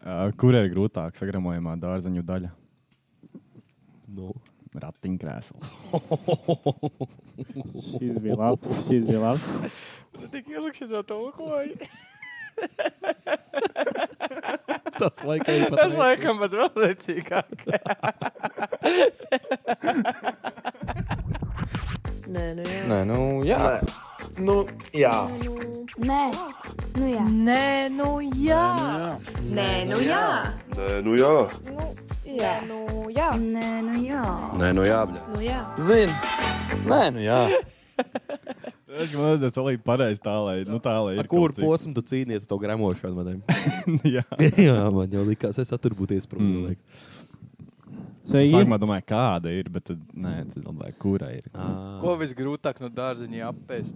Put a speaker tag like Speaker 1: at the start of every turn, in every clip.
Speaker 1: Uh, kur ir grūtāk sagramojamā dārzaņu daļa?
Speaker 2: Nu.
Speaker 1: Ratiņkrēsls.
Speaker 3: Šis bija labs. Šis bija labs.
Speaker 4: Tik ilgi šis jau tulkoja.
Speaker 2: Tas laikam ir
Speaker 4: Tas laikam pat vēl necīgāk.
Speaker 5: Nē, nu jā.
Speaker 6: Nē, nu jā.
Speaker 7: Nu, jā.
Speaker 8: Nē, nu jā.
Speaker 5: Nē, nu jā.
Speaker 8: Nē, nu jā.
Speaker 9: Nē, nu jā,
Speaker 5: Nē, nu jā.
Speaker 8: Nē, nu jā.
Speaker 9: nē, nu jā.
Speaker 5: Nu jā.
Speaker 6: Zini. Nē, nu jā.
Speaker 1: Es domāju, ka tas ir pareizi tā, lai, nu, tā, lai ir
Speaker 2: Kur
Speaker 1: kaut cik-
Speaker 2: posmu tu cīnījies ar to gramošanu? Madam?
Speaker 1: Jā,
Speaker 2: Jā, man jau likās, es atturpūties prom
Speaker 1: Mm.
Speaker 2: no mm.
Speaker 3: Sveiki.
Speaker 1: sākumā domāju, kāda ir, bet tad, nē, tad domāju, kura ir.
Speaker 2: tā.
Speaker 4: Ko visgrūtāk no dārziņa apēst?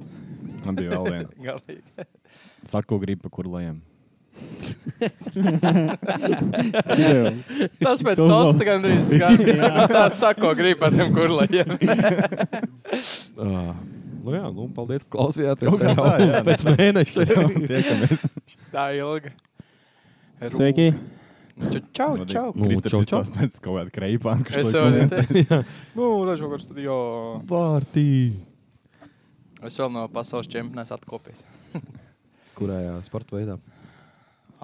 Speaker 1: Man bija vēl viena.
Speaker 5: Nu
Speaker 4: Galīgi.
Speaker 1: Saku, gribu, kur lejam.
Speaker 3: Šis jau.
Speaker 4: Tas pēc
Speaker 3: Tu
Speaker 4: tos
Speaker 3: vēl-
Speaker 4: gandrīz skan. Nu, Tā sako, gribi ar tiem kurlajiem.
Speaker 2: Ah, nu jā, nu, paldies, ka klausījāties.
Speaker 1: Kaut kā tā, jā.
Speaker 2: pēc mēneša.
Speaker 1: Tiekamies.
Speaker 4: Tā ilga. Rū.
Speaker 3: Sveiki.
Speaker 4: Čau, Čau, čau.
Speaker 2: Nu,
Speaker 1: Kristers
Speaker 2: čau,
Speaker 1: ir
Speaker 2: čau.
Speaker 1: tās pēc kaut kāda kreipā.
Speaker 4: Es jau neteicu. Nu, dažu kur studio.
Speaker 1: Vārtī.
Speaker 4: Es vēl no pasaules čempionās atkopies.
Speaker 2: Kurā sporta veidā?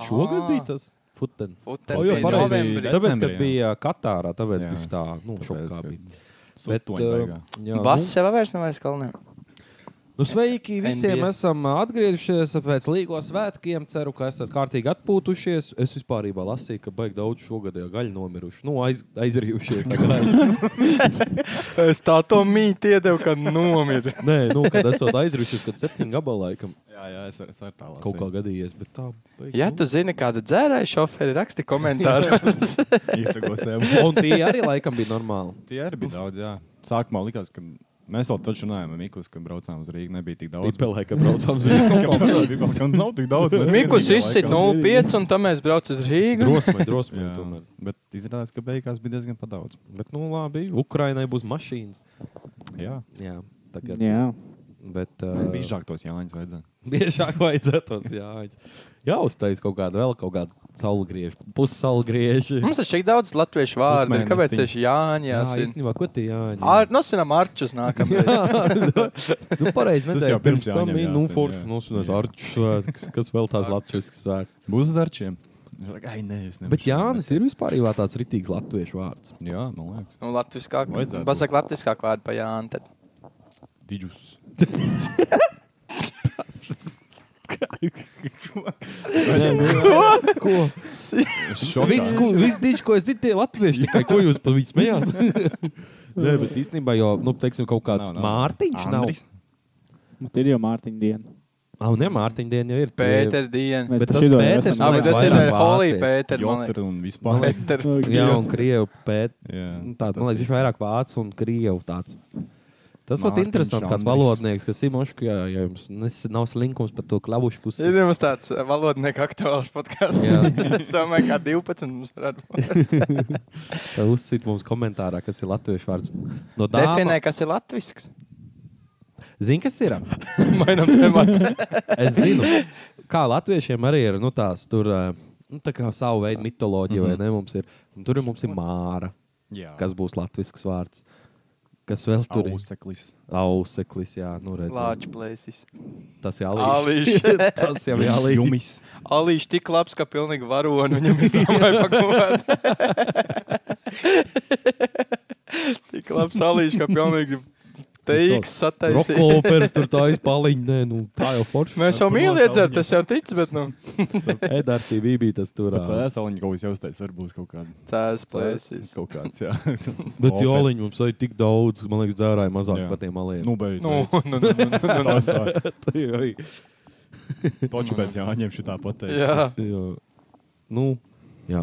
Speaker 2: Šogad bija tas futbols.
Speaker 4: Futbol.
Speaker 1: O, jo, pareizi.
Speaker 4: novembrī.
Speaker 2: Tāpēc, kad
Speaker 1: Decembrī, jā.
Speaker 2: bija Katārā, tāpēc
Speaker 1: Jā.
Speaker 2: bija tā, nu,
Speaker 1: Tāpēc,
Speaker 2: šokā
Speaker 1: ka-
Speaker 2: bija. Bet,
Speaker 1: Sutoņbaigā.
Speaker 2: uh, jā, nu-
Speaker 4: Bass jau vairs nav aiz kalniem.
Speaker 2: Nu, sveiki visiem!
Speaker 4: NBA.
Speaker 2: NBA. Esam ā, atgriezušies pēc Līgo svētkiem. Ceru, ka esat kārtīgi atpūtušies. Es vispār īstenībā lasīju, ka baigi daudz šogad jau gaļu nomiruši. Nu, aiz, aizrījušies. tā kā-
Speaker 4: Es tā to mītu iedevu, kad nomira.
Speaker 2: Nē, nu, kad esat aizrījušies, kad septiņu gabalā laikam
Speaker 1: Jā, jā, es ar- es ar tālāk.
Speaker 2: eh, kaut kā gadījies. Bet tā, baigi,
Speaker 4: Ja
Speaker 2: nu.
Speaker 4: tu zini, kādu dzērēju šoferi raksti komentāros.
Speaker 1: Ietekos sev.
Speaker 2: Un tie arī laikam bija normāli.
Speaker 1: Tie arī
Speaker 2: Nu.
Speaker 1: bija daudz, jā. Sākumā likās, ka mēs vēl taču runājām ar Mikus, kad braucām uz Rīgu. Nebija tik daudz.
Speaker 2: Līdz laikam braucām uz Rīgā.
Speaker 1: Ka Nav tik daudz. mēs
Speaker 4: Mikus nu,
Speaker 1: vienīgie
Speaker 4: izsit
Speaker 1: nu, laikam.
Speaker 4: 0,5 un tam mēs braucam uz Rīgu.
Speaker 2: Drosmīgi, drosmīgi
Speaker 1: Jā,
Speaker 2: tomēr.
Speaker 1: bet izrādās, ka beigās bija diezgan pa daudz.
Speaker 2: Bet, nu, labi, Ukrainai būs mašīnas.
Speaker 1: Jā,
Speaker 2: Jā, tagad.
Speaker 3: Jā.
Speaker 2: Bet,
Speaker 1: uh,
Speaker 2: uh,
Speaker 1: biežāk tos jāņaņas vajadzēja.
Speaker 2: Biežāk vajadzētu tos jāņem. Jā, uztaisīt kaut kādu vēl kaut kādu saulgriežu, pussaulgriežu.
Speaker 4: Mums ir šeit daudz latviešu vārdu. ir.
Speaker 1: Pusmēnestiņi.
Speaker 4: Kāpēc tieši Jāņa?
Speaker 2: Jā,
Speaker 4: jāsvin?
Speaker 2: īstenībā, ko tie jāņem?
Speaker 4: Ar, nu, nosinām arčus nākamajā.
Speaker 2: nu,
Speaker 1: Tas
Speaker 2: pareizi, nedēļa
Speaker 1: jau pirms
Speaker 2: pirms tam
Speaker 1: jāņem
Speaker 2: bija, nu,
Speaker 1: jāsvin,
Speaker 2: forši
Speaker 1: jā.
Speaker 2: nosunās
Speaker 1: Jā.
Speaker 2: arču svētkus, kas vēl tās latviešas svētkus.
Speaker 1: Būs uz arčiem. Viņš saka, Ai, nē, es nevaru.
Speaker 2: Bet Jānis ir vispār jau tāds ritīgs latviešu vārds.
Speaker 1: Jā, man liekas.
Speaker 4: Nu, latviskāk.
Speaker 1: Vajadzētu
Speaker 4: Pasak, latviskāk vārdu pa Jānu. Tad.
Speaker 1: Diģus. nu,
Speaker 2: Ko? Viss, ko, viss dīdž, ko es dzirdu, tie latvieši tikai, ko jūs par viņu smējāt? Nē, bet īstenībā jau, nu, teiksim, kaut kāds
Speaker 1: Nav, nav.
Speaker 2: Mārtiņš nav.
Speaker 1: Andris.
Speaker 3: Mums ir jau Mārtiņa diena.
Speaker 2: Ah, nē, Mārtiņa diena jau ir.
Speaker 4: Pēter diena.
Speaker 3: Mēs
Speaker 2: Bet
Speaker 3: par
Speaker 2: tas
Speaker 3: šido jau
Speaker 2: Pēters
Speaker 3: esam
Speaker 4: Ah, bet
Speaker 2: liekas,
Speaker 4: tas
Speaker 3: runājuši.
Speaker 4: ir
Speaker 2: vairāk
Speaker 4: Holī
Speaker 2: vācieši.
Speaker 4: Pēter. man liekas.
Speaker 1: Jotru un vispār.
Speaker 4: Pēter.
Speaker 2: Jā, un krievu pēt.
Speaker 1: Jā,
Speaker 2: Tā, man liekas, viņš vairāk vācu un krievu tāds. Tas ļoti
Speaker 1: Mārtiņš
Speaker 2: interesants, kāds
Speaker 1: Andris.
Speaker 2: valodnieks, kas ir moškā, ja, ja jums nes, nav slinkums par to klavušu pusi.
Speaker 4: Ir mums tāds eh, valodnieku aktuāls podkāsts.
Speaker 2: Jā.
Speaker 4: es domāju, kā 12 mums varētu būt.
Speaker 2: Tad uzsit mums komentārā, kas ir latviešu vārds. No
Speaker 4: Definē,
Speaker 2: dāma.
Speaker 4: kas ir latvisks.
Speaker 2: Zini, kas ir?
Speaker 4: Mainam tematu.
Speaker 2: Es zinu, kā latviešiem arī ir nu, tās tur, eh, nu, tā kā savu
Speaker 1: Mhm.
Speaker 2: veidu mitoloģija, mm -hmm. vai ne? Mums ir, un tur ir mums ir māra,
Speaker 1: Jā,
Speaker 2: kas būs latvisks vārds. Kas vēl tur ir?
Speaker 1: Auseklis.
Speaker 2: Auseklis, jā, nu redz.
Speaker 4: Lāča plēsis.
Speaker 2: Tas jau
Speaker 4: Alīši.
Speaker 2: Tas jau ir alīši.
Speaker 1: Jumis.
Speaker 4: Alīši tik labs, ka pilnīgi varoni viņam izdomāja pakovāt. tik labs Alīši, ka pilnīgi teiks sataisīt.
Speaker 2: Rokoperis tur tā izpaliņ, nē, nu tā jau forši.
Speaker 4: Mēs jau mīlam iedzert, es jau ticu, bet nu.
Speaker 2: Edars TV bija tas tur.
Speaker 1: Pēc
Speaker 2: ā.
Speaker 1: ēsaliņa kaut kas jau uztais, varbūt kaut kāda.
Speaker 4: Cēs plēsīs.
Speaker 1: Kaut kāds, jā.
Speaker 2: Bet joliņu mums arī tik daudz, man liekas, dzērāja mazāk
Speaker 1: Jā.
Speaker 2: par tiem aliem.
Speaker 1: Nu, beidz.
Speaker 4: Nu,
Speaker 1: beidz.
Speaker 4: nu, nu, nu.
Speaker 1: tā sāk.
Speaker 2: Nu,
Speaker 1: Taču pēc jāņem šitā pateikt.
Speaker 4: Jā.
Speaker 2: nu, jā.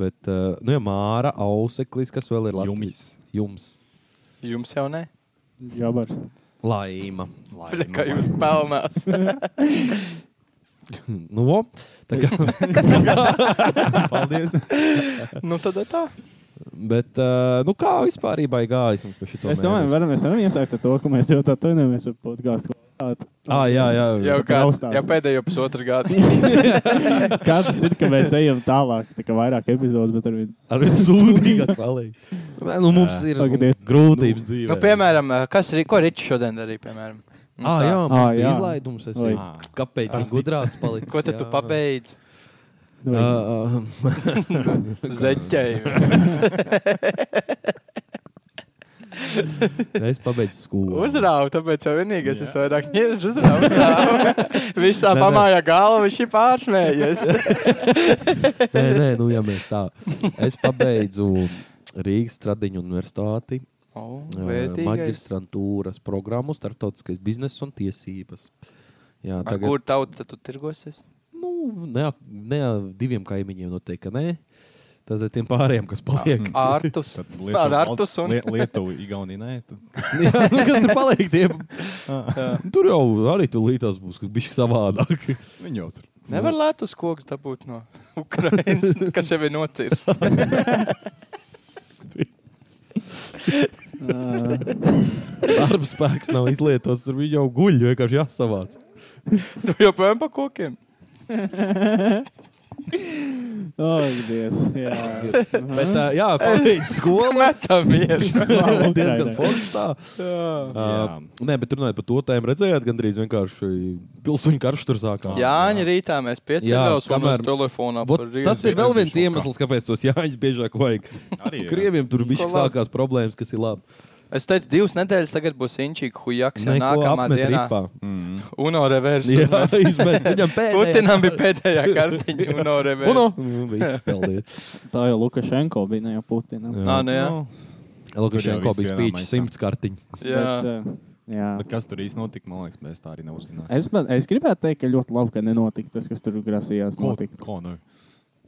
Speaker 2: Bet, eh, nu, ja Māra, Auseklis, kas vēl ir Latvijas?
Speaker 1: Jumis.
Speaker 2: Jums.
Speaker 4: Jums jau ne?
Speaker 3: Jobars.
Speaker 2: Laima.
Speaker 4: Kā jūs pelnās?
Speaker 2: Nu, vo, tā kā,
Speaker 1: Paldies.
Speaker 4: nu, tad Nu, tā.
Speaker 2: Bet, uh, nu, kā vispār gājis mums par šo
Speaker 3: Es domāju, varam, mēs varam iesākt ar to, ka mēs ļoti atvainojamies par podkāstu kvalitāti.
Speaker 2: Ah, jā, jā.
Speaker 4: Jau, kā,
Speaker 3: Raustās.
Speaker 4: jau pēdējo pusotru gadu.
Speaker 3: Kā tas ir, ka mēs ejam tālāk, tā kā vairāk epizodes, bet arī
Speaker 2: Ar vienu sūdzīgāk palīdz. Nu, mums ir
Speaker 3: Pagadiet.
Speaker 2: grūtības dzīvē.
Speaker 4: nu, piemēram, eh, kas ir, ko Ričs šodien darīja, piemēram? Nu,
Speaker 2: Ah,
Speaker 4: tā.
Speaker 2: jā,
Speaker 3: Ā,
Speaker 2: ah, jā.
Speaker 3: jā.
Speaker 2: izlaidums. Es
Speaker 3: Oi.
Speaker 2: jau
Speaker 1: Ah,
Speaker 2: kāpēc tik gudrāts palicis.
Speaker 4: Ko tad
Speaker 2: jā.
Speaker 4: tu pabeidz?
Speaker 2: Uh, uh,
Speaker 4: Zeķēji.
Speaker 2: es pabeidzu skolu.
Speaker 4: Uzrāvu, tāpēc jau vienīgais es vairāk neredzu. Uzrāvu, uzrāvu. Visā pamāja galva, viņš ir pārsmējies.
Speaker 2: Nē, nē, nu, ja mēs tā. Es pabeidzu Rīgas Tradiņu universitāti, ā,
Speaker 4: O, Oh, vērtīgais.
Speaker 2: magistrantūras programmu, starptautiskais bizness un tiesības. Jā,
Speaker 4: Ar
Speaker 2: tagad,
Speaker 4: kur tautu tad tu tirgosies?
Speaker 2: nu, ne, ne diviem kaimiņiem noteikti, ka nē. Tad ar tiem pārējiem, kas paliek.
Speaker 4: Ārtus.
Speaker 1: Tad
Speaker 4: Ar
Speaker 1: Lietuva,
Speaker 4: Artus un-
Speaker 1: Lie- Lietuva, Igaunija, nē. tu-
Speaker 2: Jā, nu, kas ir palikt? Tiem? Tur jau arī tur līdās būs, kas bija savādāk.
Speaker 1: Viņi jau tur.
Speaker 4: Nevar lētus koks dabūt no Ukrainas, kas jau ir nocirsts.
Speaker 3: Ā,
Speaker 2: Darba spēks nav izlietots, tur viņi jau guļ, vienkārši jāsavāc.
Speaker 4: Tu joprojām pa kokiem.
Speaker 3: oh, Dievs, jā.
Speaker 2: Bet, uh, jā, pabeigts skolu.
Speaker 4: Metam ir.
Speaker 2: Tas ir
Speaker 3: Ukrainai.
Speaker 2: diezgan forši. tā. Uh,
Speaker 1: Jā.
Speaker 2: nē, bet runājot par to tēmu, redzējāt, gandrīz vienkārši pilsoņu karš tur sākās.
Speaker 4: Jāņa rītā mēs piecēlās un
Speaker 2: kamēr-
Speaker 4: uz telefonā.
Speaker 2: Vot,
Speaker 4: par Rīgas
Speaker 2: tas ir vēl viens
Speaker 1: šokā.
Speaker 2: iemesls, kāpēc tos jāņas biežāk vajag.
Speaker 1: Arī jā.
Speaker 2: Krieviem tur bija
Speaker 4: Ko labi.
Speaker 2: sākās problēmas, kas ir labi.
Speaker 4: Es teicu, divas nedēļas tagad būs inčīga hujaks, ja
Speaker 2: Neko
Speaker 4: nākamā
Speaker 2: apmet
Speaker 4: dienā
Speaker 2: ripā.
Speaker 1: Mhm.
Speaker 4: UNO reversa.
Speaker 2: Jā, izmet. Viņam pēdējā.
Speaker 4: Putinam bija pēdējā kartiņa UNO
Speaker 2: Uno.
Speaker 4: reversa.
Speaker 2: Nu, viss, paldies.
Speaker 3: Tā jau Lukašenko bija, ne jau Putina.
Speaker 2: Jā.
Speaker 4: Nā, nu jā.
Speaker 1: Nu,
Speaker 2: Lukašenko
Speaker 1: viss
Speaker 2: bija
Speaker 1: vienā
Speaker 2: spīķis
Speaker 1: maisā.
Speaker 2: simts kartiņu.
Speaker 4: Jā.
Speaker 2: eh,
Speaker 3: Bet, ā, jā.
Speaker 1: Bet kas tur īsti notika, man liekas, mēs tā arī neuzzināsim.
Speaker 3: Es, man, es gribētu teikt, ka ļoti labi, ka nenotika tas, kas tur grasījās
Speaker 1: Ko,
Speaker 3: notikt.
Speaker 1: ko nu?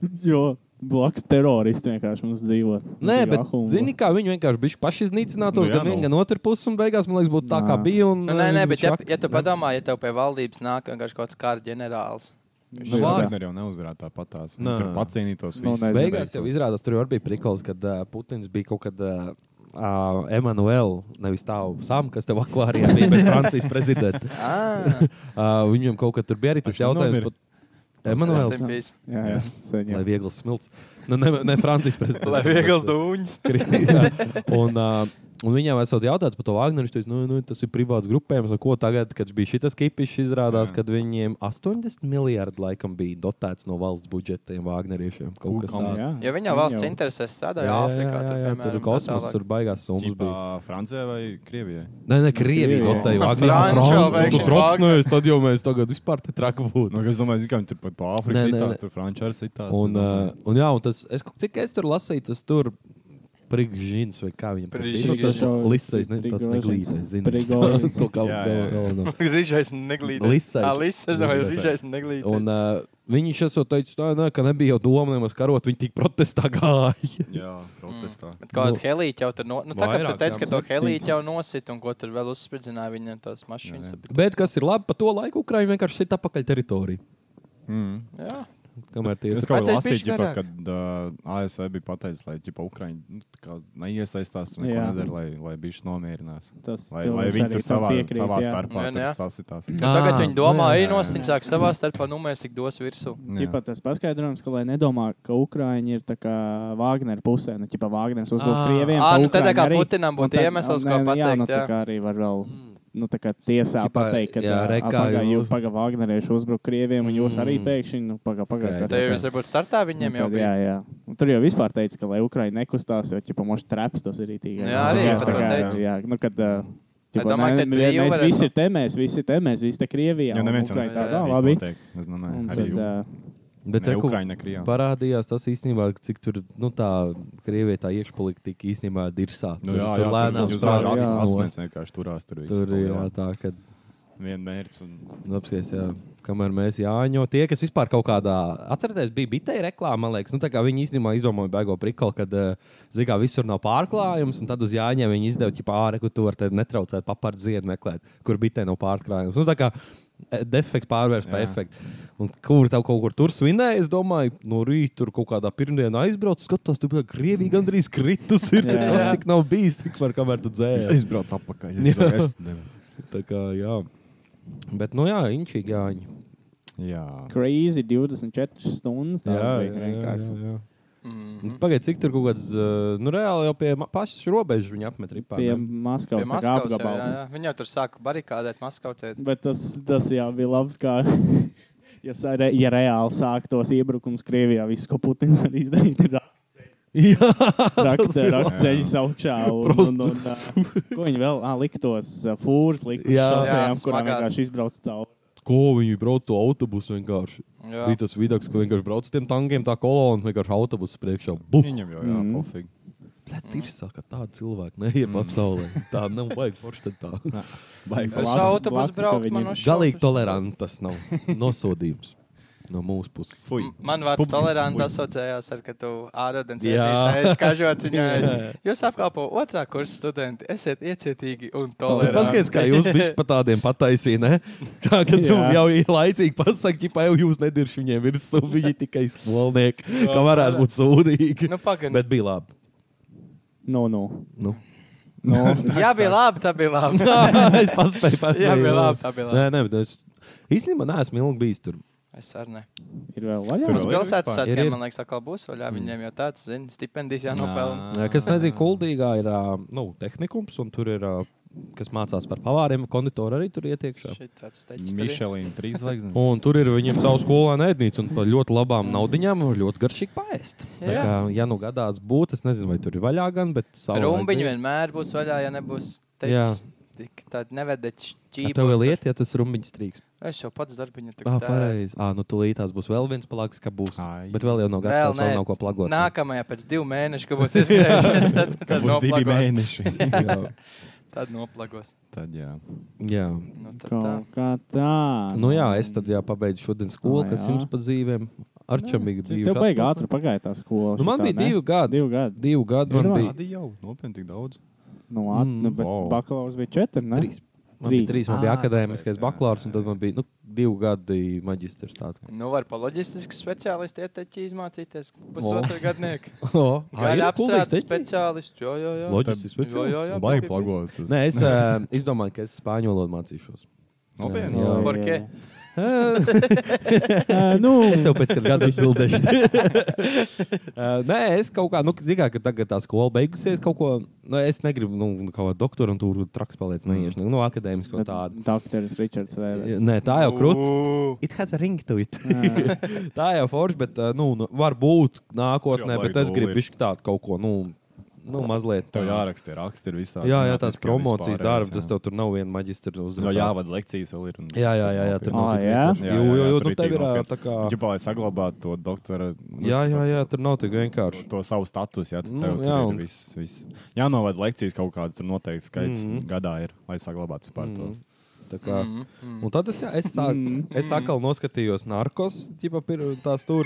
Speaker 3: Jo blakus teroristi vienkārši mums dzīvo.
Speaker 2: Nē,
Speaker 3: Tik
Speaker 2: bet
Speaker 3: ahumba.
Speaker 2: zini, kā viņi vienkārši bija pašiznīcinātos,
Speaker 1: Nu jā,
Speaker 2: gan
Speaker 1: nu.
Speaker 2: viena, gan otra puse, un beigās, man liekas, būtu tā, kā
Speaker 3: Nā.
Speaker 2: bija. Un,
Speaker 4: Nu, nē, nē, bet ja,
Speaker 2: švak-
Speaker 4: ja tu padomā, ja tev pie valdības nāk vienkārši kaut kāds kara ģenerālis.
Speaker 3: Nu, jā.
Speaker 1: Vāģner jau neuzvarētu tāpat tās.
Speaker 2: Nā.
Speaker 1: Tur pacīnītos
Speaker 3: Nu,
Speaker 1: visus.
Speaker 3: nezinu.
Speaker 2: Beigās jau izrādās, tur jau arī bija prikals, kad uh, Putins bija kaut kad uh, uh, Emanuēlā, nevis tālu sam, kas tev akvārijā bija, bet Francijas prezidents.
Speaker 4: Ā,
Speaker 2: Uh, viņam kaut kad tur bija arī tas
Speaker 1: Paši
Speaker 2: jautājums.
Speaker 1: nomira.
Speaker 2: pat-
Speaker 4: tas
Speaker 2: Emanuēls,
Speaker 4: te bijis.
Speaker 3: Jā, jā. saņem.
Speaker 2: lai viegls smilts. Nu, ne, ne Francijas prezidents.
Speaker 4: Lai viegls dūņš.
Speaker 2: Krīvijā. un, uh, un viņam esot jautāts par to Wagneru, viņš teica, nu, nu, tas ir privāts grupējums, un ko tagad, kad bija šis kipišs, izrādās,
Speaker 1: Jā.
Speaker 2: ka viņiem 80 miljardi laikam bija dotēts no valsts budžetiem Wagneriešiem. Kaut kas
Speaker 1: Kukam,
Speaker 2: tāds.
Speaker 3: Jā.
Speaker 4: Ja viņa valsts interesēs strādāja Āfrikā,
Speaker 2: jā,
Speaker 4: tad,
Speaker 2: jā, tur
Speaker 4: piemēram,
Speaker 2: ir kosmos,
Speaker 4: tā tālāk.
Speaker 2: tur baigās summas. Bija.
Speaker 1: Ķipā Francijā vai Krievijā?
Speaker 2: Nē, nē, Krievija
Speaker 3: Krievija.
Speaker 2: dotēja
Speaker 4: Nu,
Speaker 2: Wagneru.
Speaker 4: Franču
Speaker 2: Franču,
Speaker 4: jau
Speaker 2: tu
Speaker 4: vajag
Speaker 2: troksnojies, Tad jau mēs tagad vispār te traku būtu.
Speaker 1: Nu, es domāju, ka viņi tur pat pa
Speaker 2: Nē,
Speaker 1: Āfrikas
Speaker 2: nē,
Speaker 1: itās,
Speaker 2: nē.
Speaker 1: tur Frančā arī itās.
Speaker 2: Un, uh, un, jā, un tas, es, cik es tur lasīju, tas tur Prigžins vai kā viņam tur bija?
Speaker 4: Prigžins.
Speaker 2: Nu, tas
Speaker 3: Prigožins.
Speaker 2: Lisais, ne, tāds
Speaker 3: Prigožins.
Speaker 2: neglītais,
Speaker 3: Prigožins.
Speaker 2: zinu. To kā nu.
Speaker 1: Jā, jā, jā.
Speaker 2: galveno.
Speaker 4: Rīžais neglīdis.
Speaker 2: Lisais.
Speaker 4: Jā, lisais. Domāju,
Speaker 2: Lisais.
Speaker 4: rīžais neglīdis.
Speaker 2: Un uh, viņš esot teicis, tā, nē, ka nebija jau doma nemaz karot, viņi tik protestā gāja.
Speaker 1: Jā, protestā.
Speaker 4: Bet
Speaker 2: Nu,
Speaker 4: Kaut kāda helīte jau tur no... nu, tā kā tu
Speaker 2: vairāk,
Speaker 4: teici,
Speaker 2: jā,
Speaker 4: ka to
Speaker 2: septiņas.
Speaker 4: helīte jau nosit un ko tur vēl uzspridzināja viņa tās mašīnas. Jā,
Speaker 2: Bet kas ir labi, pa to laiku Ukraiņa vienkārši sit apakaļ teritoriju.
Speaker 1: Mm.
Speaker 4: jā. jā.
Speaker 2: Kamēr tie
Speaker 1: Es kaut kā
Speaker 4: Vajadzēja
Speaker 1: lasīju,
Speaker 4: bišķi
Speaker 1: ģipa,
Speaker 4: garāk.
Speaker 1: kad uh, ASV bija pateicis, lai ģipa, Ukraiņi nu, tā kā neiesaistās un neko
Speaker 3: Jā.
Speaker 1: nedara, lai, lai bišķi nomierinās.
Speaker 3: Tas
Speaker 1: Lai,
Speaker 3: tev
Speaker 1: lai
Speaker 3: es
Speaker 1: viņi
Speaker 3: arī
Speaker 1: tur
Speaker 3: tam
Speaker 1: savā,
Speaker 3: piekrītu,
Speaker 1: savā
Speaker 3: jā.
Speaker 1: starpā
Speaker 4: Jā,
Speaker 1: tur
Speaker 4: jā.
Speaker 1: sasitās.
Speaker 2: Ā,
Speaker 4: Nu,
Speaker 2: nu
Speaker 4: Tagad viņi domā,
Speaker 2: jā.
Speaker 4: ej, nostim sāk savā starpā, nu mēs tik dos virsū.
Speaker 1: Jā.
Speaker 3: Čipa, tas paskaidrojums, ka, lai nedomā, ka Ukrāņi ir tā kā Wagner pusē, nu, ķipa, Wagneris uzbrūk
Speaker 2: Ā.
Speaker 3: krieviem.
Speaker 4: Ā,
Speaker 3: ka
Speaker 4: nu, tad tā
Speaker 3: Ukraiņi
Speaker 4: kā
Speaker 3: arī-
Speaker 4: Putinam
Speaker 3: un
Speaker 4: būtu
Speaker 3: tad-
Speaker 4: iemesls,
Speaker 3: nē,
Speaker 4: ko
Speaker 3: nu, Jā, nu,
Speaker 4: pateikt.
Speaker 3: tā
Speaker 4: jā.
Speaker 3: kā arī var vēl,
Speaker 2: Mm.
Speaker 3: nu, tā kā tiesā
Speaker 2: Ķipa,
Speaker 3: pateikt, ka
Speaker 2: jā, re, kā
Speaker 3: jūs
Speaker 2: jūs-
Speaker 3: paga Wagnerieši uzbruk krieviem, un jūs arī
Speaker 2: Mm.
Speaker 3: pēkšņi, nu, paga, paga.
Speaker 2: Skaidrs.
Speaker 3: tas-
Speaker 4: Te jau jūs varbūt startā viņiem
Speaker 3: Nu,
Speaker 4: jau
Speaker 3: tad,
Speaker 4: bija.
Speaker 3: jā, jā. Un tur jau vispār teica, ka lai Ukraiņa nekustās, jo ķipa, moši traps tas ir īstenībā.
Speaker 4: Jā,
Speaker 1: arī par to teica.
Speaker 3: Jā, nu, kad, ā, ķipa,
Speaker 4: domāju,
Speaker 3: nē,
Speaker 4: ka
Speaker 3: mēs,
Speaker 4: brīvi
Speaker 3: mēs
Speaker 4: varētu-
Speaker 3: visi ir te, mēs visi te, mēs visi te Krievijā.
Speaker 1: Jā,
Speaker 3: un
Speaker 1: neviens jau
Speaker 3: Ukraiņa
Speaker 4: nezina,
Speaker 3: tā,
Speaker 1: nesaistās.
Speaker 3: tā, labi.
Speaker 1: Es domāju,
Speaker 3: Un
Speaker 1: arī
Speaker 3: tad,
Speaker 1: Ukraiņa.
Speaker 3: ā,
Speaker 2: Bet
Speaker 1: Ne
Speaker 2: reku-
Speaker 1: Ukraiņa, Krievija.
Speaker 2: parādījās tas īstenībā, cik tur nu, tā Krievijā tā iekšpolitika īstenībā ir dirsā.
Speaker 1: Nu, jā,
Speaker 2: tur
Speaker 1: jā,
Speaker 2: lēnām
Speaker 1: tur
Speaker 3: strādā,
Speaker 1: strādājot.
Speaker 3: jā.
Speaker 1: Asmens vienkārši turās tur visu.
Speaker 2: Tur
Speaker 1: to,
Speaker 2: ir
Speaker 1: jā.
Speaker 2: tā, ka
Speaker 1: Vien mērķis un
Speaker 2: apsies, jā, kamēr mēs jāņo, tie, kas vispār kaut kādā, atcerieties, bija bitē reklāma, man liekas, nu, tā kā viņi īstenībā izdomāja bēgo prikalu, kad, zikā, visur nav pārklājums, un tad uz jāņa viņi izdeva, ķipā, āre, kur tu var te netraucēt papardz ziedu meklēt, kur bitē nav pārklājums. Nu, tā kā defekts pārvērst par
Speaker 1: Jā.
Speaker 2: efektu. Un kur tev kaut kur tur svinēja, es domāju, no rīta tur kaut kādā pirmdienā aizbraucu, skatos, tur bija Krievija gandrīz kritus. Ir,
Speaker 3: Jā.
Speaker 2: tas tik nav bijis, tik var, kamēr tu dzēri.
Speaker 1: Es braucu apakaļ.
Speaker 2: Jā.
Speaker 1: Es domāju, es nevaru.
Speaker 2: Tā kā, jā. Bet, nu jā, inčīgi jāņa.
Speaker 1: Jā.
Speaker 3: Crazy 24 stundas.
Speaker 2: Jā,
Speaker 3: tās bija vienkārši.
Speaker 2: jā. Mm. Pagaidiet, cik tur kaut kāds, eh, nu reāli jau pie ma- pašas robežas viņa apmet ripā.
Speaker 3: Pie
Speaker 2: ne?
Speaker 3: Maskavas
Speaker 4: Pie
Speaker 3: tā kā
Speaker 4: Maskavas. jā,
Speaker 3: apgabala.
Speaker 4: jā, jā. Viņi jau tur sāka barikādēt Maskavcē.
Speaker 3: Bet tas, tas jā, bija labs, kā ja, sa- re, ja reāli sāktos iebrukums Krievijā. Viss, ko Putins var izdarīt, ir
Speaker 2: jā.
Speaker 3: rakstceļš augšā. Un,
Speaker 2: Prost.
Speaker 3: un, un, ā, ko viņi vēl? Ah, liktos ā, fūrus, liktos
Speaker 2: Jā.
Speaker 4: Jā,
Speaker 3: šosejām, kurām
Speaker 4: smagās.
Speaker 3: vienkārši izbrauc cauri.
Speaker 2: Ko viņi brauc to autobusu vienkārši? Jā. Bija tas vidaks, ko vienkārši brauc ar tiem tankiem, tā kolona vienkārši autobusu priekšā. Buļbuļs
Speaker 1: Viņam jau jā,
Speaker 3: Mm.
Speaker 1: pofīgi.
Speaker 2: ir saka, tāda cilvēka neie pasaulē. Tā nav vajag forši tad tā.
Speaker 1: Baigi.
Speaker 4: Es
Speaker 3: Blakus-
Speaker 4: autobusu
Speaker 3: blakus, ka
Speaker 4: braucu,
Speaker 3: viņi ir.
Speaker 4: man no šausmas.
Speaker 2: Galīgi tolerants tas nav nosodījums no mūsu puses.
Speaker 1: Fui.
Speaker 4: M- Man vārds
Speaker 1: Publiski
Speaker 4: tolerants
Speaker 1: fuj.
Speaker 4: asociējās ar to, ka tu ārādens
Speaker 2: Jā.
Speaker 4: ēdīcējuši kažots viņai. Jūs apkalpo otrā kursa studenti, esiet iecietīgi un toleranti.
Speaker 2: Paskaties, kā jūs bijat pa tādiem pataisīja, ne? Tā kā tu
Speaker 3: Jā.
Speaker 2: jau ir laicīgi pasaki, pa jau jūs nedirši viņiem virsū, viņi tikai skolnieki, kā varētu būt sūdīgi.
Speaker 4: Nu, pagaidi.
Speaker 2: Bet bija labi.
Speaker 3: No, no.
Speaker 2: Nu.
Speaker 3: no.
Speaker 4: Jā, bija labi, tā bija labi.
Speaker 2: es paspēju paspēju.
Speaker 4: Jā, bija labi, tā bija labi.
Speaker 2: Nē, nē, bet es īstenībā neesmu ilgi bijis tur.
Speaker 4: Es arī ne.
Speaker 3: Ir vēl
Speaker 1: Tur
Speaker 4: Mums
Speaker 1: vēl
Speaker 3: vaļā.
Speaker 1: ir
Speaker 4: pilsētas
Speaker 1: vispār?
Speaker 2: Ir, ir.
Speaker 4: svētkiem, man liekas, atkal būs vaļā. Viņiem jau tāds, zini, stipendijas jānopelna.
Speaker 2: Jā, Kas nezina, kuldīgā ir ā, nu, tehnikums, un tur ir, ā, kas mācās par pavāriem, konditori arī tur ietiekšā.
Speaker 4: Šī tāds teicis. arī.
Speaker 1: Mišelīna trīs zvaigznes.
Speaker 2: Un tur ir viņam savu skolēnu ēdnīcu, un par ļoti labām naudaiņām var ļoti garšīgi paēst. Tā
Speaker 4: Jā.
Speaker 2: kā, ja nu gadās būt, es nezinu, vai tur ir vaļā gan, bet savulaik
Speaker 4: Rumbiņi
Speaker 2: bija.
Speaker 4: vienmēr būs vaļā, ja nebūs
Speaker 2: Jā.
Speaker 4: teicis. Tik tādi nevedēt
Speaker 2: Ja
Speaker 4: šķīpi.
Speaker 2: tev vēl iet, ja tas rumbiņš trīks.
Speaker 4: Es jau pats darbiņu tik
Speaker 2: Tā
Speaker 4: tērētu.
Speaker 2: pareizi. Ā, nu tūlīt tās būs vēl viens plakāts, ka būs.
Speaker 1: Ai.
Speaker 2: Bet vēl jau nav
Speaker 4: Vēl
Speaker 2: gatavs, vēl
Speaker 4: nē.
Speaker 2: nav ko plagot.
Speaker 4: Nākamajā pēc divu mēnešu, kad būs ieskrējušies, tad,
Speaker 1: Tā
Speaker 4: tad
Speaker 1: būs divi
Speaker 4: noplakos.
Speaker 1: mēneši.
Speaker 2: Jā.
Speaker 4: Tad noplakos.
Speaker 1: Tad jā.
Speaker 2: Jā.
Speaker 4: Nu, tad tā.
Speaker 3: Kaut Kā tā.
Speaker 2: Nu jā, es tad jā, pabeidzu šodien skolu,
Speaker 3: Tā,
Speaker 2: kas
Speaker 3: jā.
Speaker 2: jums pa dzīvēm ar čem bija.
Speaker 3: Cik tev baigi ātri pagāja tā skola?
Speaker 2: Nu, man
Speaker 3: šitā,
Speaker 2: bija
Speaker 3: ne?
Speaker 2: divi gadi.
Speaker 3: Divi gadi.
Speaker 2: Divu gadu man
Speaker 3: Pirmā?
Speaker 2: bija.
Speaker 1: Tādi jau nopietni tik daudz.
Speaker 3: Nu, ātri,
Speaker 2: Mm.
Speaker 3: nu, bet
Speaker 1: Wow.
Speaker 3: bakalaurs bija četri, ne?
Speaker 2: Trīs. Man bija
Speaker 3: Trīs.
Speaker 2: trīs, man bija
Speaker 1: Ā,
Speaker 2: akadēmiskais
Speaker 1: tāpēc, jā,
Speaker 2: bakalaurs, un
Speaker 1: jā,
Speaker 2: tad
Speaker 1: jā.
Speaker 2: man bija nu, divu gadu maģistrs. tāds.
Speaker 4: Nu, var pa loģistikas speciālisti ieteķi izmācīties pusotru gadnieku.
Speaker 2: O, ā, ir
Speaker 4: Gaļa
Speaker 2: kuldīgs
Speaker 4: apstrādes
Speaker 2: teķis?
Speaker 4: speciālisti. Jo, jo, jo.
Speaker 2: Loģiski speciālists?
Speaker 4: jā, jā,
Speaker 1: Baigi
Speaker 4: bija, bija.
Speaker 1: plagot.
Speaker 2: Nē, es, ā, es domāju, ka es spāņu valodu mācīšos.
Speaker 1: Nopietni.
Speaker 3: Jā, jā,
Speaker 4: Por
Speaker 3: jā.
Speaker 4: qué?
Speaker 2: Ā,
Speaker 3: Oh, Ā, Nu,
Speaker 2: es tev pēc gada atbildēšu. Ā, Nē, es kaut kā, nu, zināju, ka tagad tā skola beigusies. Kaut ko, nu, es negribu, nu, kaut kā doktorantūru traks paliec, neiešu, nu, akadēmisko tādu. nu.
Speaker 3: Dakteris Ričards Vēlers.
Speaker 2: Nē, tā jau krūts.
Speaker 4: Ū,
Speaker 2: It has a ring to it. tā jau forši, bet uh, nu, nu, varbūt nākotnē,
Speaker 1: Jau
Speaker 2: bet
Speaker 1: baigi
Speaker 2: es gribu
Speaker 1: guli.
Speaker 2: bišķi tādu kaut ko, nu, nu mazliet.
Speaker 1: Tev jāraksta, ir raksts, ir visādi.
Speaker 2: jā, jā,
Speaker 1: zinātniskie
Speaker 2: tās promocijas
Speaker 1: vispārējās,
Speaker 2: darbs,
Speaker 1: jā. Nu,
Speaker 2: tas tev tur nav viena maģistra
Speaker 1: No
Speaker 2: uzrunā.
Speaker 1: jāvada lekcijas vēl ir. un-
Speaker 2: jā, jā, jā, jā, tur nav
Speaker 3: Ā,
Speaker 2: tik
Speaker 3: jā?
Speaker 2: vienkārši. Jo, jo, jo,
Speaker 1: tur
Speaker 2: nu,
Speaker 1: ir
Speaker 2: tev
Speaker 1: tik
Speaker 2: ir ā,
Speaker 1: nopietni.
Speaker 2: tā kā.
Speaker 1: Ģipā, lai saglabātu to doktora. nu,
Speaker 2: Jā, jā, jā, tur nav tik vienkārši.
Speaker 1: To savu statusu, ja tev
Speaker 2: Nu,
Speaker 1: nu,
Speaker 2: jā,
Speaker 1: jā,
Speaker 2: un-
Speaker 1: ir viss. Vis. Jā, novada lekcijas kaut kādas, tur noteikti skaits mm
Speaker 2: Mhm.
Speaker 1: -hmm. gadā ir, lai saglabātu vispār mm -hmm. to. mhm.
Speaker 2: Tā Kā,
Speaker 4: Mm,
Speaker 2: un tad es, jā, es, sāk, es atkal noskatījos narkos, jau tādā stūrī.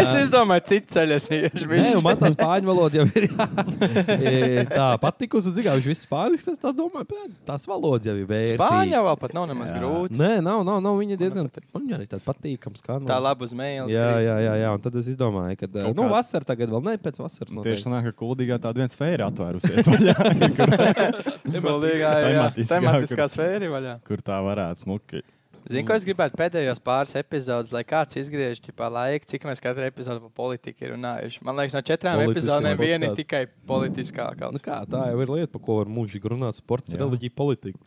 Speaker 4: Es izdomāju, citu ceļu es
Speaker 2: Nē,
Speaker 4: iešu. bišķi.
Speaker 2: un man tā spāņu valoda jau ir. jā. E, tā patikusi, un zigāju, viņš viss spāņu. Es tā domāju, pēc, tās valodas jau ir vērtīgas.
Speaker 4: Spāņā vēl pat nav nemaz
Speaker 1: Jā.
Speaker 4: grūti.
Speaker 2: Nē, nav, nav, nav viņa diezgan man viņa arī tāda patīkama skaņa.
Speaker 4: Tā laba uz mēles.
Speaker 2: Jā, jā, jā, jā, un tad es izdomāju, ka eh,
Speaker 1: Kaut
Speaker 2: nu,
Speaker 1: kā-
Speaker 2: vasarā tagad vēl ne pēc vasaras.
Speaker 1: Tieši
Speaker 2: noteikti.
Speaker 1: tādā veidā, ka kuldīgā tāda viens sfēra atvērusies, vaļā,
Speaker 4: Tematiskā, jā,
Speaker 1: Tematiskā,
Speaker 4: tematiskā
Speaker 1: kur-
Speaker 4: sfēra ir vaļā.
Speaker 1: kur tā varētu smuki.
Speaker 4: Zinu, ko es gribētu pēdējos pāris epizodus, lai kāds izgriež pa laiku, cik mēs katru epizodu par politiku ir runājuši. Man liekas, no četrām
Speaker 2: Politiskajā
Speaker 4: epizodēm viena ir
Speaker 2: podkāstā.
Speaker 4: tikai politiskākā.
Speaker 2: Nu, kā, tā jau ir lieta, par ko var mūžīgi runāt. Sports,
Speaker 1: Jā.
Speaker 2: reliģija, politika.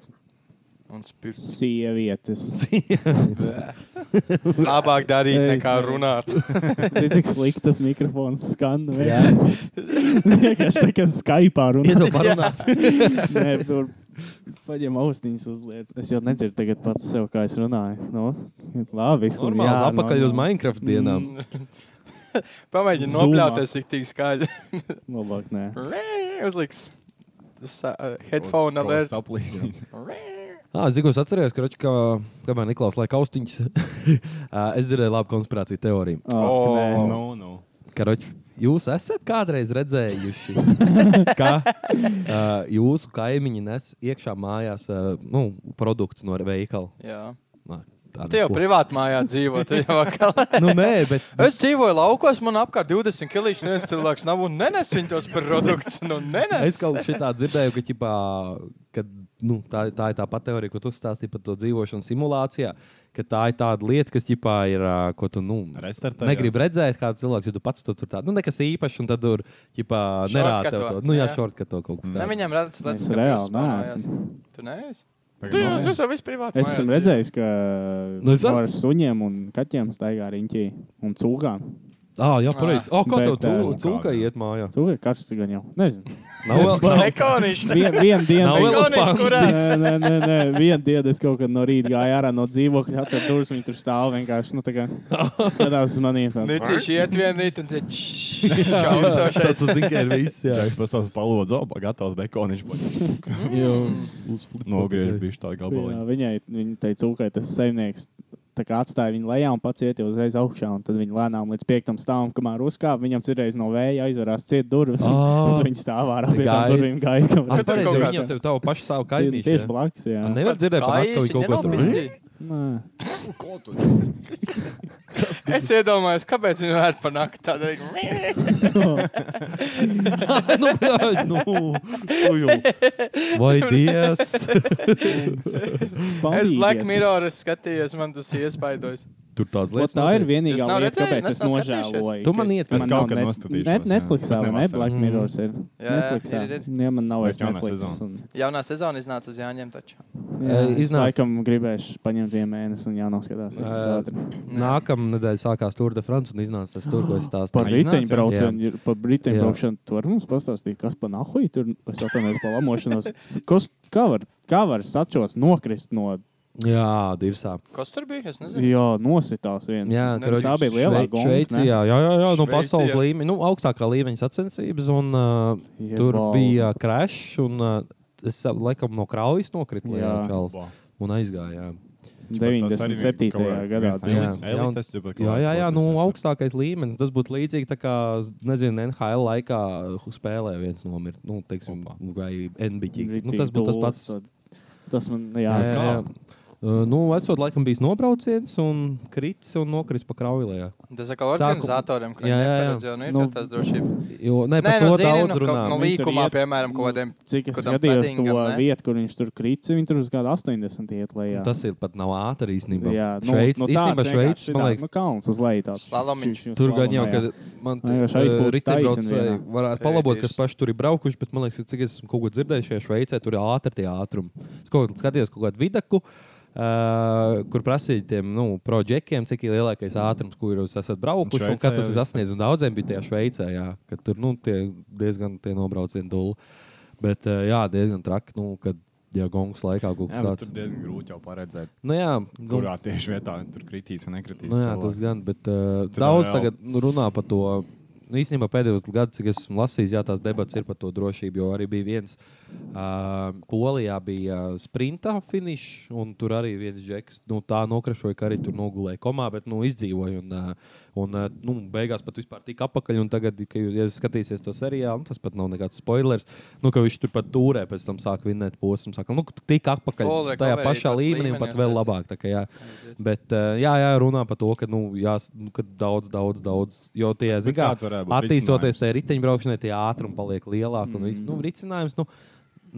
Speaker 4: Un spirts.
Speaker 3: Sievietes.
Speaker 4: Labāk darīt,
Speaker 3: Es
Speaker 4: nekā
Speaker 3: nezinu.
Speaker 4: runāt.
Speaker 3: Zini, cik slikti tas mikrofons skan. Vienkārši vienkārši tā kā Skype runā.
Speaker 2: Iedomājieties, parunāt.
Speaker 3: Nē, tur paņem austiņas uzliec. Es jau nedzirdu tagad pats sev, kā es runāju. Nu, labi, es nu,
Speaker 2: Normāli Mm. apakaļ uz Minecraft dienām.
Speaker 4: Pamēģini
Speaker 3: Zoomā.
Speaker 4: nobļauties tik tik skaļi.
Speaker 3: nu, Labāk, nē.
Speaker 4: Uzliks tas, uh, headphone alert.
Speaker 1: aplīsīs.
Speaker 2: Ah, Zinu, es atceros, ka, roči, ka kamēr Niklaus laika
Speaker 1: Oh,
Speaker 2: austiņas, ā, es dzirdēju labu konspirāciju teoriju.
Speaker 1: nu,
Speaker 3: Ak, nē.
Speaker 1: No, no.
Speaker 2: Karoči, Jūs esat kādreiz redzējuši, ka uh, jūsu kaimiņi nes iekšā mājās uh, nu, produkts no veikala.
Speaker 4: Jā.
Speaker 2: Nā, tāda
Speaker 4: Tu jau
Speaker 2: ko-
Speaker 4: privāti mājā dzīvo. tu jau vakar-
Speaker 2: Nu, nē, bet
Speaker 4: Es dzīvoju laukos, man apkārt 20 kilīšu. Neviens cilvēks nav un nenes viņu tos produktus. Nu, nenes.
Speaker 2: Es kaut kā dzirdēju, ka, ķipā, kad, nu, tā, tā ir tā pati teorija, ko tu stāstīji par to dzīvošanu simulācijā. ka Tā ir tāda lieta, kas ģipā, ir, ā, ko tu nu,
Speaker 1: Restartējās.
Speaker 2: negribi redzēt, kā cilvēks, jo tu pats to tur tādu nu, nekas īpašs, un tad tur ģipā, nerāda tev to.
Speaker 4: Shortcut to.
Speaker 2: Nu, jā,
Speaker 4: Jā.
Speaker 2: šort, ka to kaut kas
Speaker 3: Mm.
Speaker 4: Ne,
Speaker 2: tāds.
Speaker 4: viņam redzams, tas
Speaker 3: Es
Speaker 4: ir
Speaker 3: reāli
Speaker 4: Tu neesi? Tu
Speaker 1: Pagaid,
Speaker 4: jau
Speaker 1: man-
Speaker 4: jūs jau vispār
Speaker 3: Es
Speaker 4: privāti. mājās
Speaker 3: esmu
Speaker 4: dzīvo.
Speaker 3: redzējis, ka
Speaker 2: Nu, es
Speaker 3: no
Speaker 2: ar-
Speaker 3: ar suņiem un kaķiem staigā riņķī un cūkām.
Speaker 2: Ah, jā, pareizi. O, kā tev
Speaker 3: Bet,
Speaker 2: cū-
Speaker 1: ā,
Speaker 2: cūkai iet mājā?
Speaker 3: Cūka ir karsts gan jau. Nezinu.
Speaker 2: Nav vēl, nav,
Speaker 4: Nekonīši.
Speaker 3: Vien, vienu dienu.
Speaker 2: nav vēl
Speaker 4: Veikaliņš, kurā-
Speaker 2: spārns.
Speaker 3: Nē, nē, nē, nē. vienu dienu es kaut kad no rīta gāju ārā no dzīvokļa, atveru durvis, viņi tur stāv vienkārši. Nu, tā kā skatās uz maniem.
Speaker 4: Nicis iet vienu rītu un tad
Speaker 2: Tas
Speaker 4: čaukstošais.
Speaker 2: tas tikai ir viss, jā.
Speaker 1: Es pats tās palūdzu, opa, gatavs dekoniņš. būs. Nogriež bišķi tādu
Speaker 3: Jā,
Speaker 1: gabalu.
Speaker 3: viņai, viņa teica, cūkai tas saimnieks tā kā atstāja viņu lejā un pats iet jau uzreiz augšā. Un tad viņi lēnām līdz piektam stāvam, kamēr uzkāpa, viņam cirreiz no vēja aizvarās ciet durvis. un
Speaker 2: Ā.
Speaker 3: tad Viņi stāv ārā pie
Speaker 2: Gaid.
Speaker 3: tām durvīm gaidām.
Speaker 2: Ah,
Speaker 4: Kad tur
Speaker 2: pareizi,
Speaker 4: kaut
Speaker 2: jo
Speaker 4: kāds-
Speaker 2: viņam tev tavu pašu savu
Speaker 3: Tie-
Speaker 2: kaimiņu.
Speaker 3: Tieši blakus, jā.
Speaker 2: Nevar dzirdēt, ka atkal ir kaut ko tur.
Speaker 3: Nē.
Speaker 4: Es iedomājos, kāpēc viņi vērt par nakti tādu rītu.
Speaker 2: nu, bļaļ, nu, tu jau. Vai Dievs?
Speaker 4: Es
Speaker 3: Baldīgies.
Speaker 4: Black Mirror es skatījos, man tas iespaidojas.
Speaker 2: Tur tāds
Speaker 3: Ot,
Speaker 2: lietas.
Speaker 3: tā ir
Speaker 4: Es
Speaker 3: vienīgā
Speaker 4: nav
Speaker 3: lieta,
Speaker 4: redzēju,
Speaker 3: kāpēc
Speaker 4: es
Speaker 3: es
Speaker 4: nav skatījušies.
Speaker 3: nožēloju.
Speaker 2: Tu man
Speaker 3: ka es-
Speaker 2: iet,
Speaker 1: Es
Speaker 2: man
Speaker 3: nav
Speaker 1: kaut kad
Speaker 3: net-
Speaker 1: noskatīšos,
Speaker 3: Net,
Speaker 1: jā.
Speaker 3: Netflixā
Speaker 1: Bet
Speaker 3: vai ne?
Speaker 1: nevasarā.
Speaker 3: Black
Speaker 2: Mm.
Speaker 3: Mirror ir.
Speaker 4: Jā, jā, ir, ir,
Speaker 3: Netflixā.
Speaker 4: ir.
Speaker 3: Jā, man nav vairs
Speaker 1: Bet jaunā
Speaker 3: Netflix.
Speaker 1: sezona.
Speaker 3: un-
Speaker 4: Jaunā sezona iznāca uz Jāņiem taču.
Speaker 2: Eh,
Speaker 3: Jā, es
Speaker 2: iznāca-
Speaker 3: laikam gribēšu paņemt vienu mēnesi un jānoskatās. viss
Speaker 2: Eh,
Speaker 3: ātri.
Speaker 2: Nākamā nedēļa sākās Tour de France un iznāca tas tur, ko es
Speaker 3: Par
Speaker 2: stāstīju.
Speaker 1: iznāca, jā?
Speaker 3: riteņbraucienu, ir- par
Speaker 2: Jā.
Speaker 3: riteņbraucienu. Tu vari mums pastāstīt, kas pa nahuji tur, es atvainojos par lamošanos. Kas, kā var, kā var sačos nokrist no,
Speaker 2: Jā, dirsā.
Speaker 4: Kas tur bija? Es nezinu.
Speaker 3: jā, nositās viens.
Speaker 2: Jā,
Speaker 4: Ne,
Speaker 2: tur
Speaker 3: tā bija lielā gonga, ne?
Speaker 2: Šveicijā, jā, jā, jā no
Speaker 4: Šveicijā.
Speaker 2: pasaules līmeņa, nu, augstākā līmeņa sacensības. Un, uh,
Speaker 3: Jebal.
Speaker 2: tur bija krešs, un uh, es uh, laikam no kraujas nokritu lejā
Speaker 3: Jā.
Speaker 2: čalis, un aizgāju. Jā,
Speaker 1: Tas arī bija
Speaker 3: 97.
Speaker 1: kaut kā
Speaker 3: gadā.
Speaker 1: viens
Speaker 2: dzīvo.
Speaker 1: elites-
Speaker 2: Jā, jā, un-
Speaker 1: elites, jeb kaut
Speaker 2: jā, jā, jā
Speaker 1: kāds
Speaker 2: nu,
Speaker 1: elites, jā.
Speaker 2: augstākais līmenis. Tas būtu līdzīgi, tā kā, nezinu, NHL laikā spēlē viens nomirst, nu, teiksim,
Speaker 1: Opa.
Speaker 2: vai NBA.
Speaker 3: Ritīgi
Speaker 2: Nu, tas būtu tas
Speaker 3: dūls,
Speaker 2: pats.
Speaker 3: tad- Tas man, jā,
Speaker 2: Jā,
Speaker 3: jā,
Speaker 2: jā, jā. Uh, Nu, esot laikam bijis nobrauciens un krits un nokris pa kraujlējā.
Speaker 4: Tas
Speaker 2: Sāku-
Speaker 4: atkal organizatoriem,
Speaker 2: Jā,
Speaker 4: ka viņi
Speaker 2: jā, jā.
Speaker 4: neparedz, jo nu ir
Speaker 3: Nu,
Speaker 4: jau tās drošības.
Speaker 2: Jo, ne,
Speaker 4: Nē,
Speaker 2: par
Speaker 4: nu,
Speaker 2: to
Speaker 4: zini,
Speaker 2: daudz
Speaker 4: nu, kaut- no
Speaker 2: runā.
Speaker 3: Viņi tur
Speaker 4: līkumā,
Speaker 3: iet-
Speaker 4: piemēram, kaut kādiem
Speaker 3: Cik es
Speaker 4: kaut kādam
Speaker 3: skatījos to
Speaker 4: paddingam, ne?
Speaker 3: vietu, kur viņš tur krīt, viņi tur uz kādu 80 iet lejā.
Speaker 2: Nu, Tas ir pat nav ātri īstenībā.
Speaker 3: jā, nu,
Speaker 2: Šveicis,
Speaker 3: tāds
Speaker 2: īstenībā
Speaker 3: vienkārši
Speaker 2: Šveicis, man
Speaker 3: tā,
Speaker 2: liekas,
Speaker 3: Nu, kalns uz leju tāds.
Speaker 4: Slalomiņš.
Speaker 3: Šī- šī
Speaker 2: Tur gan jau,
Speaker 3: slalomā, jā.
Speaker 2: kad man te
Speaker 3: Vienkārši aizpūtas
Speaker 2: riteņbraucēji
Speaker 3: taisni
Speaker 2: varētu
Speaker 4: Ei,
Speaker 2: palabot, kas
Speaker 4: tieši.
Speaker 2: paši tur ir braukuši, bet man liekas, ka, cik es esmu kaut ko dzirdējis šajā Šveicē, tur ir ātri tie ātrumi. Es kaut kādā skatījos kaut kādu vidaku, uh, kur prasīja tiem nu, proģekiem, cik ir lielākais ātrums, kur jūs esat braukuši, un,
Speaker 1: Šveicē
Speaker 2: un kad tas
Speaker 1: jau
Speaker 2: ir
Speaker 1: viss.
Speaker 2: sasniedzis. Un Daudziem bija tajā Šveicē, jā, ka tur nu, tie diezgan tie nobraucieni dūli. Bet uh, jā, diezgan traki, nu, kad jau gongs laikā kaut
Speaker 1: Jā,
Speaker 2: kas
Speaker 1: bet
Speaker 2: tāds.
Speaker 1: tur diezgan grūti jau paredzēt,
Speaker 2: Nu, jā, nu,
Speaker 1: kurā tieši vietā tur kritīs un nekritīs.
Speaker 2: Nu, jā,
Speaker 1: cilvēks.
Speaker 2: tas gan, bet uh,
Speaker 1: Tur
Speaker 2: daudz
Speaker 1: vēl-
Speaker 2: tagad nu, runā par to. Nu, īstenībā pēdējos gados, cik es esmu lasījis, jā, tās debatas ir par to drošību. Jo arī bija viens, uh, Polijā bija uh, sprinta finišs, un tur arī viens džeks nu, tā nokrašoja, ka arī tur nogulēja komā, bet nu, izdzīvoja. Un, uh, un uh, nu, beigās pat vispār tika apakaļ. un Tagad, kad jūs ja skatīsieties to seriālu, nu, tas pat nav nekāds spoilers. Nu, ka viņš tur pat turē, pēc tam sāk vinnēt posmu. Sāk, nu, tika
Speaker 4: Full
Speaker 2: apakaļ tajā
Speaker 4: recovery,
Speaker 2: pašā
Speaker 4: pat
Speaker 2: līmenī, un pat
Speaker 4: līmenī
Speaker 2: vēl
Speaker 4: uztaisīt.
Speaker 2: labāk. Tā, kā, jā. Bet, eh, jā, jā, runā par to, ka, nu, jās, nu, ka daudz, daudz, daudz. Jo tie,
Speaker 1: Bet
Speaker 2: zin kā,
Speaker 1: kāds varētu būt
Speaker 2: attīstoties tajā riteņbraukšanai, tie ātrumi paliek lielāki un viss.
Speaker 3: Mm.
Speaker 2: Nu, ricinājums, nu,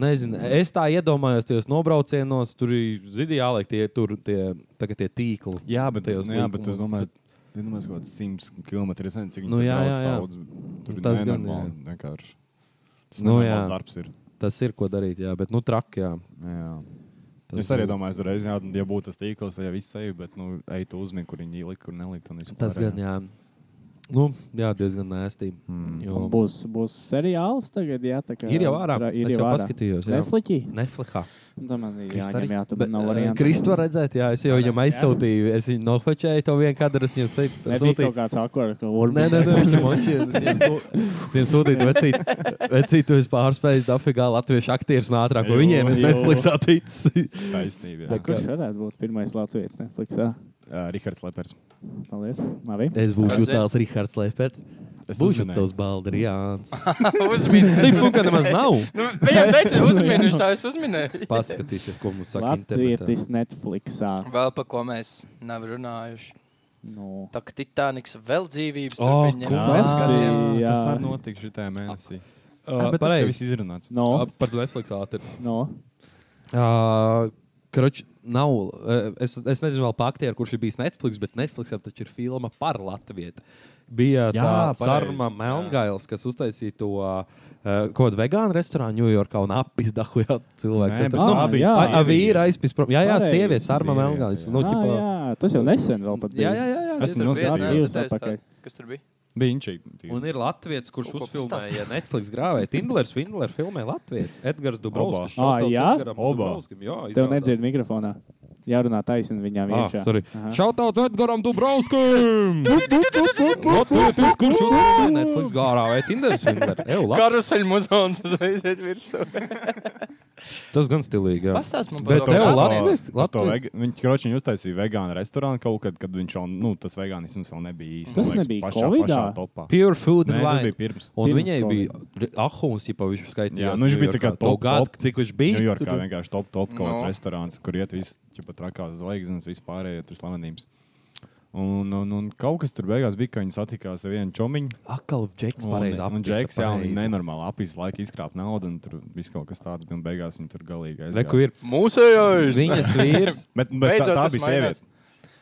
Speaker 2: nezinu, es tā iedomājos tajos nobraucienos, tur ir zini, jāliek tie, tur, tie, tā kā tie tīkli.
Speaker 1: Jā, bet,
Speaker 2: Tajos
Speaker 1: nu, jā, bet es
Speaker 2: līkumos,
Speaker 1: domāju, ka tas ir kaut kāds 100 km. Es nezinu, cik
Speaker 2: Nu,
Speaker 1: viņi tur
Speaker 2: jā,
Speaker 1: brauc
Speaker 2: jā, jā.
Speaker 1: daudz. Tur
Speaker 2: Tas
Speaker 1: tas
Speaker 2: gan,
Speaker 1: ir
Speaker 2: jā.
Speaker 1: normāli. vienkārši. Tas
Speaker 2: Nu,
Speaker 1: nu,
Speaker 2: jā.
Speaker 1: darbs ir.
Speaker 2: Tas ir ko darīt, jā, bet, nu, traki, jā.
Speaker 1: Jā.
Speaker 2: Tas
Speaker 1: Es arī
Speaker 2: būtu-
Speaker 1: domāju, uzreiz, jā, ja būtu tas tīkls, tad jau viss sevi, bet, nu, ej, tu uzmini, kur viņi ielika, kur nelika.
Speaker 2: Tas gan, jā. Nu, jā, diezgan nēstī.
Speaker 1: Hmm.
Speaker 3: Un
Speaker 2: Mm. Jo...
Speaker 3: Būs, būs seriāls tagad, jā. tā Kā,
Speaker 2: Ir jau ārā.
Speaker 3: tra- Ir
Speaker 2: Es
Speaker 3: jau,
Speaker 2: jau
Speaker 3: ārā.
Speaker 2: paskatījos, jā.
Speaker 3: Netflixī?
Speaker 2: Neflihā.
Speaker 3: Tā man ir
Speaker 2: Kristu arī?
Speaker 3: jāņem, jā, tā
Speaker 2: Bet,
Speaker 3: man nav
Speaker 2: eh,
Speaker 3: variantu.
Speaker 2: Kristu var redzēt, jā, es jau viņam aizsūtīju, es viņu nofečēju to vienā kadrā, es viņam teicu,
Speaker 3: Nebija kaut kāds akvārds, ka
Speaker 2: Nē,
Speaker 3: Urbis
Speaker 2: nē, nē, viņš ir mončīns. Viņam sūtīja vecītu, vecītu es pārspēju, dafigā latviešu aktieris nātrāk, ko
Speaker 1: Jū,
Speaker 2: viņiem es
Speaker 1: jū.
Speaker 2: Netflixā ticu.
Speaker 1: Taisnība.
Speaker 3: Ne,
Speaker 1: jā.
Speaker 3: kurš varētu būt pirmais Latvijas Netflixā?
Speaker 1: Ā, Rihards Lepers.
Speaker 3: Paldies. Labi.
Speaker 2: Es būšu
Speaker 4: Kāds ir?
Speaker 2: jutāls Rihards Lepers.
Speaker 1: Es
Speaker 2: Būšu
Speaker 1: uzminēju.
Speaker 2: tavs baldriāns.
Speaker 4: Uzminies.
Speaker 2: Cik punktu nemaz nav?
Speaker 4: Nu, Viņam teica, uzmini, viņš tā es uzminēju.
Speaker 2: Paskatīsies, ko mums saka internetā.
Speaker 3: Latvijas Netflixā.
Speaker 4: Vēl par ko mēs nav runājuši.
Speaker 3: Nu.
Speaker 4: Tā kā Titaniks vēl dzīvības
Speaker 2: O,
Speaker 4: turpin ņemt
Speaker 2: kungs.
Speaker 4: vērā.
Speaker 3: bija, jā.
Speaker 1: Tas arī notika šajā mēnesī.
Speaker 2: Uh,
Speaker 1: Uh, bet tas jau viss
Speaker 2: Pareizi.
Speaker 1: izrunāts.
Speaker 3: No,
Speaker 2: Uh, Par Netflix ātri.
Speaker 3: no.
Speaker 2: Ā, Kroč, nav, eh, es, es nezinu, vēl par aktieru, kurš ir bijis Netflix, bet Netflix taču ir filma par Latviju. Bija
Speaker 1: Jā,
Speaker 2: tāds Arma
Speaker 1: pareizi,
Speaker 2: Melngails, kas uztaisīja to eh, kaut kādu vegānu restorānu Ņujorkā un apis dahujā cilvēks.
Speaker 1: Nē,
Speaker 2: Tur-
Speaker 1: bet
Speaker 2: nu,
Speaker 1: tā bija
Speaker 3: jā.
Speaker 2: a- a vīra aizpis prom. Jā, jā,
Speaker 3: Pareizi,
Speaker 2: sieviete, Arma
Speaker 1: sieviete,
Speaker 2: Melngails.
Speaker 1: jā.
Speaker 2: Nu,
Speaker 3: Ah,
Speaker 2: ķipā-
Speaker 3: jā, tas jau nesen vēl pat bija.
Speaker 2: jā, jā, jā, jā.
Speaker 1: Es
Speaker 4: Tur
Speaker 1: esmu
Speaker 4: bija,
Speaker 1: noskatījis.
Speaker 4: nē,
Speaker 3: Divas
Speaker 4: tas es
Speaker 3: atpakaļ.
Speaker 4: tā- Kas tur bija?
Speaker 1: Bija inčīgi.
Speaker 2: Un ir Latvijas, kurš
Speaker 4: Ko- ko
Speaker 2: uzfilmēja Netflix grāvēju. Tindlers, Vindlers filmē Latvijas. Edgars
Speaker 3: Ā,
Speaker 2: Dubrovskis. Shoutouts
Speaker 3: jā?
Speaker 2: Edgaram
Speaker 1: Oba.
Speaker 2: Dubrovskim,
Speaker 3: Tev
Speaker 2: Jā, izrādās.
Speaker 3: nedzird mikrofonā. Jārunā taisni
Speaker 2: Ah,
Speaker 3: viņām iekšā. Aha.
Speaker 2: Šautauts Edgars Dubrovskim! Latvijas, kurš uzfilmēja Netflix gārā vai Tindlers? Vindler? Ew, labi.
Speaker 4: Karuseļu muzons uzreiz iet virsū.
Speaker 2: Tas gan stilīgi. jā.
Speaker 4: Pastāst man par
Speaker 2: Bet
Speaker 4: to.
Speaker 2: tev
Speaker 4: kā
Speaker 2: Latvijas? Latvijas?
Speaker 1: Viņa kročiņa uztaisīja vegānu restorānu kaut kad, kad viņš jau, nu, tas vegānisms vēl nebija īsti.
Speaker 3: Tas
Speaker 1: man liekas,
Speaker 3: nebija
Speaker 1: pašā,
Speaker 3: Covidā?
Speaker 1: pašā topā.
Speaker 2: Pure food
Speaker 1: Nē,
Speaker 2: and
Speaker 1: tas
Speaker 2: wine.
Speaker 1: bija pirms.
Speaker 2: Un
Speaker 3: Pirms
Speaker 2: viņai bija ahūns, ja viņš skaitīja.
Speaker 1: Jā, nu viņš bija tā kā top,
Speaker 2: gada,
Speaker 1: top.
Speaker 2: cik viņš bija.
Speaker 1: Ņujorkā
Speaker 2: tur-
Speaker 1: vienkārši top, top kaut kāds
Speaker 4: No.
Speaker 1: no. restorāns, kur iet visi ķipa trakās zvaigznes, vispārējie tur slavenības. Un, un, un kaut kas tur beigās bija, ka viņi satikās ar vienu čomiņu.
Speaker 2: Akal Džeks
Speaker 1: Un,
Speaker 2: pareizi
Speaker 1: un
Speaker 2: apgādājis.
Speaker 1: Džeks, jā, un viņi nenormāli apīs laika izkrāpt naudu, un tur viss kaut kas tāds bija, un beigās viņi tur galīgi
Speaker 2: Reku ir.
Speaker 4: Mūsējais!
Speaker 2: Viņas vīrs.
Speaker 1: Bet, bet tā,
Speaker 4: Beidzot
Speaker 1: tā
Speaker 4: tas
Speaker 1: bija
Speaker 4: mainās.
Speaker 1: sieviete.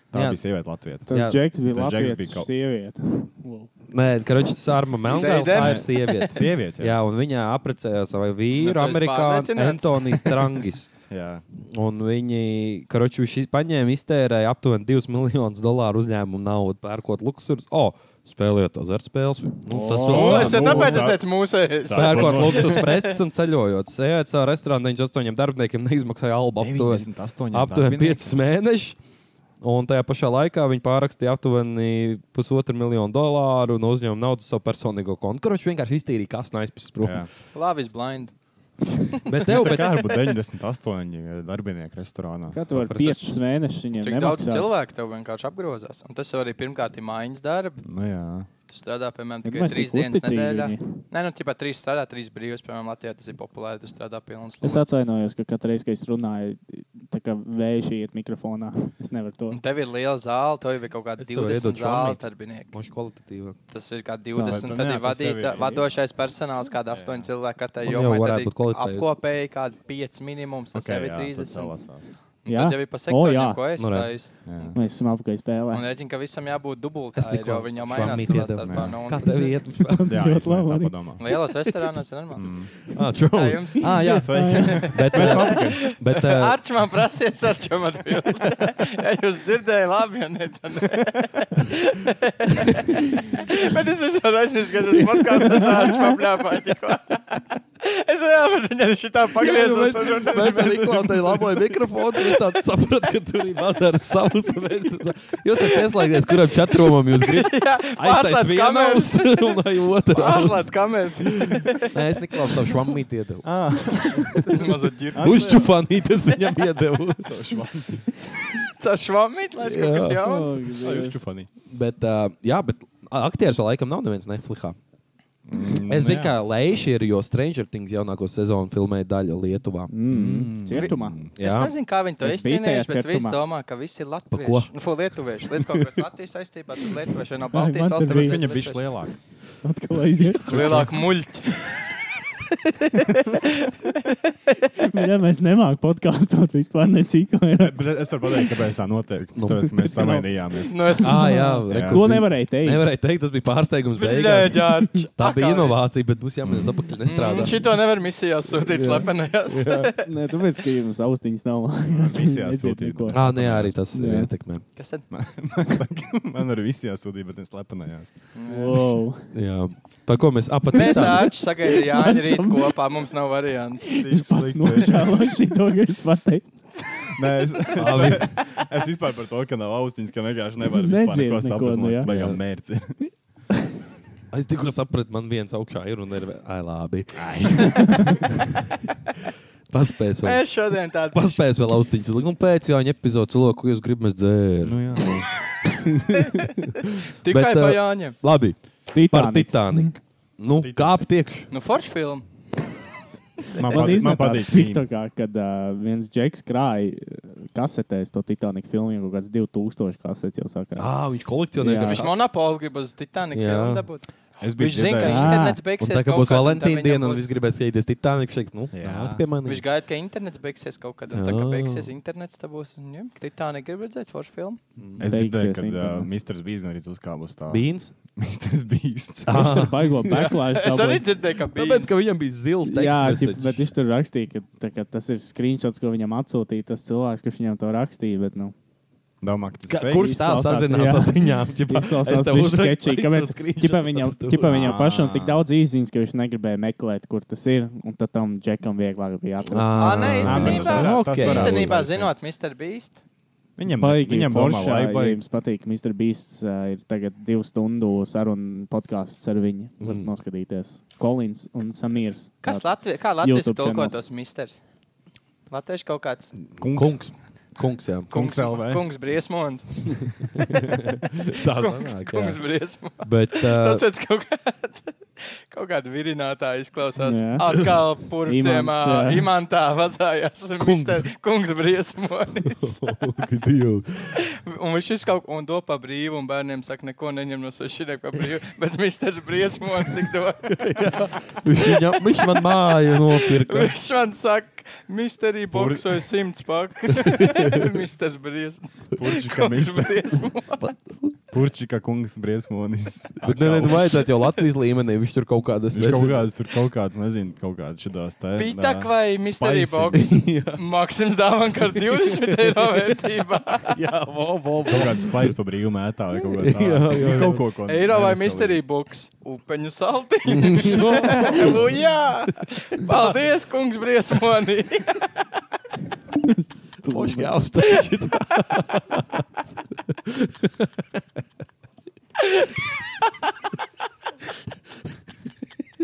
Speaker 1: Tā
Speaker 2: Jā.
Speaker 1: jā. bija sieviete Latvijā.
Speaker 3: Tas
Speaker 2: Jā.
Speaker 3: Džeks bija
Speaker 1: Tas Džeks bija
Speaker 3: Latvijas
Speaker 1: kaut-
Speaker 3: sieviete.
Speaker 2: Nē, Karačs Arma Melngals, tā ir sieviete.
Speaker 1: Sieviete.
Speaker 2: Jā, un viņa apprecēja savu vīru,
Speaker 4: Nu, tu esi
Speaker 2: amerikāņu
Speaker 4: pārliecināts?
Speaker 2: Antoniju Strangis.
Speaker 1: jā.
Speaker 2: Un viņi, karoči, viņš iz- paņēma, iztērēja aptuveni 2 miljonus dolāru uzņēmumu naudu, pērkot luksus. O, spēlējot azartspēles. Nu, tas
Speaker 4: Nu,
Speaker 2: vēl-
Speaker 4: es tāpēc es
Speaker 1: tā-
Speaker 4: teicu mūsējais.
Speaker 1: tā-
Speaker 2: Pērkot luksus preces un ceļojot. Sēžot savā restorānā, 98 darbiniekiem neizmaksāja albu aptuveni
Speaker 1: 98
Speaker 2: aptuveni
Speaker 1: darbinieki.
Speaker 2: 5 mēnešus. Un tajā pašā laikā viņi pārrakstīja aptuveni pusotru miljonu dolāru no uzņēmuma naudas savu personīgo kontu. Kurš vienkārši iztīrīja kasnu aizpildus prom.
Speaker 1: Jā.
Speaker 4: Love is blind.
Speaker 2: Bet
Speaker 1: Tev
Speaker 2: tev, bet,
Speaker 1: kā ar 98 darbinieki restorānā.
Speaker 3: Kā tu vari
Speaker 2: Tāpēc tas-
Speaker 3: 5 mēnešus viņiem
Speaker 4: Cik daudz
Speaker 3: nemaksāt?
Speaker 4: cilvēku tev vienkārši apgrozās. Un tas jau arī pirmkārt ir mājas darbs.
Speaker 1: Nu, jā.
Speaker 4: Tu strādā, piemēram,
Speaker 3: Ja
Speaker 4: tikai
Speaker 3: mēs
Speaker 4: trīs
Speaker 3: tik
Speaker 4: dienas
Speaker 3: uzticīgi
Speaker 4: nedēļā.
Speaker 3: viņi.
Speaker 4: Nē, nu, tipā trīs strādā, trīs brīvs. Piemēram, Latvijā tas ir populāri. Tu strādā pilnas
Speaker 3: Es atvainojos, ka katru reizi, kad es runāju, tā kā vējš iet mikrofonā. Es nevaru to.
Speaker 4: Un tev ir liela zāle, tev ir kaut kāda
Speaker 2: Es tev
Speaker 4: 20
Speaker 2: iedodu
Speaker 4: zāles
Speaker 2: čomīt.
Speaker 4: darbinieki.
Speaker 2: Moši kvalitatīva.
Speaker 4: Tas ir kā 20,
Speaker 1: bet,
Speaker 4: tad
Speaker 1: nu, jā,
Speaker 4: ir
Speaker 1: tas tev
Speaker 4: vadīta,
Speaker 1: ir-
Speaker 4: vadošais personāls, kāda 8 cilvēki katrai
Speaker 2: Un jau
Speaker 4: jomai. Tad
Speaker 2: varētu
Speaker 4: ir
Speaker 2: būt kvalitāte.
Speaker 4: apkopēji kāda 5 minimums, tas jau ir 30. Un
Speaker 3: Jā.
Speaker 4: Tad jau ir pa
Speaker 3: O, jā.
Speaker 4: sektoriem, ko es
Speaker 2: Nu, re.
Speaker 4: taisu.
Speaker 3: Mēs esam apgājis spēlē.
Speaker 4: Un rēķinu, ka visam jābūt
Speaker 2: Es
Speaker 4: dubultā, ir,
Speaker 2: tikko
Speaker 4: jo viņi jau mainās
Speaker 2: švamīt
Speaker 4: savā
Speaker 2: iedevu.
Speaker 4: starpā.
Speaker 1: Jā.
Speaker 4: nu, un
Speaker 2: Kā
Speaker 4: tas
Speaker 2: tev
Speaker 4: ir-
Speaker 2: iet?
Speaker 1: Jā,
Speaker 3: Ļoti
Speaker 1: es mēģināju
Speaker 3: labi
Speaker 1: tā
Speaker 3: arī.
Speaker 1: padomā.
Speaker 4: Lielos restorānos ir normāli.
Speaker 2: Ah,
Speaker 4: Kā
Speaker 2: true.
Speaker 4: jums?
Speaker 1: Ah, jā, sveiki.
Speaker 2: Bet, uh, bet, uh,
Speaker 4: Arčs man prasīja, ar čem atbildēt. Ja jūs dzirdējāt, labi, ja ne, tad nē. Bet es vienmēr aizmirsu, ka tas podkāsts ar Arčs man plēpāja. Es vēl par viņu šitā pagriezos. un-
Speaker 2: nu Mēs arī klātēji laboju mikrofonu, un es tādu sapratu, ka tur ir bazāra savus. un mēs tā sa- Jūs esat pieslēgties, kuram četrumam jūs gribat.
Speaker 4: Jā,
Speaker 2: Aiztais
Speaker 4: Pārslēdz kameras.
Speaker 2: un lai otru.
Speaker 4: Pārslēdz kameras.
Speaker 2: Nē, es neklāpu savu švammīti iedevu.
Speaker 4: Mazliet ģirbēju.
Speaker 2: Uzčupanītes viņam iedevu.
Speaker 4: Caur švamīt, lai es kaut kas
Speaker 3: Oh,
Speaker 4: jauns.
Speaker 1: Jūs čufanī.
Speaker 2: Bet, uh, jā, bet aktieris vēl laikam nav neviens Netflixā. Mm. Nu, Es zinu, ka Leiša ir, jo Stranger Things jaunāko sezonu filmēja daļu Lietuvā.
Speaker 3: Mm, Cietumā.
Speaker 1: Mm.
Speaker 4: Es nezinu, kā viņi to
Speaker 3: Es biju
Speaker 4: izcīnījuši,
Speaker 3: tajā
Speaker 4: bet visi
Speaker 3: četrumā.
Speaker 4: domā, ka visi ir
Speaker 2: ko?
Speaker 4: latvieši. Nu, fu, lietuvieši. Līdz kaut kas Latvijas saistībā, tad lietuvieši vai no
Speaker 3: man
Speaker 4: Baltijas
Speaker 3: te
Speaker 4: valsts.
Speaker 3: bija-
Speaker 4: tāpēc
Speaker 1: Viņa
Speaker 4: visi
Speaker 1: bija
Speaker 4: lietuvieši.
Speaker 1: lielāka.
Speaker 3: Atkal aiziet.
Speaker 4: Lielāka muļķa.
Speaker 3: Jā, mēs nemākam podkāstot vispār necīkoju.
Speaker 1: Bet es varu pateikt, kāpēc tā notiek.
Speaker 2: Nu.
Speaker 1: Tāpēc mēs samainījāmies.
Speaker 4: Nu, es
Speaker 2: Ah, jā, re,
Speaker 1: Jā.
Speaker 2: kur
Speaker 3: To
Speaker 2: bija-
Speaker 3: nevarēja teikt.
Speaker 2: Nevarēja teikt, tas bija pārsteigums. beigās.
Speaker 4: Bļēģārč.
Speaker 2: Tā bija inovācija, bet būs jāmēģina
Speaker 4: Mm.
Speaker 2: apakšā nestrādāt.
Speaker 4: Šito nevar misijās sūtīt slepenajās.
Speaker 3: Nē, tāpēc, ka jums austiņas nav.
Speaker 1: Visi
Speaker 3: Nedzird
Speaker 1: jāsūtīja.
Speaker 3: neko.
Speaker 2: Ah, nē, arī tas ir
Speaker 3: Jā.
Speaker 2: ietekmē.
Speaker 4: Kas tad?
Speaker 1: Man saka, Man arī viss jāsūtīja, bet es lepenējos.
Speaker 3: Wow.
Speaker 2: Jā. Par ko mēs
Speaker 4: Mēs
Speaker 2: apatījām?
Speaker 4: ārči sagaidījām Jāņa rīt kopā, mums nav variantu.
Speaker 1: Viņš
Speaker 3: Pats nošāva šito, ka viņš pateica.
Speaker 1: Nē, es, es, es vispār par to, ka nav austiņas, ka vienkārši nevaru vispār
Speaker 3: Nedzird
Speaker 1: neko
Speaker 3: neko,
Speaker 1: saprast.
Speaker 3: nu jā.
Speaker 1: Man vajag mērķi.
Speaker 2: Es tikko sapratu, man viens augšā ir un ir. vē- Ai, labi. Paspēs vēl.
Speaker 4: Mēs šodien tādu
Speaker 2: Paspēs vēl austiņas uzlikt. Un pēc jau epizodes cilvēku, ko jūs
Speaker 4: Mm.
Speaker 1: Nu jā.
Speaker 2: gribat, mēs dzēram.
Speaker 4: tikai
Speaker 2: bet,
Speaker 4: pa
Speaker 2: uh,
Speaker 4: Jāņiem.
Speaker 2: Labi. par
Speaker 3: Titanic.
Speaker 2: Titaniku. Nu, kāp tiekšā.
Speaker 4: Nu, forši filma.
Speaker 1: Man
Speaker 3: Man
Speaker 1: patīk, man
Speaker 3: izmetās
Speaker 1: patīk. mīm.
Speaker 3: TikTokā, kad uh, viens džeks krāja uh, kasetēs to Titanic filmu, jau kaut kāds 2000 kasetes jau sākās.
Speaker 2: Ah, viņš kolekcionē
Speaker 3: Jā.
Speaker 2: gan
Speaker 4: Viņš
Speaker 2: kas-
Speaker 4: monopolu grib uz Titaniku
Speaker 2: Jā.
Speaker 4: filmu dabūt.
Speaker 1: Es biju
Speaker 4: Viņš zina, ka
Speaker 1: dzirdējis.
Speaker 3: Ā.
Speaker 4: internets
Speaker 2: Un
Speaker 4: beigsies.
Speaker 2: tā kā
Speaker 4: kaut
Speaker 2: būs
Speaker 4: kad, un tad
Speaker 2: Valentīna
Speaker 4: viņam
Speaker 2: diena, un
Speaker 4: būs-
Speaker 2: viss gribēs iet uz Titaniku. Viņš teiks, nu,
Speaker 1: Jā.
Speaker 2: nāk pie manis.
Speaker 4: Viņš gaida, ka internets beigsies kaut kad, un tā kā
Speaker 2: Jā.
Speaker 4: beigsies internets, tad būs. un, Jā, Titanic grib redzēt foršu filmu.
Speaker 1: Es dzirdēju,
Speaker 3: Beigsies
Speaker 1: ka uh,
Speaker 3: internets.
Speaker 1: Mr. Bīsīs arī uzkāpa uz tā.
Speaker 2: Bīns.
Speaker 1: Mr. Bīsīs.
Speaker 3: Viņš tur baigo backlash.
Speaker 4: Es arī
Speaker 3: tāpēc-
Speaker 4: dzirdēju, ka bija.
Speaker 2: Tāpēc, ka viņam bija zils
Speaker 3: Jā,
Speaker 2: teksts.
Speaker 3: ķip, bet viņš tur rakstīja, ka, tā, ka tas ir screenshots, ko viņam atsūtīja tas cilvēks, kurš viņam to rakstīja. Bet, nu,
Speaker 1: Domā, ka tas
Speaker 2: Ka,
Speaker 1: ir
Speaker 2: kurš
Speaker 1: fake.
Speaker 2: tā
Speaker 3: Izklausās,
Speaker 2: sazinās
Speaker 3: jā.
Speaker 2: ar ziņām? Ķipa,
Speaker 3: Izklausās
Speaker 2: es tev
Speaker 3: bišķi
Speaker 2: uzrakstu,
Speaker 3: sketčīgi,
Speaker 2: lai es
Speaker 3: kāpēc-
Speaker 2: tev screenshot
Speaker 3: Ķipa viņam,
Speaker 2: pasūtu.
Speaker 3: ķipa viņam
Speaker 1: Ā.
Speaker 3: pašam tik daudz īziņas, ka viņš negribēja meklēt, kur tas ir. Un tad tam džekam vieglāk bija atrast.
Speaker 4: Ā,
Speaker 1: Ā,
Speaker 4: nē,
Speaker 1: bet tas
Speaker 4: īstenībā-
Speaker 1: varētu-
Speaker 2: Ok.
Speaker 1: tas varētu būt
Speaker 4: Īstenībā
Speaker 1: taisnība.
Speaker 4: zinot, Mr. Beast.
Speaker 1: Viņam
Speaker 3: Baigi,
Speaker 1: Viņam domā,
Speaker 3: foršā,
Speaker 1: lai
Speaker 3: ja
Speaker 1: baigi.
Speaker 3: jums patīk, Mr. Beasts uh, ir tagad divu stundu sarunu podkāsts ar viņu. Varat
Speaker 2: Mm.
Speaker 3: noskatīties. Kolins un Samīrs.
Speaker 4: Kas
Speaker 3: Tāds
Speaker 4: Latvijas, kā Latvijas
Speaker 3: YouTube channels.
Speaker 4: tulkotos misters? Latvijas kaut kāds
Speaker 2: Kungs. Kungs, jā.
Speaker 1: Kungs LV.
Speaker 4: kungs briesmons.
Speaker 2: Tā
Speaker 4: Kungs,
Speaker 2: sanāk,
Speaker 4: kungs
Speaker 2: jā.
Speaker 4: briesmons.
Speaker 2: Bet,
Speaker 4: Tas
Speaker 2: uh,
Speaker 4: pēc kaut kāda, kaut kāda virinātā izklausās.
Speaker 3: Jā.
Speaker 4: Jā. Atkal
Speaker 3: Imants,
Speaker 4: purvciemā,
Speaker 3: jā.
Speaker 4: imantā vazājās
Speaker 2: Kungs.
Speaker 4: kungs, kungs briesmonis.
Speaker 2: Dievs.
Speaker 4: Un viņš ir kaut ko do pa brīvu, un bērniem saka, neko neņem no sevis šī pa brīvu. Bet misters briesmonis tik to.
Speaker 2: Viņam- Viņš man māju nopirka.
Speaker 4: Viņš man saka, misterī boksoja simts pakas. Misters briesmonis.
Speaker 1: Purčika
Speaker 4: Kungs
Speaker 1: Mr.
Speaker 4: briesmonis.
Speaker 1: Purčika kungs briesmonis.
Speaker 2: Bet nē, nē, nu vajadzētu jau Latvijas līmenī. Viņš tur kaut kādas
Speaker 1: Viņš kaut kādas tur kaut kādas, nezinu, kaut kādas šādās tēmas.
Speaker 4: Pitak vai Mystery
Speaker 1: Spicy.
Speaker 4: Box? Maksims dāvana ar 20 eiro vērtībā.
Speaker 2: Jā, vo, vo,
Speaker 1: Kaut
Speaker 2: vo.
Speaker 1: kādas spēļas pa brīvu mētā vai kaut ko tādu.
Speaker 2: Jā, jā, jā.
Speaker 1: Kaut ko, ko
Speaker 4: Eiro vai
Speaker 1: neveselīgi.
Speaker 4: Mystery Box? Upeņu saltiņš. Nu, Jā! Paldies, kungs, briesmonī!
Speaker 3: stulbs.
Speaker 2: Poši, jā, uztaisīt.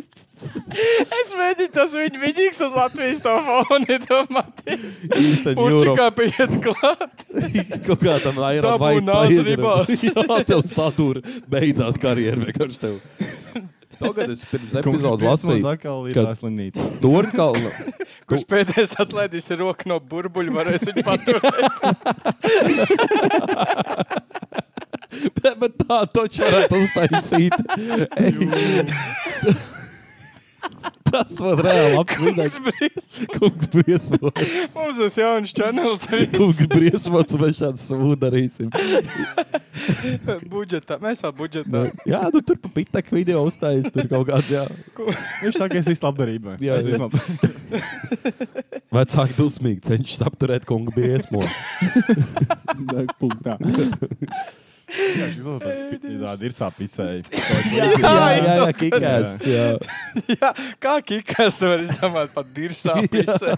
Speaker 4: Es mēģinu tas viņu vidīgs uz Latvijas to fonu, domāties.
Speaker 2: Instant Euro.
Speaker 4: Pučikā pieiet klāt.
Speaker 2: Kaut kā tam
Speaker 4: Dabū
Speaker 2: airā vajag
Speaker 4: nāzi
Speaker 2: paiegra.
Speaker 4: ribās.
Speaker 2: Jā, tev satura beidzās karjeru vienkārši tev. Tagad es pirms
Speaker 1: Kungs
Speaker 2: epizodes
Speaker 1: briesmonis
Speaker 2: lasīju
Speaker 1: atkal ir
Speaker 2: ka-
Speaker 1: tā slimnīca.
Speaker 2: Tornkalnu.
Speaker 4: Kurš pēdējais atlaidīs roku no burbuļu, varēs viņu paturēt.
Speaker 2: Bet, bet tā taču varētu uztaisīt. Ej. Tas var reāli apvienot.
Speaker 4: Kungs, briesmonis.
Speaker 2: Kungs briesmots.
Speaker 4: Mums tas jauns čanels.
Speaker 2: Kungs briesmots, mēs šādu sūdu darīsim.
Speaker 4: Budžetā. Mēs vēl budžetā.
Speaker 2: Nu, jā, nu tur pa pitak video uztaisīt. Tur kaut kāds, jā.
Speaker 1: Viņš saka, es esmu labdarībā.
Speaker 2: Jā,
Speaker 1: es
Speaker 2: jā.
Speaker 1: esmu
Speaker 2: Vecāki dusmīgi cenšas apturēt kungu briesmots.
Speaker 3: Tā, punktā.
Speaker 1: tāda ir sāpīsēji.
Speaker 4: jā,
Speaker 2: jā,
Speaker 4: jā,
Speaker 2: kikās, jā.
Speaker 4: Jā, kā kikas var izdomāt par dirzām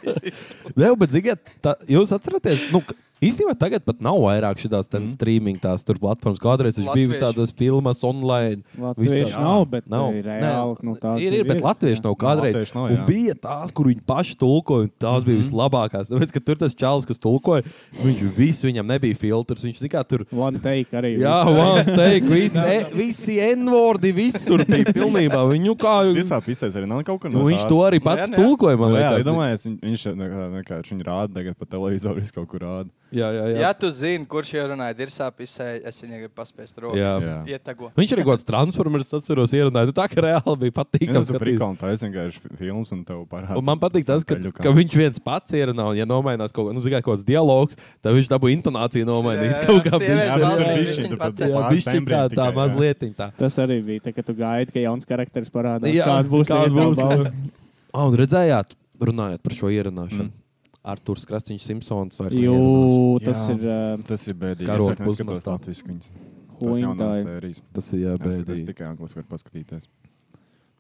Speaker 4: pisēs?
Speaker 2: Nē, bet, ziniet, tā- jūs atceraties, nu, ka īstenībā tagad pat nav vairāk šīs mm. streaming tās tur platformas. Kādreiz viņš bija
Speaker 4: Latvieši.
Speaker 2: visādos filmās, online.
Speaker 3: Latviešu
Speaker 2: Visā-
Speaker 3: nav, bet
Speaker 2: Nav.
Speaker 3: nav. ir
Speaker 2: Nē,
Speaker 3: reāli. Nu, tāds
Speaker 2: ir, ir, bet Latviešu nav kādreiz.
Speaker 1: Latviešu nav,
Speaker 2: Un
Speaker 1: jā.
Speaker 2: bija tās, kur viņi paši tulkoja, un tās
Speaker 3: Mhm.
Speaker 2: bija vislabākās. Tāpēc, ka tur tas čels, kas tulkoja, viņš visu viņam nebija filtrs. Viņš tikai tur.
Speaker 3: One take arī.
Speaker 2: Jā, man teikt, visi, e, visi N-vordi, viss tur bija pilnībā. Viņu kā
Speaker 1: Ir sāpīsēs arī nav kaut kur
Speaker 2: Nu,
Speaker 1: no
Speaker 2: viņš
Speaker 1: tās.
Speaker 2: to arī pats
Speaker 4: jā.
Speaker 2: tulkoja, man
Speaker 1: Nu, Jā,
Speaker 2: liekas.
Speaker 1: es domāju, es viņ- viņš šeit nekā- vienkārši viņu rāda tagad pa televizoru, viņš kaut kur rāda.
Speaker 2: jā, jā, jā.
Speaker 4: Ja tu zini, kurš jau runāja dirzā pisē, es viņai gribu paspēst roku.
Speaker 2: jā. jā.
Speaker 1: Jā.
Speaker 4: Ietago.
Speaker 2: Viņš arī kaut kāds transformers, atceros, ierunāja. Nu, Tā kā reāli bija patīkami.
Speaker 1: Tas ir prikals, tā es vienkārši fi- films un tev parādu.
Speaker 2: Un man patīk tas, ka,
Speaker 1: Peļukā.
Speaker 2: ka viņš viens pats ierunā, un, ja nomainās kaut, kā- nu, zikā, kaut kāds dialogs, tad viņš dabū intonāciju nomainīt.
Speaker 4: Jā, jā, jā,
Speaker 2: Kaut kā
Speaker 4: sievietes
Speaker 2: bišķiņ-
Speaker 4: balsī
Speaker 2: jā,
Speaker 4: bišķiņ
Speaker 1: tur
Speaker 4: pats-
Speaker 1: pat
Speaker 2: jā,
Speaker 1: pāris
Speaker 2: bišķiņ tā,
Speaker 1: tembriem
Speaker 2: tā
Speaker 1: tikai, jā.
Speaker 2: mazliet tā.
Speaker 3: Tas arī bija, tā, ka tu gaidi, ka jauns karakteris parādās.
Speaker 2: Jā,
Speaker 3: Jā, kāda būs
Speaker 2: kāda
Speaker 3: kāda
Speaker 2: būs,
Speaker 3: būs
Speaker 2: jā.
Speaker 3: balss.
Speaker 2: Ah, un redzējāt, runājot par šo ierunāšanu. Mm.
Speaker 1: Mm.
Speaker 2: Arthurs Krasniņš Simpsons vairs neierunās.
Speaker 3: Jū, tas
Speaker 1: Jā.
Speaker 3: ir uh,
Speaker 1: Tas ir bēdīgi.
Speaker 2: Karo
Speaker 1: Es neskatos
Speaker 2: pusmastā.
Speaker 1: Latvijas viņas. Tās jaunās
Speaker 3: huņķis.
Speaker 1: sērijas.
Speaker 2: Tas ir jā,
Speaker 1: Es, es
Speaker 2: bēdīgi.
Speaker 1: tikai angļuiski varu paskatīties.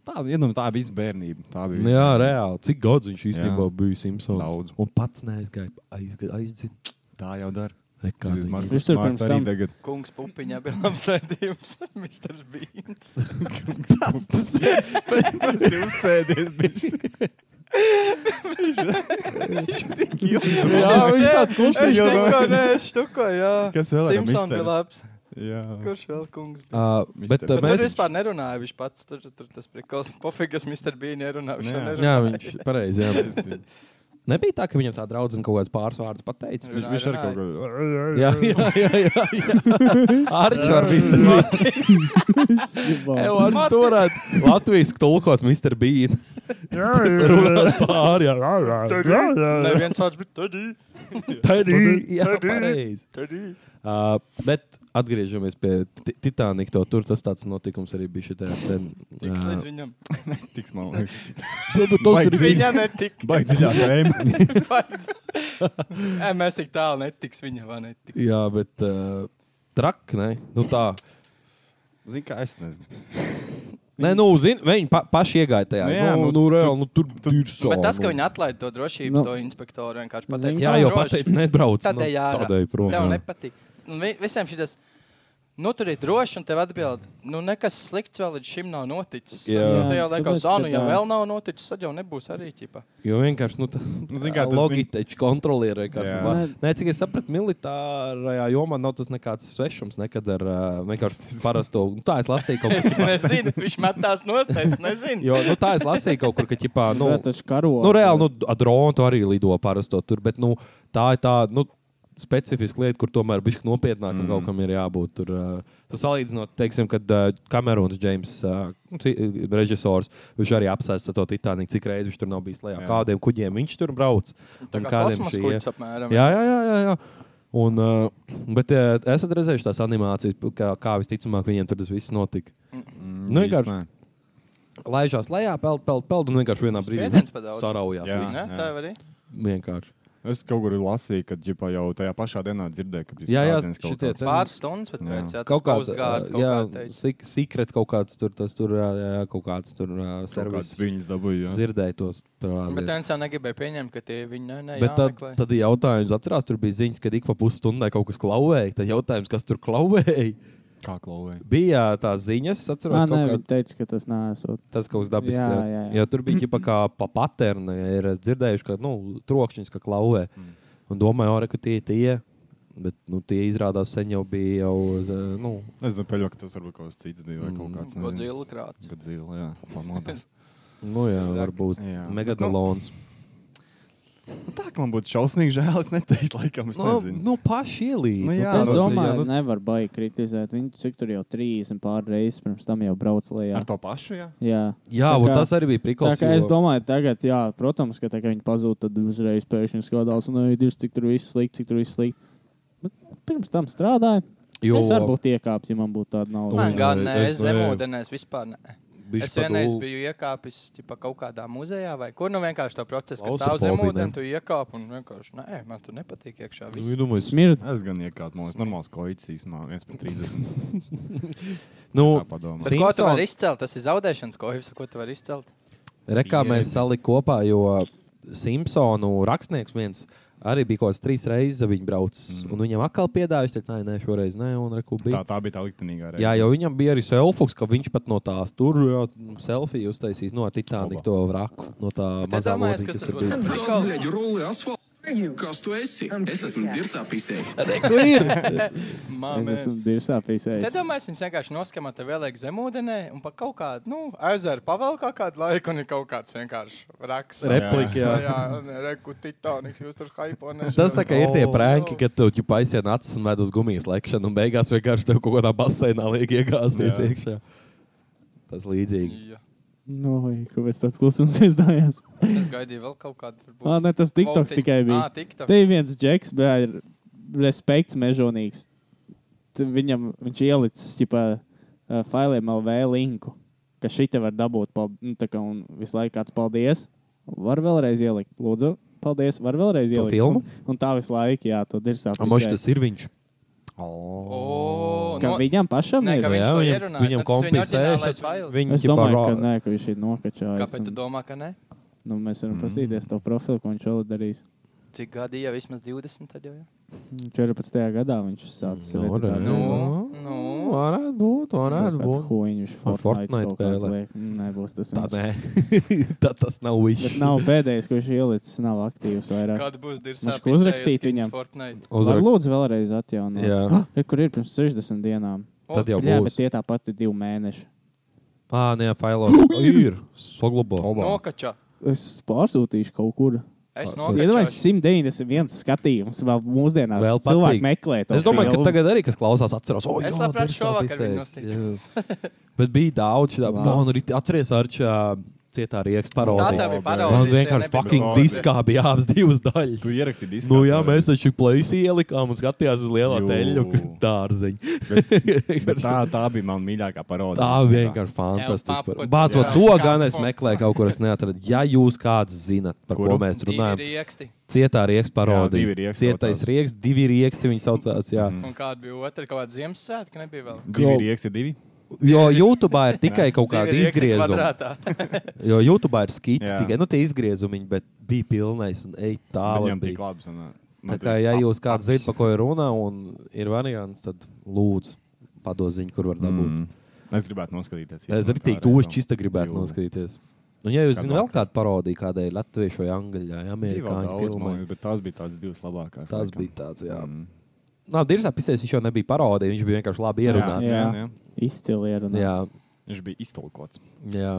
Speaker 1: Tā, iedomā, tā bija visa bērnība. Tā bija
Speaker 2: Nu
Speaker 1: visa bērnība.
Speaker 2: Jā, reāli. Cik gads viņš īstenībā bija Simpsons?
Speaker 1: Daudz.
Speaker 2: Un pats neaizgāja aizdzīt.
Speaker 1: Tā jau dara.
Speaker 2: Rekādi.
Speaker 3: Viņš tur pirms tam-
Speaker 1: tagad.
Speaker 4: Kungs pupiņā bija labs redzējums. Mr. Beans.
Speaker 1: Tas ir uzsēdies, bišķi.
Speaker 2: Jā, viņš tāds
Speaker 4: Es
Speaker 2: klusīgs.
Speaker 4: tikko, nē, es štuko, jā.
Speaker 1: Kas vēl ar
Speaker 4: Simpson
Speaker 1: misteru?
Speaker 4: bija labs.
Speaker 1: Jā,
Speaker 4: Kurš vēl kungs? bija?
Speaker 2: Uh,
Speaker 1: Mister-
Speaker 2: bet, uh,
Speaker 1: Bet
Speaker 4: Mēs... Tur
Speaker 2: mēs,
Speaker 4: vispār nerunāja. Viņš pats tur, tur tas prikals. Pofīgi, kas Mr. Bean nerunā. Viņš
Speaker 1: Jā.
Speaker 4: jau nerunā.
Speaker 2: jā, viņš pareizi. jā. Nebija tā, ka viņam tā draudzene kaut kāds pāris vārdus pateica.
Speaker 1: Viņš viņš arī kaut ko.
Speaker 2: Jā, jā, jā. jā, jā. Arčvārs bija tas.
Speaker 3: Jebā.
Speaker 2: Jā, viņš to varētu latviešu tulkot, Mr. Bean. Runāt pāri. Jā, jā, jā, jā.
Speaker 4: Nē, viens vārds bija Teddy.
Speaker 2: Teddy, Jā, pareizi. Uh, bet atgriežamies pie Ti- Titanika. to- Tur tas tāds notikums arī bija. Šitā, ten,
Speaker 4: Tiks līdz
Speaker 2: uh,
Speaker 4: viņam.
Speaker 1: Tiks man liekas.
Speaker 2: tas
Speaker 1: Vai
Speaker 2: Nu, ir
Speaker 1: bija-
Speaker 2: viņa.
Speaker 4: Viņa netika.
Speaker 1: Baigi dziļā tēma.
Speaker 4: Baidz. Ē, Mēs tik tālu netiks viņa, vai netika.
Speaker 2: Jā, bet uh, traki, ne? Nu tā.
Speaker 1: Zini, kā es nezinu.
Speaker 2: Nē, nu, zin, viņi pa, paši iegāja tajā.
Speaker 1: Nu jā,
Speaker 2: nu,
Speaker 1: nu,
Speaker 2: nu, reāli, nu, tur bija
Speaker 4: Nu,
Speaker 2: soli.
Speaker 4: bet tas, ka viņi atlaid to drošības,
Speaker 3: Nu.
Speaker 4: no. to inspektoru vienkārši
Speaker 3: Zini,
Speaker 4: pateica.
Speaker 2: Jā,
Speaker 4: "Nē,
Speaker 2: jau
Speaker 4: Nu, droši."
Speaker 2: pateicis, nebrauc. nu,
Speaker 4: Tādēļ jārā.
Speaker 2: Tādēļ prom.
Speaker 4: Tev
Speaker 2: jā.
Speaker 4: nepatīk. Un vi- Visiem šis. Nu, tur ir droši, un tev atbild, nu, nekas slikts vēl līdz šim nav noticis.
Speaker 2: Jā.
Speaker 4: Jā, tā
Speaker 3: Jā,
Speaker 4: jau
Speaker 3: tāpēc,
Speaker 4: liekas, ka, nu,
Speaker 3: ka
Speaker 4: ja
Speaker 3: tā-
Speaker 4: vēl nav noticis, tad jau nebūs arī ķipa.
Speaker 2: Jo vienkārši nu, tā
Speaker 1: Nu, zini, kā tas viņ-
Speaker 2: logiteča kontrole ir. vienkārši
Speaker 1: Jā.
Speaker 2: var- Nē, cik es sapratu, militārajā jomā nav tas nekāds svešums. Nekad ar ā, vienkārši parasto. Nu, tā es lasīju kaut
Speaker 4: Es
Speaker 2: kur.
Speaker 4: nezinu, viņš metās nost, es nezinu.
Speaker 2: Jo nu, tā es lasīju kaut kur, ka ķipā. Nu,
Speaker 3: Jā, taču karo.
Speaker 2: nu, reāli, nu, ar dronu tu arī lido parasto tur, bet nu, tā ir tā. Nu, Specifiska lieta, kur tomēr bija nopietnāk, mm. kaut kam ir jābūt. Tur, uh, tu salīdzinot, teiksim, kad uh, Kamerons, Džeims, uh, nu, ci- režisors, viņš arī apsēsta to Titaniku, cik reizes viņš tur nav bijis lejā,
Speaker 1: Jā.
Speaker 2: kādiem kuģiem viņš tur brauc.
Speaker 4: Tā
Speaker 2: un
Speaker 4: kā
Speaker 2: kādiem
Speaker 4: kosmos
Speaker 2: šī
Speaker 4: kuģis apmēram.
Speaker 2: Jā, jā, jā. jā, jā. Un, uh, bet uh, esat redzējuši tās animācijas, p- kā, kā visticamāk viņiem tur tas viss notika.
Speaker 4: Mm.
Speaker 2: Nu, vienkārši-
Speaker 1: Īsti nē.
Speaker 2: Laižās lejā, peld, peld, peld, un vienkārši vienā brīdī
Speaker 4: Spiediens pa daudz.
Speaker 2: saraujās.
Speaker 1: Jā.
Speaker 2: viss.
Speaker 4: Ne? Tā jau arī.
Speaker 2: Vienkārši.
Speaker 1: Es kaut kur lasīju, ka ģipā, jau tajā pašā dienā dzirdēju, ka bija
Speaker 2: Jā, jā,
Speaker 1: sprādziens kaut
Speaker 2: šitie
Speaker 1: kāds.
Speaker 2: te-
Speaker 4: Pāris stundas, bet
Speaker 1: Jā.
Speaker 4: pēc tam
Speaker 2: Kaut kāds
Speaker 4: gārds.
Speaker 2: uh, jā, sik- secret kaut kāds tur, tas tur, jā, jā, jā, kaut kāds tur, uh,
Speaker 1: Kaut kāds
Speaker 2: servis
Speaker 1: Viņas dabūja. jā.
Speaker 2: dzirdēja tos. tur, ā,
Speaker 4: Bet
Speaker 2: zin.
Speaker 4: viņš jau negribēja pieņemt, ka tie viņi ne, ne,
Speaker 2: Bet tad,
Speaker 4: jāmeklē.
Speaker 2: tad ir jautājums, atcerās, tur bija ziņas, ka ik pa pusstundai kaut kas klauvēja. Tad jautājums, kas tur klauvēja,
Speaker 1: Kā klauvēja?
Speaker 2: bija tās ziņas, atcerās,
Speaker 3: Ā,
Speaker 2: kaut
Speaker 3: nē,
Speaker 2: kā
Speaker 3: viņi teica, ka tas nesot.
Speaker 2: Tas kaut kas dabisks.
Speaker 3: Jā,
Speaker 2: Jā,
Speaker 3: jā, jā.
Speaker 2: Jo tur bija ģipa kā pa paternu, ir dzirdējuši, ka nu, trokšņis ka klauvē. Mm. Un domāju, arī, ka tie ir tie. Bet nu, tie izrādās sen jau bija jau. z- Nu,
Speaker 1: Es domāju, ka tas varbūt kaut kas cits bija. Vai
Speaker 2: Mm.
Speaker 1: kaut kāds nezinu.
Speaker 4: Godzilla krāts.
Speaker 1: Godzilla, jā, pamodās.
Speaker 2: nu jā, varbūt
Speaker 1: Jā.
Speaker 2: megadalons.
Speaker 1: Nu, tā, ka man būtu šausmīgi žēl, es neteiktu, laikam, es
Speaker 2: Nu,
Speaker 1: nezinu.
Speaker 2: nu paši ielīd.
Speaker 1: Nu
Speaker 2: Nu,
Speaker 1: jā,
Speaker 2: tas
Speaker 3: Es
Speaker 1: nu,
Speaker 2: jā,
Speaker 3: domāju,
Speaker 2: nu,
Speaker 3: nevar baigi kritizēt. Viņi cik tur jau 30 pār reizes pirms tam jau brauc lejā.
Speaker 1: Ar to pašu, jā.
Speaker 3: Jā.
Speaker 2: jā
Speaker 3: Tā
Speaker 2: un
Speaker 3: kā-
Speaker 2: tas arī bija
Speaker 3: Tā
Speaker 2: prikals.
Speaker 3: kā es domāju, tagad, jā, protams, ka tā kā viņi pazūd, tad uzreiz pēkšņi skatās, un ej, dirs, nu, cik tur viss slikti, cik tur viss slikti. Bet pirms tam strādāju.
Speaker 2: jo,
Speaker 3: Es arī būtu iekāpis, ja man būtu tāda nauda.
Speaker 4: Man
Speaker 2: Un,
Speaker 4: gan
Speaker 2: eh,
Speaker 4: ne,
Speaker 2: es,
Speaker 4: es
Speaker 2: eh,
Speaker 4: zemūdenēs vispār ne.
Speaker 2: bišķi
Speaker 4: Es vienreiz
Speaker 2: padū-
Speaker 4: biju iekāpis ķipa, kaut kādā muzejā, vai kur nu vienkārši tā procesa, kas
Speaker 2: Klausa
Speaker 4: stāv zem
Speaker 2: fobija,
Speaker 4: ūdens,
Speaker 2: ne?
Speaker 4: tu iekāp un vienkārši, nē, man tur nepatīk iekšā.
Speaker 2: Nu, ja
Speaker 4: viss.
Speaker 2: domāju, es-
Speaker 3: Smirda.
Speaker 1: Es gan iekāpu no normālas koicis īstenībā, 1 par 30.
Speaker 2: Nu,
Speaker 1: Tā padomā.
Speaker 4: Bet ko tu
Speaker 2: Simpson-
Speaker 4: vari izcelt? Tas ir zaudēšanas kohevs, ko tu vari izcelt.
Speaker 2: Re, kā mēs
Speaker 1: Pieredzi.
Speaker 2: salikām kopā, jo Simpsonu rakstnieks viens arī bija kaut kāds trīs reizes, viņa braucis. Mm. Un viņam atkal piedāvāja, ka nē, šoreiz nē, un reku
Speaker 1: Tā,
Speaker 2: bija.
Speaker 1: tā bija tā liktenīgā reize.
Speaker 2: Jā, jau viņam bija arī selfijas, ka viņš pat no tās tur jau selfiju uztaisīs no Titanika
Speaker 1: Oba.
Speaker 2: to vraku. No tā
Speaker 4: Es
Speaker 2: mazā lodziņa,
Speaker 4: domāju, kas
Speaker 2: kas
Speaker 4: tas
Speaker 2: tur
Speaker 4: būtu.
Speaker 2: bija.
Speaker 4: Prikals.
Speaker 10: Kas tu esi? Es esmu dirsāpīsējis.
Speaker 3: Es
Speaker 4: Mamē.
Speaker 3: esmu dirsā
Speaker 4: Te
Speaker 3: pīsējis.
Speaker 4: domāju, viņš vienkārši noskama te vēlēk zemūdenē un pa kaut kādu, nu, ezeru pavelkā kādu laiku un ir kaut kāds vienkārši raks.
Speaker 2: Replika, jā.
Speaker 4: Jā, un reku Titaniks, jūs tur haipo nežināt.
Speaker 2: Tas tā kā ir tie
Speaker 4: Oh,
Speaker 2: prēki,
Speaker 4: oh.
Speaker 2: kad tu jau paisien acis un med uz gumijas lekšanu, un beigās vienkārši tev kaut kādā basēnā liek iegāzties
Speaker 1: Jā.
Speaker 2: iekšā. Tas līdzīgi.
Speaker 4: Jā.
Speaker 3: Nu, oi, kāpēc tāds klusums aizdājās?
Speaker 4: Es gaidīju vēl kaut kādu. varbūt,
Speaker 3: Ā,
Speaker 2: Ah,
Speaker 3: ne, tas TikToks
Speaker 4: voltiņu.
Speaker 3: tikai bija.
Speaker 4: Ā, TikToks.
Speaker 3: Te ir viens džeks, bet ir respekts mežonīgs. T- Viņam viņš ielicis ģipā, ā, failiem LV linku, ka šī te var dabūt. pal- Nu, tā kā un visu laiku kāds paldies. Var vēlreiz ielikt, lūdzu. Paldies, var vēlreiz
Speaker 2: To
Speaker 3: ielikt.
Speaker 2: filmu?
Speaker 3: Un, un tā visu laiku, jā, to dirsā.
Speaker 2: Am, Moši, tas ir viņš.
Speaker 4: O,
Speaker 3: Ka
Speaker 4: no-
Speaker 3: viņam pašam
Speaker 4: Nē,
Speaker 3: ir.
Speaker 4: ka viņš
Speaker 2: Jā,
Speaker 4: to
Speaker 2: viņam-
Speaker 4: ierunājas,
Speaker 2: viņam
Speaker 4: ne, tas viņa
Speaker 2: kompis
Speaker 4: oriģinālais
Speaker 2: sēžas,
Speaker 4: fails.
Speaker 2: Viņ-
Speaker 3: Es
Speaker 2: ģipā
Speaker 3: domāju,
Speaker 2: rā-
Speaker 3: ka, nē, ka viņš ir nokačājis.
Speaker 4: Kāpēc tu
Speaker 3: un-
Speaker 4: domā, ka ne?
Speaker 3: Nu, mēs varam
Speaker 1: Mm.
Speaker 3: paskatīties to profilu, ko viņš vēl ir darījis.
Speaker 4: Cik gadi jau vismaz 20? Tad jau, jā.
Speaker 3: 14. gadā viņš sācis
Speaker 2: Nu, re.
Speaker 3: redzēt.
Speaker 4: Nu,
Speaker 2: Nu,
Speaker 4: nu.
Speaker 2: Varētu būt, varētu būt.
Speaker 3: Hoņš
Speaker 2: Ar Fortnite
Speaker 3: Fortnite
Speaker 2: spēlē.
Speaker 3: spēlē. Mm, Nebūs tas.
Speaker 2: Tā
Speaker 3: viņš.
Speaker 2: nē, tā tas nav
Speaker 3: Bet
Speaker 2: viņš.
Speaker 3: nav pēdējais, ko viņš ielicis, nav aktīvs vairāk.
Speaker 4: Kāda būs dirzā?
Speaker 3: Mums ko uzrakstīt viņam?
Speaker 4: Fortnite.
Speaker 3: Var
Speaker 2: Uzrakst.
Speaker 3: lūdzu vēlreiz atjaunot.
Speaker 2: Jā,
Speaker 3: Re, Kur ir pirms 60 dienām?
Speaker 2: tad jau
Speaker 3: Jā, bet
Speaker 2: būs.
Speaker 3: tie tā pati divi mēneši.
Speaker 2: Ā, nē, failos. Ir. Saglabā.
Speaker 4: Nokača.
Speaker 3: Es pārsūtīšu kaut kur.
Speaker 4: Es
Speaker 3: Iedomājieties,
Speaker 4: nokaču.
Speaker 3: 191 skatījums vēl mūsdienās.
Speaker 2: Vēl patīk.
Speaker 3: cilvēki meklē to.
Speaker 2: Nu, Es domāju,
Speaker 3: filmu.
Speaker 2: ka tagad arī kas klausās, atcerās, oh,
Speaker 4: Es
Speaker 2: jā,
Speaker 4: labprāt
Speaker 2: Dirks
Speaker 4: šovakar viņu
Speaker 2: apvisējis. Jā. Bet bija daudz, tā
Speaker 3: Labs.
Speaker 2: bija. Man arī atceries ar šā cietā rieks
Speaker 4: Tās
Speaker 2: parodiju.
Speaker 4: jau
Speaker 2: Man
Speaker 4: bija parodijas.
Speaker 2: vienkārši fucking diskā bija abas divas daļas.
Speaker 1: Tu ierakstīji disku.
Speaker 2: Nu, jā, mēs taču plakāts ielikām un skatījāmies uz
Speaker 1: Jū.
Speaker 2: lielā teļa dārziņa.
Speaker 1: Bet tā, tā bija mana mīļākā parode.
Speaker 2: Tā vienkārši
Speaker 4: Tev
Speaker 2: fantastiski.
Speaker 4: papuc,
Speaker 2: Bāc,
Speaker 4: jā.
Speaker 2: to gan es
Speaker 4: Kāpuc.
Speaker 2: meklēju, kaut kur es neatradu. Ja jūs kāds zinat, par
Speaker 1: Kuru?
Speaker 2: ko mēs runājam,
Speaker 4: Rieksti.
Speaker 2: cietā rieks
Speaker 1: divi
Speaker 2: parodija.
Speaker 1: rieksti
Speaker 2: Cietais
Speaker 1: saucās. Mhm.
Speaker 2: rieks, divi rieksti viņi saucās. Jā.
Speaker 4: Un kāda bija otra? Kaut kāda Ziemassvētka nebija vēl.
Speaker 1: Divi rieksti, divi.
Speaker 2: Jo YouTube ir tikai kaut kāda
Speaker 4: Divi rieksti
Speaker 2: izgriezuma.
Speaker 4: kvadrātā.
Speaker 2: Jo YouTube ir skiti
Speaker 1: Jā.
Speaker 2: tikai nu, tie izgriezumi, bet bija pilnais un ej tā.
Speaker 1: Viņam
Speaker 2: var
Speaker 1: tik
Speaker 2: bija.
Speaker 1: labi nu, sanāca.
Speaker 2: Tā kā, ja jūs kāds zinat, par ko ir runa un ir variants, tad lūdzu padod ziņu, kur var dabūt. Mm.
Speaker 1: Mm. Es gribētu noskatīties.
Speaker 2: Es arī tik
Speaker 1: kādā
Speaker 2: tos
Speaker 1: reizē.
Speaker 2: čista gribētu
Speaker 1: Jū.
Speaker 2: noskatīties. Un, ja jūs
Speaker 1: Kad
Speaker 2: zināt, vēl
Speaker 1: vakar.
Speaker 2: kādu parodiju, kādai latviešu vai angļu vai
Speaker 1: Bija vēl
Speaker 2: amerikāņu
Speaker 1: daudz, man
Speaker 2: filmai,
Speaker 1: liekas, bet tās bija tās divas labākās.
Speaker 2: tas
Speaker 1: laikam.
Speaker 2: bija tāds, jā.
Speaker 1: Mm.
Speaker 2: Nā, Dirzā pisēs viņš jau nebija parodija, viņš bija vienkārši labi
Speaker 3: Jā,
Speaker 2: ierunāts.
Speaker 3: jā.
Speaker 1: jā.
Speaker 3: Izcili ierunāts.
Speaker 2: Jā,
Speaker 1: Viņš bija iztolkots.
Speaker 2: jā,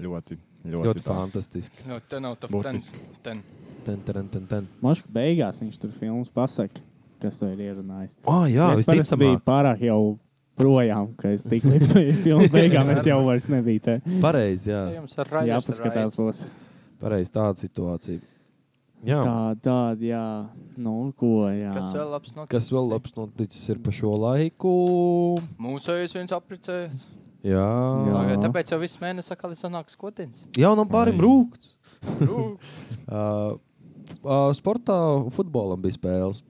Speaker 1: Ļoti,
Speaker 2: ļoti
Speaker 1: ļoti, tā.
Speaker 2: fantastiski.
Speaker 4: Nu, te nav tā
Speaker 1: Burtiski.
Speaker 4: Ten.
Speaker 2: Ten, ten, ten, ten.
Speaker 3: Mažu beigās viņš tur filmas pasaka, kas to ir ierunājis.
Speaker 2: Oh, jā,
Speaker 3: es parasti
Speaker 2: visticamāk.
Speaker 3: biju pārāk jau projām, ka es tik līdz be- filmas beigām es jau vairs nebiju te.
Speaker 2: Pareizi, jā.
Speaker 4: Te Jums ir
Speaker 3: Jā,
Speaker 4: raidījums,
Speaker 3: paskatās būs.
Speaker 2: Pareizi tāda situācija. Jā.
Speaker 3: Tā, tāda, jā. Nu, ko, jā.
Speaker 4: Kas vēl labs noticis?
Speaker 2: Kas vēl labs noticis ir pa šo laiku?
Speaker 4: Mūsu jau viens apricējies.
Speaker 2: Jā,
Speaker 3: Jā.
Speaker 2: jā.
Speaker 4: Tagad, tāpēc jau viss mēnesis atkal ir sanāks skotins.
Speaker 2: jaunam nu pārim
Speaker 1: Ai.
Speaker 2: rūkt.
Speaker 4: Rūk.
Speaker 2: Uh, uh, sportā futbolam bija spēles.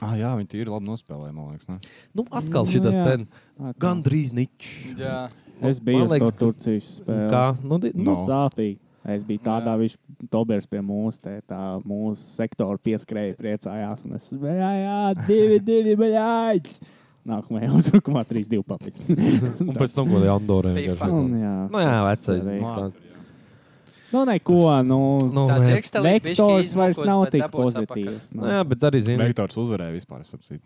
Speaker 1: Ah, jā, viņi ir labi nospēlējuši, man liekas. Ne?
Speaker 2: Nu, atkal
Speaker 3: Nu,
Speaker 2: šis
Speaker 3: jā.
Speaker 2: ten
Speaker 3: Atnāk.
Speaker 2: gandrīz niķis.
Speaker 4: Jā.
Speaker 3: Es biju uz
Speaker 2: Man
Speaker 3: to
Speaker 2: liekas, ka-
Speaker 3: Turcijas spēli.
Speaker 2: Kā? Nu, di, nu,
Speaker 1: No.
Speaker 3: Sātīgi. Es biju tādā,
Speaker 4: Jā.
Speaker 3: viņš tobērs pie mūsu, te, tā mūsu sektora pieskrēja, priecājās. Un es, jā, jā, divi, divi, baļāģis. Nākamajā uzbrukumā 3-2 papis.
Speaker 2: un pēc tam gada Andorē.
Speaker 4: FIFA.
Speaker 3: Un, jā,
Speaker 2: Nu, jā,
Speaker 3: tas
Speaker 2: vecais.
Speaker 3: arī.
Speaker 2: nu, tāds.
Speaker 3: Nu, neko, nu,
Speaker 2: Nu,
Speaker 4: Tā
Speaker 2: nē.
Speaker 4: dzirksta līdz
Speaker 3: vektors vairs nav tik pozitīvs.
Speaker 2: Nu, jā, bet arī zinu,
Speaker 1: Vektors uzvarēja vispār. sapsīt.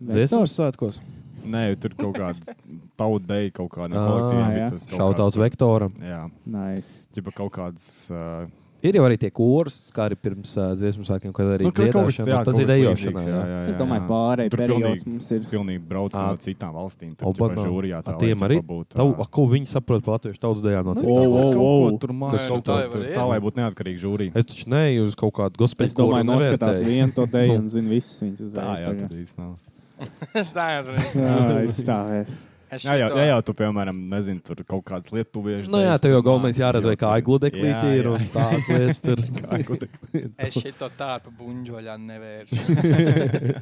Speaker 2: dziesmas svētkos.
Speaker 1: Nē, tur kaut kāda tauta deja kaut kādā
Speaker 2: Ā,
Speaker 1: kolektīvā.
Speaker 3: jā.
Speaker 1: bija tas kaut
Speaker 2: Šautauts
Speaker 1: kāds-
Speaker 2: vektoram.
Speaker 1: Jā,
Speaker 3: Nice.
Speaker 1: ģipa kaut kāds. Uh,
Speaker 2: Ir jau arī tie kurs, kā arī pirms uh, dziesmu sākiem, kad arī
Speaker 1: nu, kaut kas-
Speaker 2: dziedāšana.
Speaker 1: jā,
Speaker 2: Tas
Speaker 1: kaut
Speaker 2: ir
Speaker 1: kas
Speaker 2: dejošana.
Speaker 1: līdzīgs,
Speaker 2: jā.
Speaker 1: jā, jā,
Speaker 3: Es
Speaker 1: jā,
Speaker 3: domāju,
Speaker 1: jā.
Speaker 3: pārējais
Speaker 1: Tur
Speaker 3: periods
Speaker 1: pilnīgi-
Speaker 3: mums ir.
Speaker 1: Pilnīgi brauc
Speaker 2: Ā.
Speaker 1: no citām valstīm. Tur
Speaker 2: Oba
Speaker 1: jau
Speaker 2: nav.
Speaker 1: žūrijā
Speaker 2: Ā,
Speaker 1: tā
Speaker 2: Tiem
Speaker 1: lai,
Speaker 2: arī.
Speaker 1: ķipa, būtu,
Speaker 2: Tavu,
Speaker 1: ā,
Speaker 2: a, ko viņi saprot par latviešu tautas daļām no
Speaker 1: Nu,
Speaker 2: citām?
Speaker 1: kaut
Speaker 3: wow,
Speaker 1: ko
Speaker 3: wow.
Speaker 1: Tur
Speaker 4: Nē,
Speaker 1: mākslinieks
Speaker 4: nu
Speaker 1: kaut
Speaker 4: tā
Speaker 1: kā
Speaker 4: jau
Speaker 1: tur.
Speaker 4: arī
Speaker 1: Tā
Speaker 4: ir.
Speaker 1: lai būtu neatkarīga žūrija.
Speaker 2: Es taču neju uz kaut kādu gospēļu.
Speaker 3: Es domāju,
Speaker 2: kuru
Speaker 3: noskatās
Speaker 2: nevērtēju.
Speaker 3: vienu to
Speaker 2: Nu.
Speaker 3: deju un zinu visas viņas
Speaker 1: Tā
Speaker 3: uzreiz.
Speaker 1: jā,
Speaker 3: tagad.
Speaker 1: tad īsti nav.
Speaker 4: Tā jau tur ir.
Speaker 3: Jā, es stāvēs.
Speaker 4: Es
Speaker 1: Jā, jā,
Speaker 4: šito-
Speaker 1: jā, jā, tu piemēram, nezini, tur kaut kāds lietuviešu.
Speaker 2: Nu, jā,
Speaker 1: dejs,
Speaker 2: tev jau
Speaker 1: tur
Speaker 2: galvenais
Speaker 1: nāk,
Speaker 2: jāredz,
Speaker 1: jau
Speaker 2: vai kā
Speaker 1: tur-
Speaker 2: aigludeklīte
Speaker 1: Jā,
Speaker 2: ir un
Speaker 1: jā.
Speaker 2: tādas lietas. Tur.
Speaker 4: Es šito tādu buļbuļā nevēršu.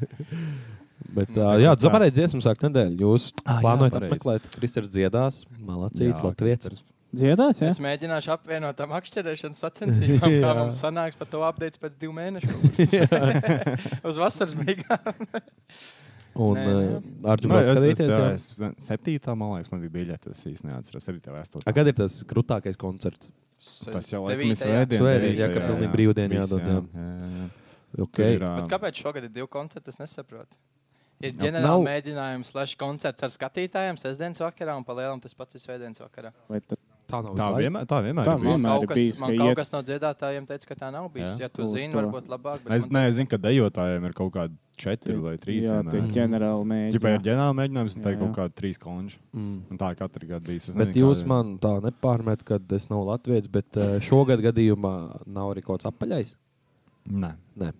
Speaker 2: Bet, uh, jā,
Speaker 1: tā.
Speaker 2: dzimtajā dziesmu sāk nedēļa. Jūs
Speaker 1: Ah, jā,
Speaker 2: plānojat
Speaker 1: pareizi.
Speaker 2: apmeklēt Kristers dziedās, malacīts,
Speaker 1: Jā,
Speaker 2: latviešu.
Speaker 3: Dziedās, jā?
Speaker 4: Es mēģināšu apvienot tam akšķerēšanas sacensībām, kā
Speaker 2: Jā.
Speaker 4: mums sanāks par to update pēc diviem mēnešiem. Uz vasaras beigām.
Speaker 2: Un
Speaker 4: Nē, nē.
Speaker 2: ar
Speaker 1: Nu,
Speaker 2: jums
Speaker 1: es, es,
Speaker 2: skatīties,
Speaker 1: jā,
Speaker 2: jā.
Speaker 1: es, septītā, man liekas, man bija biļete. Es īsti neatceros, septītā vai
Speaker 2: A,
Speaker 1: astotā.
Speaker 2: kad ir tas grūtākais koncerts?
Speaker 1: Tas jau laikam ir
Speaker 4: Devītajā.
Speaker 1: svētdien.
Speaker 2: Svētdien, jā,
Speaker 1: devītajā,
Speaker 2: ka pilnīgi brīvdiena
Speaker 1: Viss,
Speaker 2: jādod, jā.
Speaker 1: jā, jā.
Speaker 2: Okay.
Speaker 1: Tur ir,
Speaker 4: Bet
Speaker 1: ā,
Speaker 4: kāpēc šogad ir divi koncerti? Es nesaprotu. Ir
Speaker 2: Jā, nav-
Speaker 4: ģenerāli mēģinājums, slash koncerts ar skatītājiem sestdienas vakarā un palielam tas pats ir svētdienas vakarā.
Speaker 3: Vai tu
Speaker 2: Tā nav
Speaker 1: Tā
Speaker 2: viena.
Speaker 1: vienmēr, tā vienmēr
Speaker 3: Tā
Speaker 1: ir
Speaker 4: Man
Speaker 1: bijusi.
Speaker 3: vienmēr
Speaker 4: kaut
Speaker 3: ir
Speaker 4: kas,
Speaker 3: bijis,
Speaker 4: man
Speaker 3: ka
Speaker 4: kaut
Speaker 3: iet-
Speaker 4: kas no dziedātājiem teica, ka tā nav bijusi.
Speaker 1: Jā.
Speaker 4: Ja tu
Speaker 3: Uz
Speaker 4: zini,
Speaker 3: to.
Speaker 4: varbūt labāk. bet
Speaker 1: Es
Speaker 4: man teica,
Speaker 1: nezinu, ka dejotājiem ir kaut kādi četri vai trīs.
Speaker 3: Jā, tie
Speaker 1: vienmēr.
Speaker 3: ģenerāli
Speaker 1: Ģipā ir
Speaker 3: mēģinājumi.
Speaker 1: ģenerāla mēģinājums, un tā ir
Speaker 3: Jā,
Speaker 1: kaut
Speaker 3: jā.
Speaker 1: kāda trīs konča.
Speaker 2: Mm.
Speaker 1: Un tā katru gadu bijis. Es
Speaker 2: Bet
Speaker 1: nezinu,
Speaker 2: jūs
Speaker 1: kāda-
Speaker 2: man tā nepārmetat, ka es nav latviečs, bet eh, šogad gadījumā nav arī kaut kāds apaļais.
Speaker 1: Nē.
Speaker 2: Nē,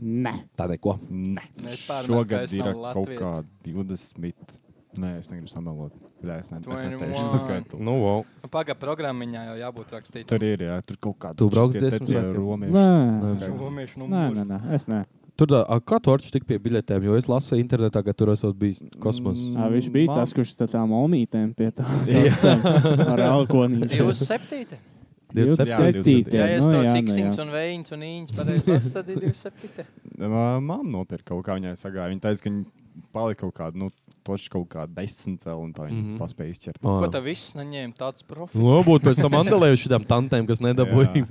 Speaker 3: Nē,
Speaker 2: tā neko.
Speaker 1: Nē.
Speaker 4: Nepārmet, ka
Speaker 1: Šogad
Speaker 4: es
Speaker 1: ir
Speaker 4: nav
Speaker 1: kaut
Speaker 4: latviec.
Speaker 1: kā 20. Nē, es negribu samalot. Jā, es nezinu, kāda
Speaker 4: 21.
Speaker 1: ir tā līnija.
Speaker 2: Nu, wow.
Speaker 4: Nu, Paga programmiņā jau jābūt rakstītam.
Speaker 1: Tur ir, jā, tur kaut kāda.
Speaker 2: Tu brauc
Speaker 1: šie te
Speaker 2: dziesmu
Speaker 1: tie
Speaker 2: svētkiem?
Speaker 1: romieši.
Speaker 3: Nē.
Speaker 1: skaidri.
Speaker 4: Romiešu
Speaker 3: nē, nē,
Speaker 4: numuri.
Speaker 3: nē, es nē.
Speaker 2: Tur tā, a, kā tu arčs tik pie biļetēm, jo es lasīju internetā, ka tur esot bijis kosmos.
Speaker 1: Mm.
Speaker 3: Ā, viņš bija
Speaker 1: Man-
Speaker 3: tas, kurš tā tām omītēm pie tā tās, um, ar alkoholīšu.
Speaker 4: 27.
Speaker 1: 27. Jā,
Speaker 4: Ja, es
Speaker 3: nu
Speaker 4: to
Speaker 3: jā, nu
Speaker 4: siksniņš
Speaker 3: jā.
Speaker 4: un vējš un īņķis pareizi lasu, tad ir 27.
Speaker 1: Māma nopirka kaut kā, viņai sagāja. Viņa teica, ka viņa palika kaut kāda, nu, toši kaut kāda desmit cēlā, un tā viņa mm
Speaker 2: Mhm.
Speaker 1: -hmm. paspēja izķert.
Speaker 4: Ko tā viss noņēma? Tāds profils.
Speaker 3: Nu.
Speaker 2: Varbūt pēc tam andalējuši tam tantēm, kas nedabūja.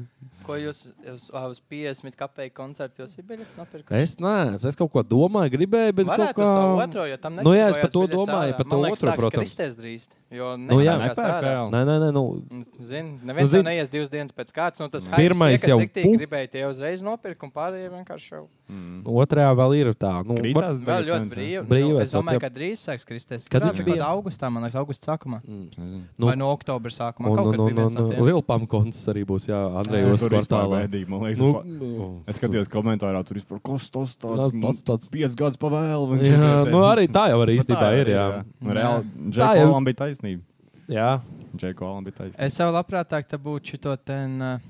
Speaker 4: Ko jūs uz, ā, uz 50 kopēju koncertu jau Sibīrijas nopirkat?
Speaker 2: Es neesmu, es kaut ko domāju, gribēju, bet kaut
Speaker 4: Varētu
Speaker 2: kā...
Speaker 4: uz to otro, jo tam
Speaker 2: Nu jā, es
Speaker 4: nepirkojās
Speaker 2: par to
Speaker 4: biļetes
Speaker 2: domāju,
Speaker 4: ārā.
Speaker 2: par to
Speaker 4: Man liekas,
Speaker 2: otro,
Speaker 4: sāks
Speaker 2: protams.
Speaker 4: Kristēs drīz, jo
Speaker 2: Nu jā,
Speaker 4: nepērkās ārā.
Speaker 1: nepērk,
Speaker 2: Nē, nē, nē, nu,
Speaker 4: Zini,
Speaker 2: Nu,
Speaker 4: neviens nu,
Speaker 2: zini-
Speaker 4: neies divas dienas pēc kārtas. Nu, tas
Speaker 2: Pirmais
Speaker 4: pirmais tie,
Speaker 2: jau
Speaker 4: jau
Speaker 2: pu-
Speaker 4: bija. Gribēju tie uzreiz nopirkt, un pārējie vienkārši jau
Speaker 2: otrajā vēl ir tā. Nu, var-
Speaker 1: Krītās
Speaker 4: vēl
Speaker 1: tagad
Speaker 4: ļoti
Speaker 1: cenas,
Speaker 4: brīvi.
Speaker 1: vai?
Speaker 2: Brīvi
Speaker 4: Nu,
Speaker 2: esot,
Speaker 4: Es domāju,
Speaker 2: jā.
Speaker 4: ka drīz sāks
Speaker 2: Kad
Speaker 4: kristies. Kad
Speaker 2: viņš
Speaker 4: viņš
Speaker 2: bija?
Speaker 4: bija augustā, man liekas, augusta sākumā.
Speaker 2: Nu,
Speaker 4: Nu, Vai no oktobra
Speaker 2: Un,
Speaker 4: sākumā?
Speaker 2: nu,
Speaker 4: Kaut
Speaker 2: un,
Speaker 4: kad
Speaker 2: un,
Speaker 4: bija viens
Speaker 2: un
Speaker 4: no tiem.
Speaker 2: Lielpam koncerts arī būs, jā,
Speaker 1: Tur
Speaker 2: Andrejos
Speaker 1: tur vispār
Speaker 2: kvartālā.
Speaker 1: bēdīgi, man liekas.
Speaker 2: Nu,
Speaker 1: Nu, es skatījos komentārā, tur vispār kas tas
Speaker 2: Tas-
Speaker 1: tāds - Nu, tas
Speaker 2: tas-
Speaker 1: tāds
Speaker 2: tāds-
Speaker 1: - piecas gadus pavēlu.
Speaker 2: jā, nu arī tā jau arī īstenībā ir, jā.
Speaker 1: Reāli,
Speaker 2: Tā
Speaker 1: Džekai
Speaker 2: jau-
Speaker 1: Olam bija taisnība.
Speaker 2: Jā,
Speaker 1: Džekai Olam bija taisnība.
Speaker 4: Es jau labprātāk te būtu šito ten. ā,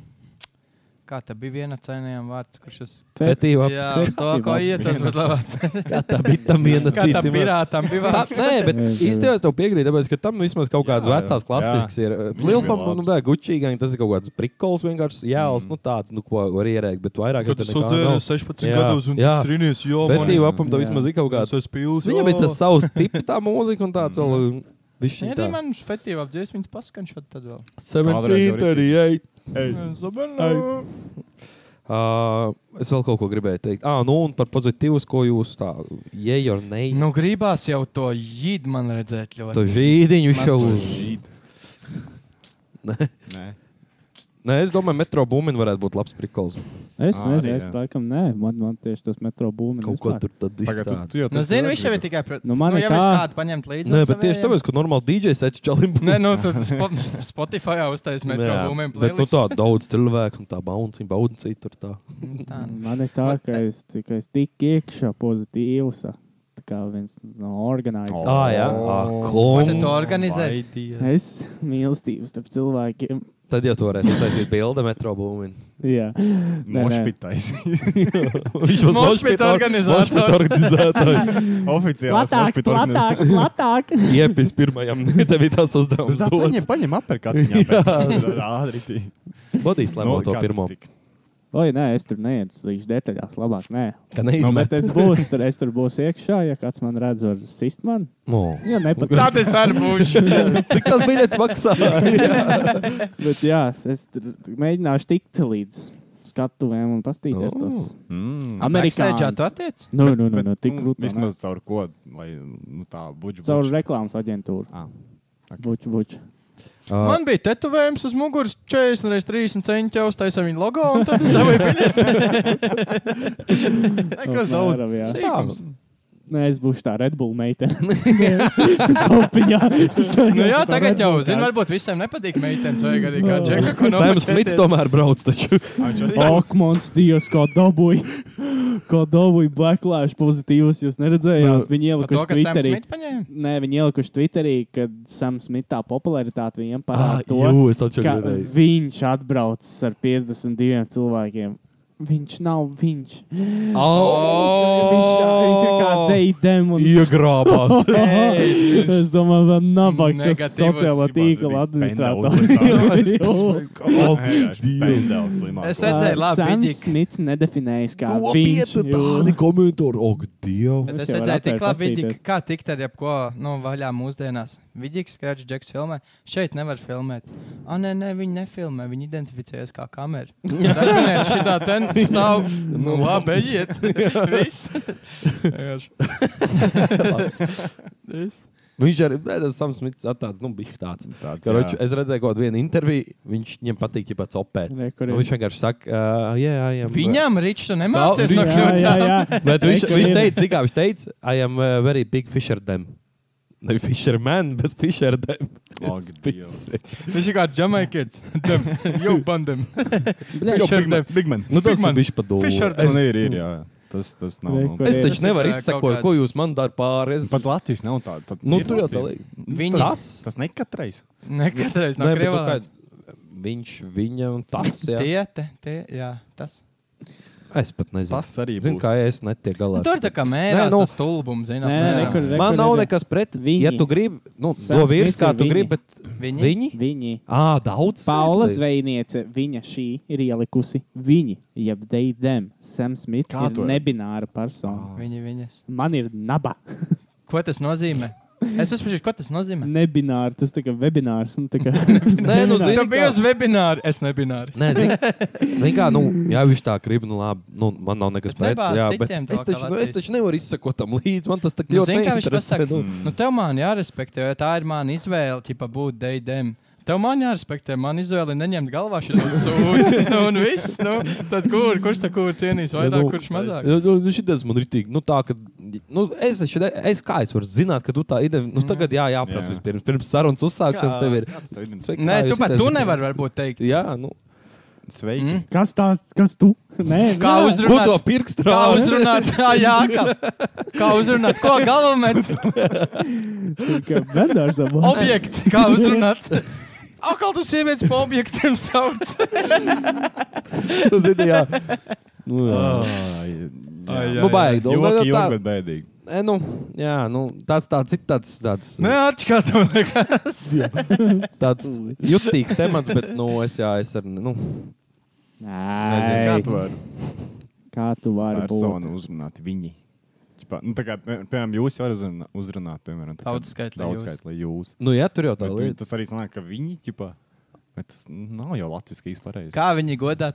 Speaker 4: Kā tā bija viena cenējuma vārds, kurš uz
Speaker 2: fetīva.
Speaker 4: Jā, uz to ko iet, tas būtu labi.
Speaker 2: Kā tā bija tam viena
Speaker 4: Kā
Speaker 2: cita.
Speaker 4: tam pirātam bija
Speaker 2: Tā,
Speaker 4: vārds.
Speaker 2: nē, bet
Speaker 3: Jā, jā.
Speaker 2: īstenībā es tev piekrītu, tāpēc, ka tam vismaz kaut kādas
Speaker 1: Jā, jā.
Speaker 2: vecās klasiskas ir.
Speaker 1: Viņam
Speaker 2: Lielpam,
Speaker 1: bija
Speaker 2: nu,
Speaker 1: labs.
Speaker 2: tā Gucci gang, tas ir kaut kāds prikols vienkārši jēls, nu tāds, nu, ko var ierēkt, bet vairāk. jau te nekā nav.
Speaker 11: 16
Speaker 2: Jā,
Speaker 11: gados un
Speaker 2: jā.
Speaker 11: trīnījies, jo
Speaker 2: Fetīva apam, tev
Speaker 3: Jā.
Speaker 2: vismaz ir kaut kāds.
Speaker 11: es pīlus.
Speaker 2: Viņam ir tas savs tips, tā mūzika un tāds vēl. um,
Speaker 4: Viņa
Speaker 2: Viņš
Speaker 4: arī man fetīva apdzies, viņas paskan šādi tad vēl.
Speaker 2: 17,
Speaker 1: Kādreiz jau
Speaker 2: 38.
Speaker 4: Zabernā.
Speaker 2: Uh, es vēl kaut ko gribēju teikt. Ah, nu, un par pozitīvu, ko jūs tā jēga ar neju.
Speaker 4: Nu, gribās jau to jīdu man redzēt
Speaker 2: To
Speaker 4: ļoti.
Speaker 2: vīdiņu
Speaker 4: Man
Speaker 2: jau
Speaker 4: to
Speaker 2: Nē.
Speaker 1: Nē.
Speaker 2: Nē, es domāju, metro būmini varētu būt labs prikols.
Speaker 3: Es
Speaker 1: Ā, arī,
Speaker 3: nezinu, es
Speaker 1: jā.
Speaker 3: laikam nē, man, man tieši tas metro būmis.
Speaker 2: Kaut ko tur tad bija.
Speaker 1: Pagaidu, tu, tu jau
Speaker 4: Nu,
Speaker 1: tas
Speaker 4: zinu,
Speaker 1: ļoti
Speaker 4: viņš jau ir
Speaker 1: gribi.
Speaker 4: tikai pret.
Speaker 3: Nu, man
Speaker 4: nu,
Speaker 3: ir
Speaker 4: ja viņš
Speaker 3: tā-
Speaker 4: kādu paņemt līdzi.
Speaker 2: Nē,
Speaker 4: no
Speaker 2: bet tieši
Speaker 4: savējiem-
Speaker 2: tāpēc, ka normāli DJs sēž čalim.
Speaker 4: Nē, nu, tad spo Spotify uztaisīs metro
Speaker 2: Jā,
Speaker 4: būmēm.
Speaker 2: Bet nu tā daudz cilvēku un tā bauncīja, bauncīja tur tā.
Speaker 3: Mm, Man ir tā, ka es, ka es tik iekšā pozitīvs. Tā kā viens no organizatoriem.
Speaker 2: Ā, jā.
Speaker 1: Oh,
Speaker 2: Ā, kom.
Speaker 4: Vai tu to organizēsi?
Speaker 2: Vaidies.
Speaker 3: Es mīlestību starp cilvēkiem.
Speaker 2: Tad jau toreiz uztaisīt bilde metro būmini.
Speaker 3: Jā, Nē, nē.
Speaker 1: Mošpitais.
Speaker 2: Viņš būs
Speaker 4: Moshpit organizators.
Speaker 2: organizētājs.
Speaker 1: Oficiāli.
Speaker 3: platāk, platāk, platāk.
Speaker 2: Iepis pirmajam, tev ir tāds uzdevums. dots.
Speaker 1: Nu, Paņem, paņem aperkatiņā. Ātri tī.
Speaker 2: Bodīs
Speaker 1: Nu,
Speaker 2: labo to pirmo.
Speaker 3: Oi, nē, es tur neiešu līdz detaļās. Labāk, nē.
Speaker 2: Ka
Speaker 3: Nu,
Speaker 2: neizmet.
Speaker 3: bet es būšu tur, es tur būšu iekšā. Ja kāds man redz, var sist man.
Speaker 2: No.
Speaker 3: Jā, nepatīk.
Speaker 4: Tad es arī būšu.
Speaker 2: Cik tas bija maksā?
Speaker 3: Bet jā, es tur mēģināšu tikt līdz skatuvēm un pastīties.
Speaker 2: Nu.
Speaker 3: Tas
Speaker 1: Mm.
Speaker 3: amerikāņu
Speaker 4: Amerikāņā tu attiec?
Speaker 3: Nu, nu, nu, nu, tik grūti.
Speaker 1: Vismaz caur ko, lai nu, tā budžets.
Speaker 3: Caur reklāmas aģentūru.
Speaker 1: Ah, ok.
Speaker 3: Buču, buču.
Speaker 2: Man...
Speaker 4: Man bija tetovējums uz muguras 40 reizes 30 centi jau uztaisīja viņa logo, un tad es dabūju biļeti.
Speaker 1: Nekas daudz.
Speaker 3: Apmēram, jā.
Speaker 4: Sīkums.
Speaker 3: Nē, es būšu tā Red Bull meitene. Kopiņā.
Speaker 4: Nu, jā, tagad jau zinu, varbūt visiem nepatīk meitenes vai arī
Speaker 2: Nu,
Speaker 4: kā džeka. ko
Speaker 2: Sēms
Speaker 4: nofočetiet.
Speaker 2: Smits tomēr brauc taču.
Speaker 3: Ak, mans dievs, kā dabūj, kā dabūj blacklash pozitīvus, jūs neredzējāt. Viņi
Speaker 4: Nu, Par To,
Speaker 3: ielikuši
Speaker 4: ka Sēms
Speaker 3: Twitterī.
Speaker 4: Smits paņēma.
Speaker 3: Nē, viņi ielikuši Twitterī, kad Sam Smita popularitāte viņiem
Speaker 2: Ah,
Speaker 3: parāda to,
Speaker 2: jū, es taču
Speaker 3: ka
Speaker 2: gribēju.
Speaker 3: viņš atbraucis ar 52 cilvēkiem. Viņš nav viņš.
Speaker 4: Oh!
Speaker 3: Viņš, viņš ir kā deidem un
Speaker 2: Iegrābās.
Speaker 4: Ei,
Speaker 3: Es domāju, ka nabaga tas
Speaker 4: Negatīvas
Speaker 3: sociālā tīkla administrators.
Speaker 1: Oh, Pendels slimāk.
Speaker 4: Es redzēju, labi,
Speaker 3: Sams
Speaker 4: Viģik.
Speaker 3: Smits nedefinējas kā viņš.
Speaker 2: Nopietni
Speaker 3: jo-
Speaker 2: tādi komentāri. Ak, Dievu.
Speaker 4: Bet
Speaker 3: Es jau
Speaker 4: es
Speaker 3: varu
Speaker 4: redzēju, tik
Speaker 3: atvērt
Speaker 4: labi,
Speaker 3: pastīties.
Speaker 4: Vidik, kā tikt ar jebko nu, vaļā mūsdienās. Vidīgs skrāpjas, Džeks filmē. Šeit nevar filmēt. Ah, nē, nē, viņi nefilmē. Viņi identificējas kā kamera. Tad viņi šitā ten stāv. Nu, labi, ejiet. Viss. Vienkārši. Viss.
Speaker 2: Viņš arī, nē, tas Sams Smits attāds, nu, bija tāds.
Speaker 1: Tāds,
Speaker 2: Karoči,
Speaker 1: jā.
Speaker 2: es redzēju kaut vienu interviju, viņš viņam patīk, ja pats opēt.
Speaker 3: Nē, kur ir?
Speaker 2: Viņš vienkārši saka, uh, jā, jā, jā.
Speaker 4: Viņam rīčs tu nemācies
Speaker 2: Nav-
Speaker 4: no
Speaker 2: Jā,
Speaker 4: kļūdām.
Speaker 2: uh," Bet viņš,
Speaker 3: Nē, kur ir?
Speaker 2: viņš teica, cik viņš teica, I am uh, very big fisher dem. Ne fisherman, bet fisher dem.
Speaker 1: Ak, Dievs.
Speaker 4: Viņš ir kā Jamaikietis. Jau bandam.
Speaker 1: Jo,
Speaker 4: Fisher
Speaker 1: Big Man- Big Man.
Speaker 2: Nu, tas
Speaker 4: Big man.
Speaker 2: viņš padomā.
Speaker 4: Fisher
Speaker 1: Nu, nē, ir, ir, jā. Tas, tas nav.
Speaker 3: Nē,
Speaker 1: nu.
Speaker 3: kur
Speaker 2: Es
Speaker 3: ir?
Speaker 2: taču nevaru
Speaker 4: Tas ir kā
Speaker 2: izsekot,
Speaker 4: kaut
Speaker 2: ko
Speaker 4: kāds-
Speaker 2: jūs man dar pāri. Es...
Speaker 1: Pat Latvijas nav tāda. tad
Speaker 2: Nu,
Speaker 1: ir
Speaker 2: tur jau tā
Speaker 1: Latvijas.
Speaker 2: līnija.
Speaker 4: Viņas.
Speaker 1: Tas, tas ne katreiz.
Speaker 4: Ne katreiz no
Speaker 2: Nē, bet
Speaker 4: Krievijas.
Speaker 2: kaut kā Viņš, viņa un tas. Jā.
Speaker 4: Tie, te, tie, jā, tas.
Speaker 2: Es pat nezinu.
Speaker 1: Tas arī
Speaker 2: Zinu, kā
Speaker 1: būs.
Speaker 2: es netieku galā.
Speaker 4: Nu, tur tā kā mērā
Speaker 2: Nē, nu-
Speaker 4: no stulbums,
Speaker 3: Nē, nē,
Speaker 4: zinām.
Speaker 3: kur ir?
Speaker 2: Man
Speaker 3: kur
Speaker 2: nav
Speaker 3: ir?
Speaker 2: nekas pret.
Speaker 3: Viņi.
Speaker 2: Ja tu gribi, nu,
Speaker 3: Sams
Speaker 2: to virs
Speaker 3: Smits
Speaker 2: kā
Speaker 3: ir
Speaker 2: tu
Speaker 3: viņi.
Speaker 2: gribi, bet
Speaker 4: Viņi?
Speaker 2: Viņi?
Speaker 3: Viņi.
Speaker 2: Ā, daudz.
Speaker 3: Paula
Speaker 2: slēptliet.
Speaker 3: Zvejniece, viņa šī ir ielikusi viņi, jeb they them, Sam Smith,
Speaker 1: Kā
Speaker 3: Kā
Speaker 1: to
Speaker 3: ir
Speaker 1: ir?
Speaker 3: nebināra
Speaker 2: Ah.
Speaker 3: persona.
Speaker 4: Viņi, viņas.
Speaker 3: Man ir naba.
Speaker 4: Ko tas nozīmē? Es uzspriežu, ko tas nozīmē.
Speaker 3: Nebināra, tas tā kā webinārs. Nu, tā kā,
Speaker 2: Nē, nu,
Speaker 4: Tu
Speaker 2: zini,
Speaker 4: biji
Speaker 2: kā-
Speaker 4: uz webināru, es nebināru.
Speaker 2: Nē, zini, zini kā, nu, ja viņš tā grib, nu, labi, nu, man nav nekas
Speaker 4: Bet
Speaker 2: pret.
Speaker 4: nebāz
Speaker 2: jā,
Speaker 4: citiem
Speaker 2: es,
Speaker 4: to,
Speaker 2: taču,
Speaker 4: kā
Speaker 2: nu, es
Speaker 4: vecīs.
Speaker 2: taču nevaru izsekot tam līdzi. Man tas tā
Speaker 4: Nu,
Speaker 2: ļoti
Speaker 4: zini, kā viņš
Speaker 2: neinteresē,
Speaker 4: pasaka?
Speaker 2: nu.
Speaker 4: Nu, tev man jārespektē, jo tā ir mana izvēle, tipa būt deidēm. Tev man jārespektē, man izvēle ir neņemt galvā šo sūdzību. nu, un viss, nu, tad kur, kurš tā kur cienīs vairāk,
Speaker 2: Nu,
Speaker 4: kurš mazāk?
Speaker 2: Nu, nu, šitas man ir tik, nu, tā, ka, nu, es, taču ne- es kā es varu zināt, ka tu tā ideja, nu, tagad jā, jāprasa
Speaker 1: Jā.
Speaker 2: vispirms, pirms sarunas uzsākšanas
Speaker 4: Mhm. Kā-
Speaker 2: tev ir.
Speaker 1: Sveiki.
Speaker 2: Sveiks,
Speaker 4: Nē,
Speaker 2: kā
Speaker 4: tu
Speaker 2: jūs
Speaker 4: pat
Speaker 2: šitas-
Speaker 4: tu nevari varbūt teikt.
Speaker 2: Jā, nu,
Speaker 1: Sveiki.
Speaker 4: Mm.
Speaker 3: kas tāds, kas tu? Nē, nē.
Speaker 4: Kā
Speaker 2: ko to
Speaker 4: uzrunāt?
Speaker 2: pirkstu?
Speaker 4: Kā uzrunāt? Jā, jā, kā, kā uzrunāt? Ko galvenais?
Speaker 3: nu, Kā Bendārs ar mums.
Speaker 4: Objekti, kā uzrunāt? Akal tu sievietes pa objektiem sauc.
Speaker 2: Tu zini, jā. Nu, jā.
Speaker 1: Mm. Ai,
Speaker 2: Nu, baigi,
Speaker 1: Joki,
Speaker 2: domāju,
Speaker 1: joki,
Speaker 2: tā-
Speaker 1: bet bēdīgi.
Speaker 2: E, nu, jā, nu, tāds tāds ir tāds, tāds,
Speaker 4: Nē, atšķirā tev liekas.
Speaker 2: tāds jutīgs temats, bet, nu, es, jā, es ar, nu,
Speaker 1: Kā
Speaker 3: Nē,
Speaker 1: tu vari
Speaker 3: kā tu vari būt?
Speaker 1: personu uzrunāt? Viņi. Ķipā, nu, tā kā, ne, piemēram, jūs varat uzrunāt, uzrunāt piemēram, tā kā
Speaker 4: Daudzskaitlī jūs.
Speaker 1: daudzskaitlī jūs.
Speaker 2: nu, jā, tur jau tā
Speaker 1: Bet vi-
Speaker 2: lieta.
Speaker 1: Tas arī sanāk, ka viņi, ķipā, bet tas nav jau latviski īsti pareizi.
Speaker 4: Kā viņi godāt?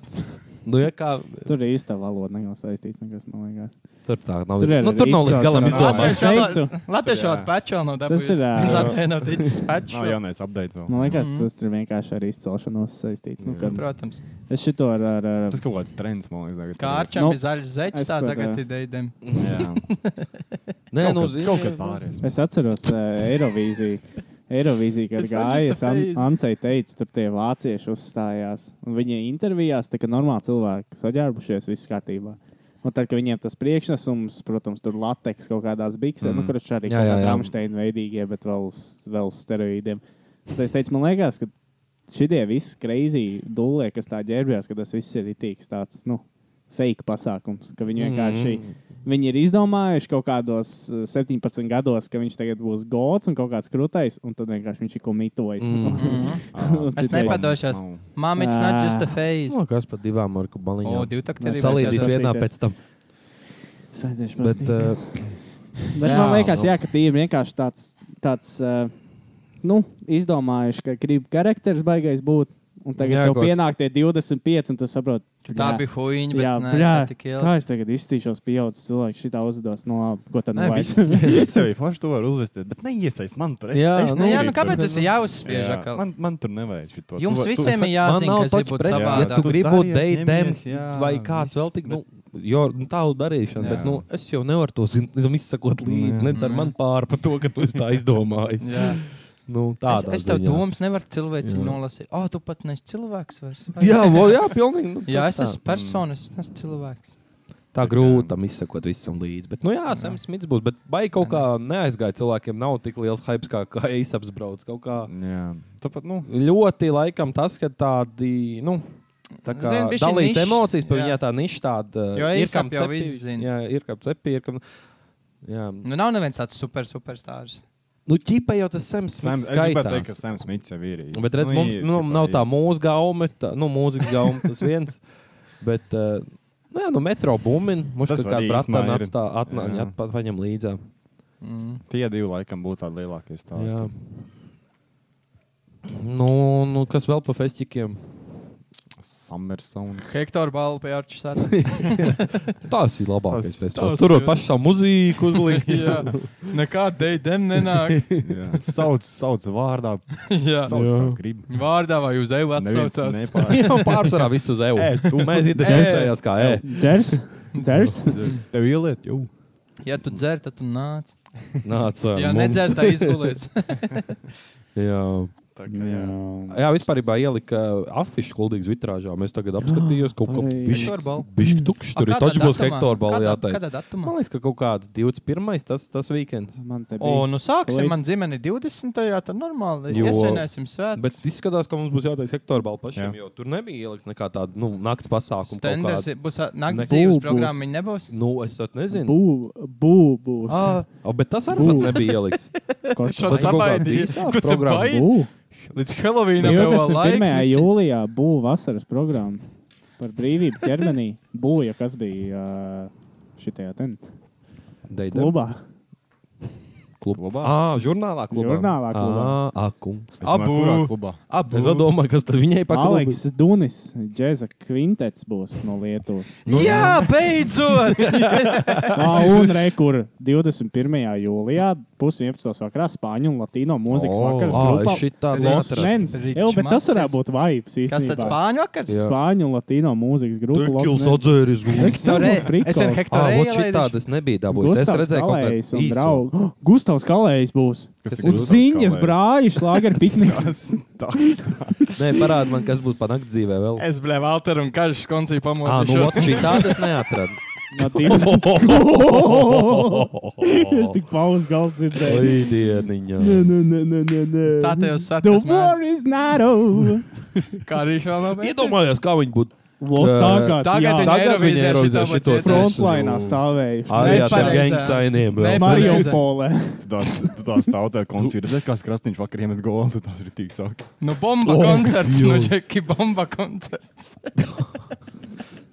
Speaker 2: Nu, ja kā,
Speaker 3: Tur ir īsta valoda, nav saistīts nekas, man liekas.
Speaker 2: tur tā nav,
Speaker 3: Tur ir
Speaker 2: nu, tur nav līdz
Speaker 3: izsaušanās.
Speaker 2: galam
Speaker 3: Latviešu
Speaker 2: izdomāts.
Speaker 4: Latviešu
Speaker 3: teicu.
Speaker 4: valoda- Latviešu valoda pečo no dabas.
Speaker 3: Tas ir, ā,
Speaker 4: Viņš atvaino teicis
Speaker 1: Nav
Speaker 4: pečo.
Speaker 1: jaunais update vēl.
Speaker 3: Man liekas,
Speaker 4: Mhm.
Speaker 3: tas ir vienkārši ar izcelšanos saistīts. Nu, kad
Speaker 4: Protams.
Speaker 3: es šito ar, ar, ar
Speaker 1: Tas kaut kāds trends, man liekas. tagad.
Speaker 4: Kā
Speaker 1: Tagad.
Speaker 4: Arčam
Speaker 3: Nu,
Speaker 4: bija zaļš zeķis,
Speaker 3: es
Speaker 4: tā
Speaker 3: pat,
Speaker 4: tagad
Speaker 3: ā,
Speaker 4: ir deidem.
Speaker 1: Jā. Kaut
Speaker 2: Nē, nu,
Speaker 1: kad-
Speaker 2: zini,
Speaker 1: Kaut kā pārējais.
Speaker 3: Es atceros uh, Eirovīziju. Eirovīzija, kad
Speaker 4: It's not
Speaker 3: gāja,
Speaker 4: just a phase.
Speaker 3: Ancei teica, tur tie vācieši uzstājās. Un viņi intervijās, tā kā normāli cilvēki saģērbušies, viss kārtībā. Un tad, kad viņiem tas priekšnesums, protams, tur lateks kaut kādās biksēs, mm. nu, kurš arī
Speaker 2: Jā,
Speaker 3: kaut
Speaker 2: jā,
Speaker 3: kādā
Speaker 2: jā.
Speaker 3: rāmsteina veidīgie, bet vēl, uz- vēl uz steroīdiem. Tad es teicu, man liekas, ka šitie visi kreizī dūlē, kas tā ģērbjās, ka tas viss ir itīgs tāds, nu, fake pasākums, ka viņi vienkārši. Mm. Viņi ir izdomājuši kaut kādos eh, 17 gados, ka viņš tagad būs gods un kaut kāds krūtais, un tad vienkārši viņš ir komitojis.
Speaker 2: Mm.
Speaker 4: Mm-hmm.
Speaker 3: Un
Speaker 4: Es
Speaker 3: citreiz-
Speaker 4: nepadošos.
Speaker 1: Nav.
Speaker 4: Mom, it's Mhm. not just a phase.
Speaker 2: Nu, kas par divām ar
Speaker 4: O,
Speaker 2: kubaliņām?
Speaker 4: divi takti arī.
Speaker 2: Salīdīs
Speaker 3: vajadzētu
Speaker 2: vienā
Speaker 3: skatīties.
Speaker 2: pēc tam.
Speaker 3: Es aiziešu
Speaker 2: Bet, eh,
Speaker 3: paskatīties. Bet
Speaker 2: jā,
Speaker 3: man liekas,
Speaker 2: nu.
Speaker 3: jā, ka tie ir vienkārši tāds, tāds eh, nu, izdomājuši, ka grib karakteris baigais būt. Un tagad
Speaker 2: Jā,
Speaker 3: jā, tev
Speaker 2: kaut-
Speaker 3: pienāk tie 25, un tu saproti,
Speaker 4: Ka Tā
Speaker 3: Jā.
Speaker 4: bija huīņa,
Speaker 3: jā,
Speaker 4: bet nē, es
Speaker 3: bļā,
Speaker 4: netik
Speaker 3: kā
Speaker 4: ilgi.
Speaker 3: es tagad izstīšos pieaugušas cilvēks, šitā uzvedos, no ko tad
Speaker 1: Nē,
Speaker 3: nevajag.
Speaker 1: viss viss jau ir forši, to var uzvesties, bet neiesaist man tur. Es,
Speaker 2: Jā,
Speaker 1: es
Speaker 4: Nu, jā, nu
Speaker 1: negribu.
Speaker 4: kāpēc tas ir jāuzspiež?
Speaker 1: Jā,
Speaker 4: atkal?
Speaker 1: Man, man tur nevajag šo to.
Speaker 4: Jums visiem ir
Speaker 2: Man
Speaker 4: jāzina,
Speaker 2: nav
Speaker 4: kas ir
Speaker 2: taču
Speaker 4: būt
Speaker 2: pret-
Speaker 1: savādāk.
Speaker 2: Ja tu
Speaker 1: Tu
Speaker 2: gribi
Speaker 1: stājies,
Speaker 2: būt deitēms
Speaker 1: ņemies, jā,
Speaker 2: vai kāds
Speaker 1: viss,
Speaker 2: vēl tik,
Speaker 1: bet-
Speaker 2: nu, jo nu, tādu darīšanu,
Speaker 4: Jā.
Speaker 2: bet, nu, es jau nevaru to zin- tam izsakot līdzi. Nec ar
Speaker 4: Mm.
Speaker 2: man pāri par to, ka tu esi tā izdomājis.
Speaker 4: Jā.
Speaker 2: Nu,
Speaker 4: Es,
Speaker 2: tādā
Speaker 4: es tev
Speaker 2: ziņā.
Speaker 4: domas nevaru cilvēci
Speaker 2: Jā.
Speaker 4: nolasīt. O, tu pat neesi cilvēks vairs. vai?
Speaker 2: Jā, vo, jā, pilnīgi. Nu,
Speaker 4: jā
Speaker 2: tas
Speaker 4: es
Speaker 2: tā.
Speaker 4: esmu persona, es neesmu cilvēks.
Speaker 2: Tā
Speaker 1: Bet, jā.
Speaker 2: grūti tam izsekot visam līdzi. Bet, nu, jā, Sam Smits būs. Bet, vai kaut kā neaizgāja cilvēkiem, nav tik liels hype, kā, kā es apbraucu. Kaut kā
Speaker 1: Jā, tāpat, nu,
Speaker 2: ļoti laikam tas, ka tādi. Nu, Tā kā
Speaker 4: Zini, bišķiņ
Speaker 2: dalīts
Speaker 4: nišs,
Speaker 2: emocijas, pa
Speaker 4: jā.
Speaker 2: viņai tā niša tāda. uh,
Speaker 4: Jo
Speaker 2: ir kam
Speaker 4: ASAP jau
Speaker 2: cepī,
Speaker 4: viss zina.
Speaker 2: Jā, ir kā cepī, ir kam. Jā.
Speaker 4: Nu, nav neviens tāds super, superstārs.
Speaker 2: Nu, ķipa jau tas Sam
Speaker 1: Sam,
Speaker 2: Smits
Speaker 1: es gribētu teikt, ka
Speaker 2: skaitās.
Speaker 1: Sams Mits jau ir. īsti.
Speaker 2: Bet, redz, mums
Speaker 1: ir,
Speaker 2: nu,
Speaker 1: ķipā,
Speaker 2: nav
Speaker 1: ir.
Speaker 2: tā mūsu gauma, tā, nu, mūzikas gauma tas viens. Bet, eh, nu, jā, nu, metro bumbiņa. Mums
Speaker 1: Tas
Speaker 2: tas kā
Speaker 1: var
Speaker 2: bratām
Speaker 1: īsumā ir.
Speaker 2: atstā, atnā,
Speaker 1: Jā.
Speaker 2: atpa, paņem līdzi.
Speaker 4: Mm.
Speaker 1: Tie divi laikam būtu tādi lielākie stāvokļi.
Speaker 2: Jā. Nu, nu, kas vēl par festikiem?
Speaker 1: Summersound.
Speaker 4: Hektora balva pie Arčes.
Speaker 2: Tas ir labākais.
Speaker 1: Tas-
Speaker 2: Tas, tas,
Speaker 4: tas
Speaker 2: tur var
Speaker 4: ir.
Speaker 2: pašu savu muziku uzlikt.
Speaker 4: Jā, nekāda deidem nenāk.
Speaker 1: Jā. Sauc, sauc vārdā,
Speaker 4: Jā.
Speaker 1: sauc
Speaker 2: Jā.
Speaker 1: kā grib.
Speaker 4: Vārdā vai uz eju
Speaker 1: Neviens
Speaker 4: atsaucās.
Speaker 1: nepār-
Speaker 2: Jau pārsvarā viss uz eju.
Speaker 4: E,
Speaker 1: Ē, tu-
Speaker 2: Mēs identificējāmies kā e.
Speaker 3: Džers? Džers?
Speaker 1: Tev ieliet, jau.
Speaker 4: Ja tu dzer, tad tu nāc.
Speaker 2: Nāca.
Speaker 4: Ja
Speaker 2: mums.
Speaker 4: nedzer, tad izgulēts.
Speaker 2: Jā.
Speaker 1: Tā kā, jā.
Speaker 2: Jā, vispār bija ielika afišu kuldīgas vitrāžā. Mēs tagad apskatījāmies kaut ko
Speaker 3: pareizi.
Speaker 2: bišķi- bišķi tukšs. Tur ir taču būs hektora balva jāteic.
Speaker 4: Kādā datumā?
Speaker 2: Man liekas, ka kaut kāds 21. tas, tas weekends.
Speaker 3: Man te
Speaker 4: O,
Speaker 3: bija.
Speaker 4: nu sāksim.
Speaker 3: Lai-
Speaker 4: Man dzimene ir 20. tad normāli.
Speaker 2: Jo-
Speaker 4: Iesvinēsim svētu.
Speaker 2: Bet izskatās, ka mums būs jāteic hektora balva pašiem,
Speaker 1: Jā.
Speaker 2: jo tur nebija ielikt nekā tāda nu, nakts pasākuma. kaut
Speaker 4: Stenders
Speaker 2: kāda.
Speaker 4: ir- būs ā, nakts
Speaker 2: Ne-
Speaker 4: dzīves
Speaker 3: Būs,
Speaker 4: programma,
Speaker 3: būs.
Speaker 4: viņa nebūs.
Speaker 2: Nu, es pat nezinu.
Speaker 3: Bū, bū, būs.
Speaker 2: Ah, bet tas arī pat
Speaker 3: Bū.
Speaker 2: nebija ieliks.
Speaker 3: Korš-
Speaker 4: Šāds
Speaker 2: Tas kaut kā
Speaker 4: abaidīja.
Speaker 2: īsāk
Speaker 4: Ko tu
Speaker 2: programma.
Speaker 4: baidi?
Speaker 3: Bū.
Speaker 1: Līdz Helovīnam jau vēl laiks.
Speaker 3: 21.
Speaker 1: Nici.
Speaker 3: jūlijā būva vasaras programma par brīvību ķermenī. Būja, kas bija ā, šitajā ten
Speaker 2: Deidam.
Speaker 3: klubā.
Speaker 1: Klubā?
Speaker 2: Ah, žurnālā klubā.
Speaker 3: Žurnālā klubā.
Speaker 2: Ah, akums.
Speaker 1: Es domāju,
Speaker 4: Abu.
Speaker 1: kurā klubā?
Speaker 2: Es vēl domāju, kas tad viņai pakalpo.
Speaker 3: Aleks Dunis, džēza kvintets būs no Lietuvas.
Speaker 4: Jā, beidzot!
Speaker 3: Ah, un rekur 21. jūlijā, pusdienas vakarā Spāņu un Latīno mūzikas
Speaker 1: O,
Speaker 3: oh, vakars.
Speaker 2: Ah,
Speaker 3: grupā
Speaker 2: es šitā
Speaker 4: Los
Speaker 2: neatradu.
Speaker 3: Nens.
Speaker 4: Rich
Speaker 3: Jā, bet tas
Speaker 4: Macis.
Speaker 3: varētu būt vibes.
Speaker 4: Kas tad
Speaker 3: īstenībā.
Speaker 4: spāņu vakars?
Speaker 2: Jā.
Speaker 3: Spāņu un Latīno mūzikas grupa?
Speaker 2: Tekils
Speaker 3: Los Nens.
Speaker 2: atzēris
Speaker 3: Es
Speaker 4: Nu, re,
Speaker 3: saprotu,
Speaker 4: Es ar
Speaker 3: prikolu.
Speaker 2: Ah,
Speaker 4: Hektoru
Speaker 2: vot šī
Speaker 4: Eilēdišu-
Speaker 2: tāda es nebiju dabūjis. Es
Speaker 3: Gustavs
Speaker 2: redzēju, ka
Speaker 3: Kalējs un draugs. Oh, Gustavs Kalējs būs.
Speaker 1: Kas ir
Speaker 3: Un
Speaker 1: Gustavs
Speaker 3: ziņas
Speaker 1: Kalējs?
Speaker 3: brāļi šlāgeri pikniks.
Speaker 1: Tas
Speaker 2: Nē, parādi man, kas būs panākt dzīvē vēl.
Speaker 4: Es biju Valter un Kažs koncī
Speaker 2: Ah, nu,
Speaker 4: pamodīšos.
Speaker 2: vot šī tāda es neatradu.
Speaker 3: Latīnas- Es tik pauzes galvu dzirdēju.
Speaker 2: Lidieniņā.
Speaker 3: Nē, nē, nē, nē, nē, nē.
Speaker 4: Tā te jau svētki
Speaker 3: The
Speaker 4: smēdz.
Speaker 3: war is not over.
Speaker 4: Kā arī šā nav beidzies.
Speaker 2: Iedomājos, kā viņi būtu.
Speaker 3: Vot
Speaker 2: Ā,
Speaker 3: Tagad,
Speaker 4: tagad
Speaker 3: jā.
Speaker 4: ir
Speaker 2: Tagad
Speaker 4: Eirovīzijā
Speaker 2: viņi Eirovīzijā
Speaker 4: šito
Speaker 2: šito
Speaker 4: pacietīšu.
Speaker 3: frontlainā
Speaker 2: taisīja.
Speaker 3: stāvējuši.
Speaker 2: Arī ar tiem
Speaker 4: Nepareizā.
Speaker 2: gangstainiem vēl.
Speaker 4: Nepa-
Speaker 3: Mariupolē.
Speaker 1: Tu tās tautē koncerts, kā skrastīņš vakar iemet golu, tu tās ir tik sāk.
Speaker 4: Nu, bomba
Speaker 2: Oh,
Speaker 4: koncerts, nu,
Speaker 2: Dievs.
Speaker 4: Džeki, bomba koncerts.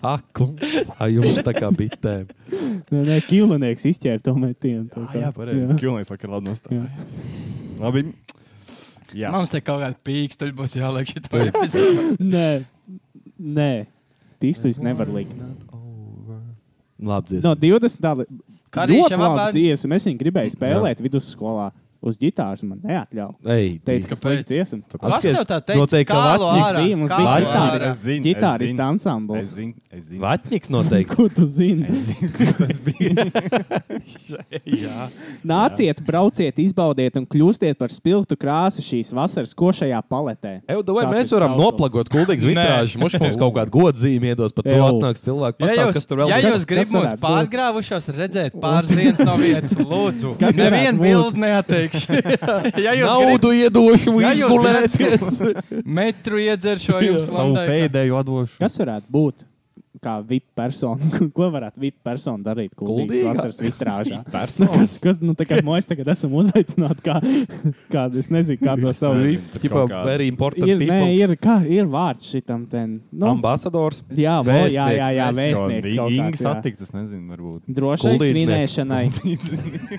Speaker 2: Ak, un- ai, jums tā kā bitēm.
Speaker 3: Nē, nē, ķīlnieks izķēra to metienu.
Speaker 2: Ah,
Speaker 3: tā kā.
Speaker 1: Jā, pareizi. Kilnēs vakar labi nostāja. Labi. Jā.
Speaker 4: Mums te kaut kāda pīkstuļa būs jāliek šitā epizodē.
Speaker 3: Nē, nē. Pīkstūris nevar likt.
Speaker 2: Labi, dziesma.
Speaker 3: No 20.
Speaker 4: Kā
Speaker 3: gada
Speaker 4: arī
Speaker 3: ļoti
Speaker 4: šiem
Speaker 3: labi
Speaker 4: abām?
Speaker 3: dziesma. Es viņu gribēju spēlēt vidusskolā uz ģitāras, man neatļauj.
Speaker 2: Ej,
Speaker 3: Teicu, ka
Speaker 4: Kāpēc?
Speaker 3: pēc dziesma.
Speaker 4: Kas
Speaker 2: Atskies-
Speaker 4: tev tā teica?
Speaker 2: Noteikti, ka
Speaker 4: Kālo
Speaker 2: Vatņiks
Speaker 4: ārā,
Speaker 3: bija, mums
Speaker 4: kālo
Speaker 3: bija
Speaker 4: ārā.
Speaker 1: Es zinu, es zinu.
Speaker 3: Ģitārista
Speaker 1: Es
Speaker 3: ansambles.
Speaker 1: zinu, es zinu.
Speaker 2: Vatņiks noteikti.
Speaker 3: Ko tu zini?
Speaker 1: Tas bija.
Speaker 2: Jā.
Speaker 3: Nāciet, brauciet, izbaudiet un kļūstiet par spilgtu krāsu šīs vasaras košajā paletē.
Speaker 2: Eju, vai
Speaker 3: Tāds
Speaker 2: mēs
Speaker 3: ir
Speaker 2: varam
Speaker 3: sauklis.
Speaker 2: noplagot kuldīgas vitrāžas? Mums mums kaut kāda godzīme iedos par to
Speaker 3: Ew.
Speaker 2: atnāks cilvēki.
Speaker 4: Ja
Speaker 2: Pastāst,
Speaker 4: jūs,
Speaker 2: kas tur vēl
Speaker 4: ja
Speaker 2: ir.
Speaker 4: jūs gribat
Speaker 3: kas
Speaker 4: mums
Speaker 3: varētu būt?
Speaker 4: pārgrāvušos, redzēt pāris dienas no vietas, lūdzu,
Speaker 3: Kas varētu
Speaker 4: nevienu
Speaker 3: būt?
Speaker 4: bildi neatteikšu. ja jūs gribat
Speaker 2: Naudu iedošu,
Speaker 4: Ja jūs
Speaker 2: izgulēsies.
Speaker 4: metru iedzeršu, jums
Speaker 1: Savu
Speaker 4: landai.
Speaker 1: pēdējo atdošu.
Speaker 3: Kas varētu būt? Kā VIP persona, ko varētu VIP persona darīt? Kultūras
Speaker 2: Kuldīgā?
Speaker 3: vasaras vitrāžā. nu, kas, kas, nu, tā kā mēs tagad esam uzaicināti, kā, kādu, es nezinu, kādu savu.
Speaker 1: nezinu.
Speaker 2: Tipā,
Speaker 1: Kaut kā-
Speaker 2: very important
Speaker 3: Ir, nē,
Speaker 2: people.
Speaker 3: ir, kā, ir vārds šitam ten. Nu,
Speaker 2: Ambasadors.
Speaker 3: jā, vo, jā, jā, jā, vēstnieks.
Speaker 1: Kā
Speaker 3: kaut
Speaker 1: Inga
Speaker 3: kāds, jā.
Speaker 1: satikta, es nezinu, varbūt.
Speaker 3: Drošai
Speaker 2: Kuldīdznieks.
Speaker 3: svinēšanai.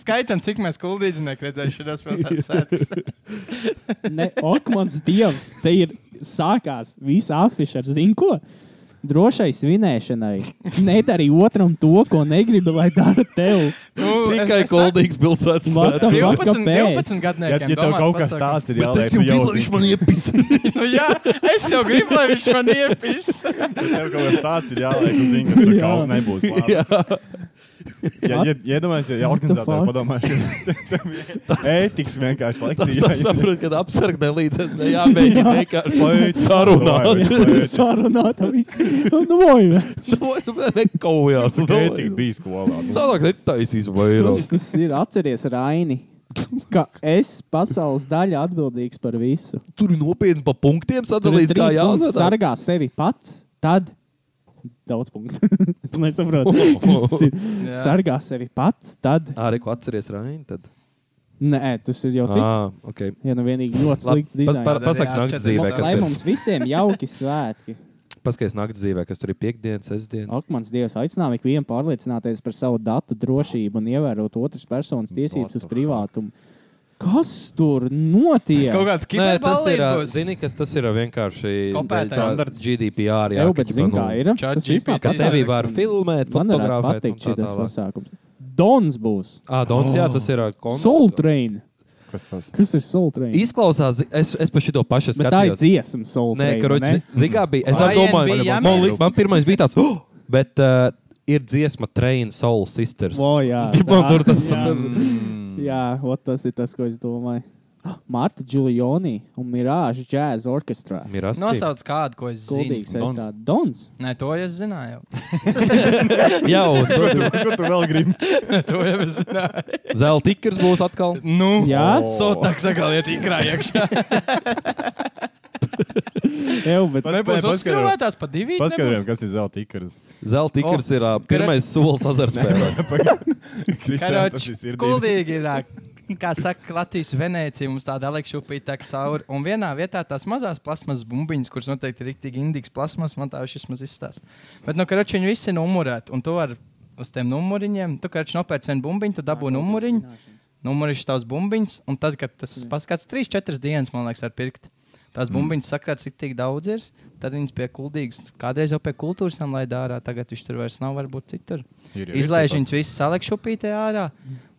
Speaker 4: Skaitam, cik mēs kuldīdzinieki redzējuši šodien pilsētas svētkus.
Speaker 3: Ne, ok, mans dievs, te ir sākās visa afiša ar zinu ko. Drošai svinēšanai. Nedari otram to, ko negribi, lai dara tev.
Speaker 4: Nu, es-
Speaker 2: Tikai
Speaker 4: es saku,
Speaker 2: kuldīgs pilsētas
Speaker 3: What the
Speaker 2: svētki.
Speaker 4: 12,
Speaker 3: Kāpēc?
Speaker 4: 12
Speaker 1: Ja,
Speaker 4: gadniekiem.
Speaker 1: ja tev
Speaker 4: domāts
Speaker 1: kaut kas
Speaker 4: pasākums.
Speaker 1: tāds ir jāliek, tu jau zini.
Speaker 2: man iepis.
Speaker 4: Nu, jā, es jau gribu, lai viņš man iepīs.
Speaker 1: Tev kaut kas tāds ir jāliek, tu zini, ka tur
Speaker 3: Jā.
Speaker 1: kaut nebūs. labi. Ja, ja, iedomājies, ja organizatori
Speaker 3: fuck?
Speaker 1: padomā, ka ētikas vienkārši
Speaker 2: Tas
Speaker 1: lekcija.
Speaker 2: tas saprot, kad apsargdē līdz ne jāmēģina vienkārši
Speaker 1: Pēc
Speaker 2: sarunāt.
Speaker 3: Sarunāt, viss. Nu, voj,
Speaker 2: Tu nekaujās.
Speaker 1: Ētika bija skolā. nu.
Speaker 2: Sanāk, netaisīs vairāk.
Speaker 3: Tas, tas ir atceries Raini. Ka es pasaules daļa atbildīgs par visu.
Speaker 2: Tur ir nopietni pa punktiem
Speaker 3: Tur ir
Speaker 2: sadalīts, kā
Speaker 3: trīs punkti.
Speaker 2: jāsadzird.
Speaker 3: sargā sevi pats, tad daudz punktu. Nu, es nesaprotu, kas tas ir.
Speaker 4: Jā.
Speaker 3: Oh. Sargā sevi pats, tad
Speaker 2: Arī ko atceries Raini? Tad.
Speaker 3: nē, tas ir jau cits.
Speaker 2: Ah, ok.
Speaker 3: Ja nu vienīgi ļoti slikts dizains.
Speaker 4: par-
Speaker 2: Pasakā,
Speaker 4: Jā,
Speaker 2: naktas
Speaker 4: četri
Speaker 2: dzīvē,
Speaker 4: mums-
Speaker 3: Lai mums
Speaker 2: kas ir.
Speaker 3: visiem jauki svētki.
Speaker 2: Paskaties, naktas dzīvē, kas tur ir piekdienas, sestdienas.
Speaker 3: Ak, mans dievs, aicinām ikvienu pārliecināties par savu datu drošību un ievērot otras personas tiesības uz privātumu. Kas tur notiek?
Speaker 4: Kaut kāds
Speaker 2: tas ir. ā,
Speaker 4: kiberbalīgs.
Speaker 2: Zini, kas tas ir ā, vienkārši
Speaker 4: Kopētais.
Speaker 2: tā-
Speaker 1: Standarts.
Speaker 2: GDPR. Jā,
Speaker 3: Jau,
Speaker 2: ka
Speaker 3: bet
Speaker 2: ķipa,
Speaker 3: zini,
Speaker 2: nu,
Speaker 3: kā ir.
Speaker 4: Chat
Speaker 3: Tas vispār
Speaker 4: GPT.
Speaker 2: Ka tevi
Speaker 3: pasaules-
Speaker 2: var
Speaker 3: Man
Speaker 2: filmēt,
Speaker 3: varētu
Speaker 2: fotografēt. un
Speaker 3: patikt
Speaker 2: tā
Speaker 3: šis
Speaker 2: tālāk.
Speaker 3: pasākums. Dons būs.
Speaker 2: Ah, Dons,
Speaker 4: Oh.
Speaker 2: jā, tas ir
Speaker 3: Soul Train.
Speaker 1: Kas tas?
Speaker 3: Kas ir Soul Train?
Speaker 2: Izklausās, zi- es, es pa šito pašu
Speaker 3: Bet tā ir
Speaker 2: skatījos.
Speaker 3: dziesma, Soul
Speaker 2: Nē,
Speaker 3: Train.
Speaker 2: karoči, zigā bija. Es arī
Speaker 4: Lion
Speaker 2: domāju,
Speaker 4: bija
Speaker 2: man- man,
Speaker 4: jāmēģina.
Speaker 2: li- man pirmais bija tāds, oh! bet uh, ir dziesma Train Soul Sisters.
Speaker 3: O, jā,
Speaker 2: Tipam
Speaker 3: tā,
Speaker 2: tur tas
Speaker 3: jā.
Speaker 2: tur.
Speaker 3: Jā, ot, tas ir tas, ko es domāju. Ah, Marta Giulioni un Mirāža Jazz Orchestrā.
Speaker 2: Mirasti.
Speaker 4: Nosauc kādu, ko es zinu.
Speaker 3: Goldīgs aizstāvs. Dons.
Speaker 4: Nē, to jau es zināju.
Speaker 2: Jā,
Speaker 1: Ko
Speaker 2: un
Speaker 1: tu, ko tu vēl gribi?
Speaker 4: to jau es zināju.
Speaker 2: zelta tikers būs atkal.
Speaker 4: Nu,
Speaker 3: Jā,
Speaker 1: Oh.
Speaker 4: Sotāks atkal iet ikrā iekšā.
Speaker 3: jau, bet
Speaker 1: Vai
Speaker 4: Nebūs
Speaker 1: paskaidro.
Speaker 4: uzskrāvētās pa diviem.
Speaker 1: Paskatījām, kas ir zelta tīkars.
Speaker 2: Zelta tikers ir uh, pirmais solis azartspēlēs.
Speaker 1: Kristiāna, tas ir sirdī.
Speaker 4: Kuldīgi ir ā, kā saka Latvijas Venecija, mums tāda Aleksa upīte tā cauri. Un vienā vietā tās mazās plasmas bumbiņas, kuras noteikti ir rīktīgi indīgas plasmas, man tā šis maz izstāsta. Bet no karoči viņi visi ir numurēti. Un tu vari uz tiem numuriņiem, tu karoči nopērci vienu bumbiņu, tu dabū
Speaker 3: nu,
Speaker 4: numuriņu, numuriņš tavs bumbiņš. Un tad, kad tas paskats 3-4 dienas, man liekas, ar pirkt. Tās bumbiņas sakrāt, cik tik daudz ir. Tad viņas pie kuldīgas, kādreiz jau pie kultūras tam laid ārā, tagad viņš tur vairs nav, varbūt citur.
Speaker 1: Ir jau
Speaker 4: Izlaiž
Speaker 1: rīktīgi.
Speaker 4: viņus visus salekšupītē ārā.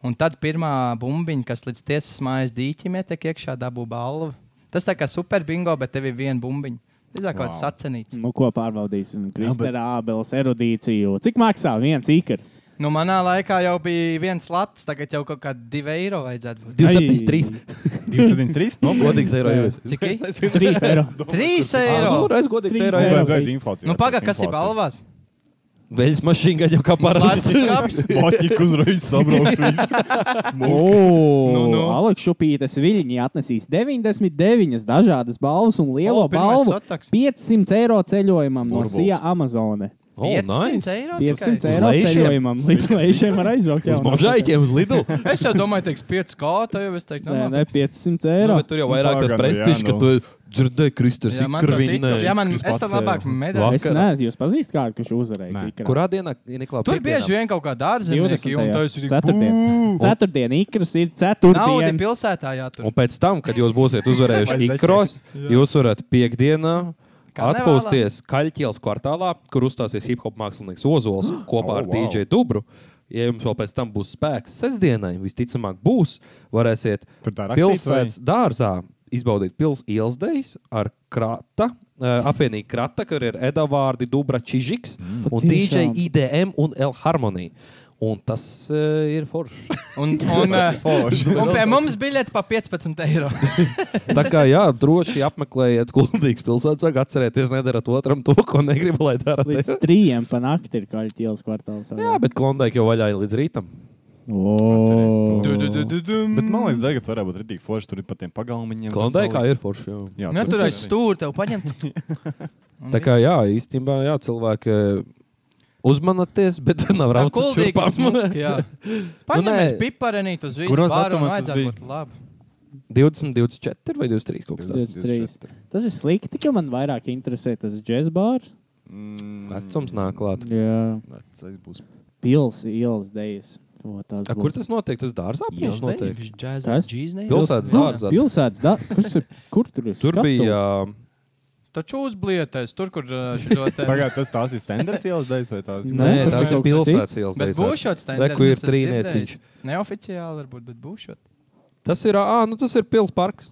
Speaker 4: Un tad pirmā bumbiņa, kas līdz tiesas mājas dīķim ietek iekšā, dabū balvu. Tas tā kā super bingo, bet tev ir viena bumbiņa. Tas ir kaut kāds
Speaker 1: Wow.
Speaker 4: sacenīts.
Speaker 3: Nu, ko pārbaudīsim? Kristēna Ābels erudīciju. Cik maksā viens īkars?
Speaker 4: Nu, manā laikā jau bija viens lats, tagad jau kaut kāda divi eiro vajadzētu būt.
Speaker 2: 273.
Speaker 1: 273. No,
Speaker 2: Godīgs eiro nu, jau ir.
Speaker 4: Cik īsti?
Speaker 3: 3 eiro.
Speaker 4: Trīs eiro!
Speaker 2: Reiz godīgs
Speaker 3: Trīs
Speaker 2: eiro jau
Speaker 3: eiro.
Speaker 2: ir.
Speaker 1: Gaida, gaida inflācija.
Speaker 4: Nu, pagaidi, kas ir balvās?
Speaker 2: Veļas mašīna gaļa jau kā
Speaker 4: Lats
Speaker 2: parasti.
Speaker 4: skāps.
Speaker 1: Baķika uzreiz sabrauks visu.
Speaker 3: Nu,
Speaker 4: Nu,
Speaker 3: nu.
Speaker 4: nu.
Speaker 3: Aleksa Šupītes viļņi atnesīs 99 dažādas balvas un lielo
Speaker 4: O,
Speaker 3: o,
Speaker 4: pirmais
Speaker 3: balvu
Speaker 4: sataks.
Speaker 3: 500 eiro ceļojumam Burbuls.
Speaker 1: Burbuls.
Speaker 3: no Sija Amazone.
Speaker 2: Oh,
Speaker 4: 500 eiro.
Speaker 3: 500
Speaker 4: Nu, tikai?
Speaker 3: eiro
Speaker 2: Leišiem?
Speaker 3: ceļojumam līdz lejšiem var aizbraukt.
Speaker 2: Uz mažaikiem, uz Nu, lidu.
Speaker 4: Es jau domāju, teiks 5 kā, tā jau es teiktu, nu,
Speaker 3: Nē,
Speaker 4: nē, nē.
Speaker 3: nē, 500
Speaker 2: Nu,
Speaker 3: eiro.
Speaker 2: bet tur jau vairāk tas
Speaker 1: Propaganda,
Speaker 2: prestižs,
Speaker 1: jā,
Speaker 2: ka
Speaker 1: nu.
Speaker 2: tu dzirdēji, Kristers,
Speaker 4: Ja man, tas
Speaker 2: Ikarvinē,
Speaker 4: ir- ja man
Speaker 2: kas
Speaker 4: es tam
Speaker 2: pacēla.
Speaker 4: labāk medaļu.
Speaker 3: Es
Speaker 2: vakarā.
Speaker 3: nezinu, jūs pazīstat kādu, kurš uzvarēs.
Speaker 1: Nē.
Speaker 3: ikrā?
Speaker 2: Kurā dienā ir Niklaus?
Speaker 4: Tur bieži vien kaut kāda ārzemnieka,
Speaker 3: 20.
Speaker 4: un tas ir
Speaker 3: Ceturtdien. Ceturtdien ikras ir
Speaker 4: Nauda
Speaker 3: ceturtdien.
Speaker 4: pilsētā jātur.
Speaker 2: Un pēc tam, kad jūs būsiet uzvarējuši
Speaker 1: Vai
Speaker 2: ikros, jūs varat piekdienā
Speaker 4: Karnevālā.
Speaker 2: atpūsties Kaļķielas kvartālā, kur uzstāsies hip hop mākslinieks Ozols kopā
Speaker 1: Oh,
Speaker 2: ar
Speaker 1: wow.
Speaker 2: DJ Dubru. Ja jums vēl pēc tam būs spēks sestdienai, visticamāk būs, varēsiet
Speaker 1: Tur tā rakstīts, vai?
Speaker 2: pilsētas dārzā izbaudīt pilsētas ielas daļas ar krāta. eh, Apvienīgi krāta, kur ir Edvards, Dubra, Čižiks mm. un DJ
Speaker 3: Patiešām.
Speaker 2: IDM un L Harmonija. Un tas uh, ir forši.
Speaker 4: Un, un, eh,
Speaker 1: Forši.
Speaker 4: un pie mums biļete pa 15 eiro.
Speaker 2: Tā kā jā, droši apmeklējiet, gudrīgs pilsētas, vajag atcerēties, nedarat otram to, ko negribu, lai dara.
Speaker 3: Līdz trījiem pa nakti ir kaļķis ielas kvartāls. vai ne?
Speaker 2: Jā, bet klondēk jau vaļā ir līdz rītam.
Speaker 3: O.
Speaker 1: Atceries Bet
Speaker 4: Bet
Speaker 1: man liekas, tagad varētu būt rītīgi forši. Tur ir pat tiem pagalmiņiem.
Speaker 2: Klondēkā ir forši. Jā.
Speaker 1: Jā, tas ir
Speaker 4: Neturēji
Speaker 1: arī.
Speaker 4: stūri, tev paņemt. Un
Speaker 2: Tā kā
Speaker 4: viss.
Speaker 2: jā, īstenībā jā, cilvēki eh, uzmanieties, bet nav
Speaker 4: Tā
Speaker 2: raukt
Speaker 4: kuldīgi smuki, jā. Paņemiet
Speaker 2: Nu, nē.
Speaker 4: piparenīt uz visu
Speaker 1: Kuros
Speaker 4: baru un
Speaker 1: datumos tas
Speaker 4: vajadzētu
Speaker 1: bija?
Speaker 4: būt labi.
Speaker 2: 20, 24 vai 23 kaut kas tāds.
Speaker 3: 23. Tas ir slikti, ka man vairāk interesē tas jazz bars.
Speaker 1: Mm,
Speaker 2: Vecums nāk klāt.
Speaker 3: Jā,
Speaker 1: Vecais būs.
Speaker 3: pilsēta ielas dēļas. O, tās
Speaker 2: A, kur
Speaker 3: būs.
Speaker 2: tas notiek? Tas dārzā pilsētā notiek.
Speaker 4: Viņš džēzē,
Speaker 3: Kas?
Speaker 4: džīznē.
Speaker 2: Pilsētas dārzā.
Speaker 3: Nu, Pilsētas da... Kurs ir, kur tur ir?
Speaker 2: Tur
Speaker 3: skatu?
Speaker 2: bija uh,
Speaker 4: Taču uzblietais, tur, kur eh, šito te.
Speaker 1: Pagaidā, tas tās ir tenders ielas daļas vai tās?
Speaker 3: Nē,
Speaker 2: nē,
Speaker 3: tas
Speaker 2: tas
Speaker 3: ir
Speaker 2: ir
Speaker 3: kaut kas
Speaker 2: pilsētas ielas.
Speaker 4: Bet
Speaker 2: daļas.
Speaker 4: būšot
Speaker 2: Re,
Speaker 4: standarts.
Speaker 2: kur ir
Speaker 4: es esmu
Speaker 2: trīnieciņš.
Speaker 4: dzirdējis. Neoficiāli varbūt, bet būšot.
Speaker 2: Tas ir, ah, nu tas ir pilsētas parks.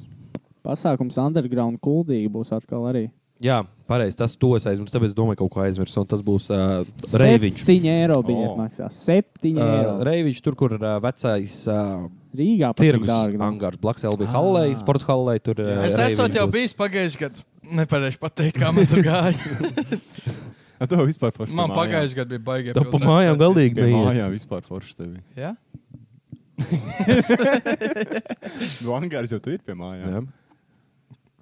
Speaker 3: pasākums underground kuldīgi būs atkal arī.
Speaker 2: Jā, pareizi. Tas to es aizmirsu. Tāpēc es domāju, ka kaut ko aizmirsu. Un tas būs uh, Reiviņš.
Speaker 3: 7 eiro bija
Speaker 1: O.
Speaker 3: oh. maksā. 7 uh, eiro.
Speaker 2: Uh, Reiviņš tur, kur ir uh, vecais uh,
Speaker 3: Rīgā pat tik
Speaker 2: tirgus
Speaker 3: dārgi. nav.
Speaker 2: angārs, blakus LB hallē, sports hallē. Tur, uh,
Speaker 4: Es esmu jau bijis pagājušajā gadā. Nepareizi pateikt, kā man tur gāja.
Speaker 1: Ar tev vispār forši.
Speaker 4: Man pagājušajā gadā bija baigta.
Speaker 2: Tā pa mājām galīgi
Speaker 1: gada.
Speaker 2: neiet.
Speaker 1: Jā, vispār forši tevi.
Speaker 4: Ja?
Speaker 1: Nu, angārs jau tu ir pie mājām.
Speaker 2: Jā.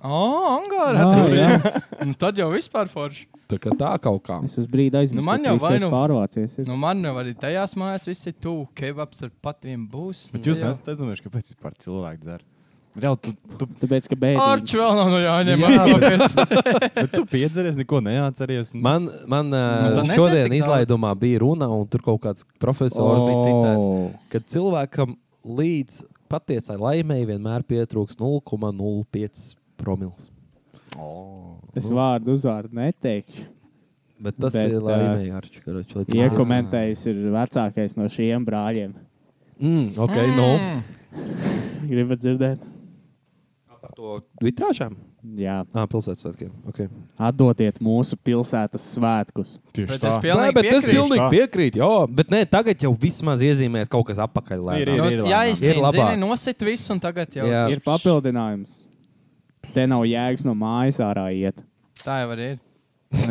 Speaker 4: O, Angārā.
Speaker 3: Ah,
Speaker 4: tas
Speaker 3: jā.
Speaker 4: bija- Nu, tad jau vispār forši.
Speaker 2: Tā kā tā kaut kā.
Speaker 3: Es uz brīdi aizmirsu.
Speaker 4: Nu, man
Speaker 3: ka
Speaker 4: jau
Speaker 3: Kristēns
Speaker 4: vainu-
Speaker 3: pārvācies. ir.
Speaker 4: Nu, man jau arī tajās mājās viss ir tuvu. Kebaps ar patiem būs.
Speaker 1: Bet jūs nesat aizdomājuši, kāpēc vispār cilvēki dzer. Reāli, tu, tu,
Speaker 3: Tāpēc, ka bēdīgi.
Speaker 4: Arču vēl nav no Jāņiem.
Speaker 1: Jā.
Speaker 4: atkopies.
Speaker 1: bet tu piedzeries, neko neatceries. un
Speaker 2: Man,
Speaker 1: tas-
Speaker 2: man
Speaker 4: Nu,
Speaker 2: uh,
Speaker 4: tad nedzer
Speaker 2: šodien
Speaker 4: tik daudz.
Speaker 2: izlaidumā bija runa, un tur kaut kāds profesors oh. bija citēts, ka cilvēkam līdz patiesai laimēji vienmēr pietrūks 0,05 promils.
Speaker 1: O.
Speaker 3: Es vārdu uzvārdu neteikšu.
Speaker 2: Bet tas
Speaker 3: Bet,
Speaker 2: bet, ir
Speaker 3: ā,
Speaker 2: laimīgi, Arčik. Karoči, lai tu-
Speaker 3: Iekomentējis ir vecākais no šiem brāļiem.
Speaker 2: Mm, ok, mm. no.
Speaker 3: Gribat dzirdēt?
Speaker 2: Par to vitrāžām?
Speaker 3: Jā.
Speaker 2: Ah, pilsētas svētkiem. Okay.
Speaker 3: Atdodiet mūsu pilsētas svētkus.
Speaker 1: Tieši
Speaker 4: Bet es
Speaker 1: tā.
Speaker 2: Nē, bet es
Speaker 4: pilnīgi piekrītu.
Speaker 2: pilnīgi
Speaker 1: tā.
Speaker 2: piekrītu. Jā, bet nē, tagad jau vismaz iezīmēs kaut kas apakaļ. lēnām.
Speaker 1: Ir, ir,
Speaker 4: No,
Speaker 1: ir
Speaker 4: Jā,
Speaker 1: lēnām.
Speaker 2: Ir labāk.
Speaker 4: izcīnīt, nosit visu un tagad jau.
Speaker 2: Jā.
Speaker 3: Ir papildinājums. Te nav jēgas no mājas ārā iet.
Speaker 4: Tā jau arī ir.